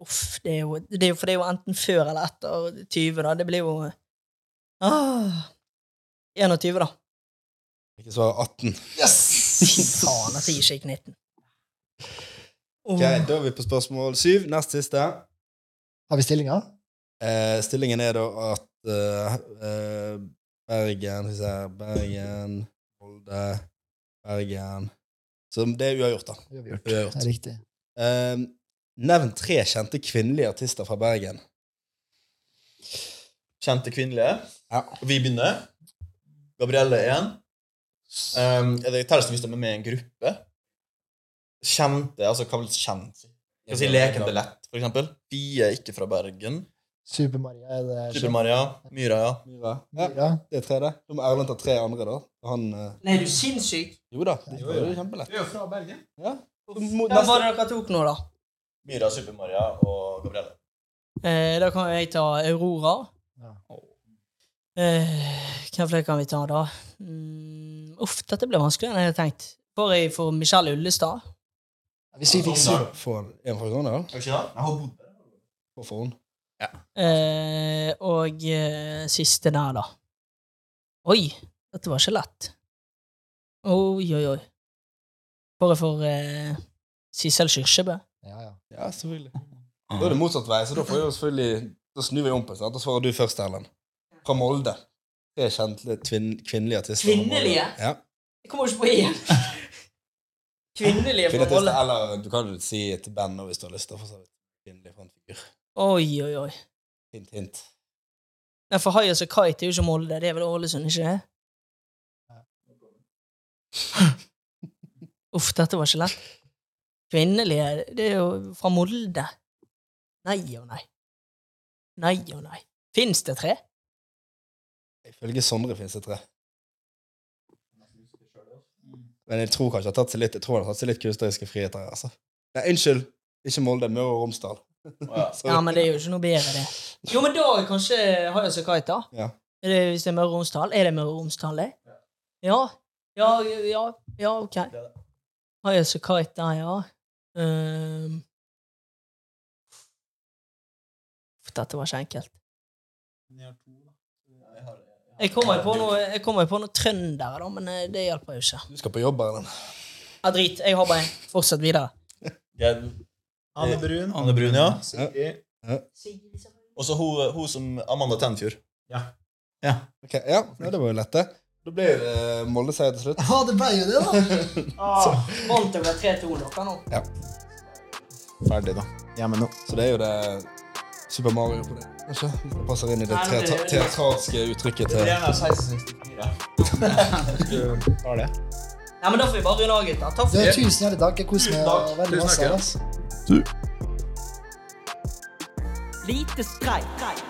[SPEAKER 1] uff, det er, jo, det er jo For det er jo enten før eller etter 20, da. Det blir jo ah, 21, da.
[SPEAKER 2] Ikke svar 18.
[SPEAKER 1] Fy faen, altså, jeg sier ikke 19.
[SPEAKER 2] Ok, Da er vi på spørsmål 7, nest siste.
[SPEAKER 4] Har vi stillinga?
[SPEAKER 2] Eh, stillingen er da at eh, eh, Bergen Skal vi se Bergen, Molde, Bergen Så det er uavgjort, da.
[SPEAKER 4] Det har vi gjort.
[SPEAKER 2] Uavgjort.
[SPEAKER 4] Det er riktig.
[SPEAKER 2] Eh, nevn tre kjente kvinnelige artister fra Bergen.
[SPEAKER 3] Kjente kvinnelige.
[SPEAKER 2] Ja.
[SPEAKER 3] Vi begynner. Gabrielle er en. Um, er det telles det hvis de er med i en gruppe? Kjente, altså hva vil kjent si? Skal vi si Lekende lett, for eksempel. Bie er ikke fra Bergen.
[SPEAKER 4] Super-Maria er det
[SPEAKER 3] Super-Maria. Myra, ja.
[SPEAKER 2] Myra. Ja,
[SPEAKER 4] Maria.
[SPEAKER 2] det er tre, det. Da må Erlend ta tre andre, da. Han eh,
[SPEAKER 1] Nei, er du sinnssyk?
[SPEAKER 2] Jo da, det
[SPEAKER 9] Jo, jo.
[SPEAKER 2] er jo kjempelett.
[SPEAKER 9] Du er jo fra Bergen.
[SPEAKER 2] Mot
[SPEAKER 1] Hva
[SPEAKER 2] neste-
[SPEAKER 1] var det dere tok nå, da?
[SPEAKER 3] Myra, Super-Maria og Gabrielle.
[SPEAKER 1] Eh, da kan jeg ta Aurora.
[SPEAKER 4] Ja.
[SPEAKER 1] Eh, hvem flere kan vi ta, da? Mm, uff, dette ble vanskeligere enn jeg hadde tenkt. Får jeg for Michelle Ullestad?
[SPEAKER 4] Hvis vi fikk super...
[SPEAKER 2] Får en fra Grønland?
[SPEAKER 3] Er det ikke det? Jeg har bodd der.
[SPEAKER 2] Hvorfor hun?
[SPEAKER 1] Eh, og eh, siste der, da. Oi, dette var ikke lett. Oi, oi, oi. Bare for eh, Sissel Kyrkjebø.
[SPEAKER 4] Ja, ja.
[SPEAKER 2] Ja, selvfølgelig. Da er det motsatt vei, så da får jeg jo selvfølgelig Da snur vi om på det. Da svarer du først, Erlend. Fra Molde. Tre kjente tvin, kvinnelige artister. fra Molde.
[SPEAKER 1] Kvinnelige?
[SPEAKER 2] Ja.
[SPEAKER 1] Jeg kommer jo ikke på igjen. Kvinnelige
[SPEAKER 2] Kvinnelige
[SPEAKER 1] forhold.
[SPEAKER 2] artister, eller du kan jo si et band også, hvis du har lyst. Da, for så vidt. Kvinnelig frontfigur.
[SPEAKER 1] Oi, oi, oi.
[SPEAKER 2] Hint, hint.
[SPEAKER 1] Nei, for Hayas og Kite er jo ikke Molde. Det er vel Ålesund, ikke det? Uff, dette var ikke lett. Kvinnelige Det er jo fra Molde. Nei og nei. Nei og nei. Fins det tre?
[SPEAKER 2] Ifølge Sondre finnes det tre. Men jeg tror kanskje han har tatt seg litt Jeg tror han har tatt seg litt kunstneriske friheter. her, altså. Nei, unnskyld. Ikke Molde, Møre og Romsdal. Så-
[SPEAKER 1] Ja, men det er jo ikke noe bedre, det. Jo, men da er kanskje Hayas og Kite, da.
[SPEAKER 2] Ja.
[SPEAKER 1] Er det, hvis det er Møre og Romsdal? Er det Møre og Romsdal, det? Ja. Ja, ja, ja, ok. Hayas og Kite der, ja. Ehm. Uff, Dette var ikke enkelt. Jeg kommer jo på noe, jeg kommer jo på noe trøndere, da, men eh, det hjelper jo ikke.
[SPEAKER 2] Du skal på jobb, Erlend.
[SPEAKER 1] Ja, drit. Jeg har bare en. Fortsett videre.
[SPEAKER 9] Anne Brun.
[SPEAKER 12] Anne Brun, ja.
[SPEAKER 9] Sigrid.
[SPEAKER 12] Og så hun, hun som Amanda Tenfjord.
[SPEAKER 2] Ok, ja, ja, det var jo lett, det. Da ble det eh, Molde-seier til slutt.
[SPEAKER 4] Ja, det ble jo det, da!
[SPEAKER 1] Ah, Vant over 3-2 dere nå.
[SPEAKER 9] Ferdig, da. Hjemme nå.
[SPEAKER 2] Så det er jo det Super Mario på det. Kanskje? Hvis det passer inn i det
[SPEAKER 1] Altså, Nei, men det-
[SPEAKER 2] teatra- teatralske uttrykket til
[SPEAKER 9] Gjerne 1664. Har det.
[SPEAKER 1] Nei, men Da får vi bare runde av, gutter. Takk
[SPEAKER 4] Du,
[SPEAKER 1] for
[SPEAKER 4] tusen hjertelig takk. Jeg koser meg veldig masse.
[SPEAKER 12] takk, ja.
[SPEAKER 4] altså.
[SPEAKER 7] Lite streik.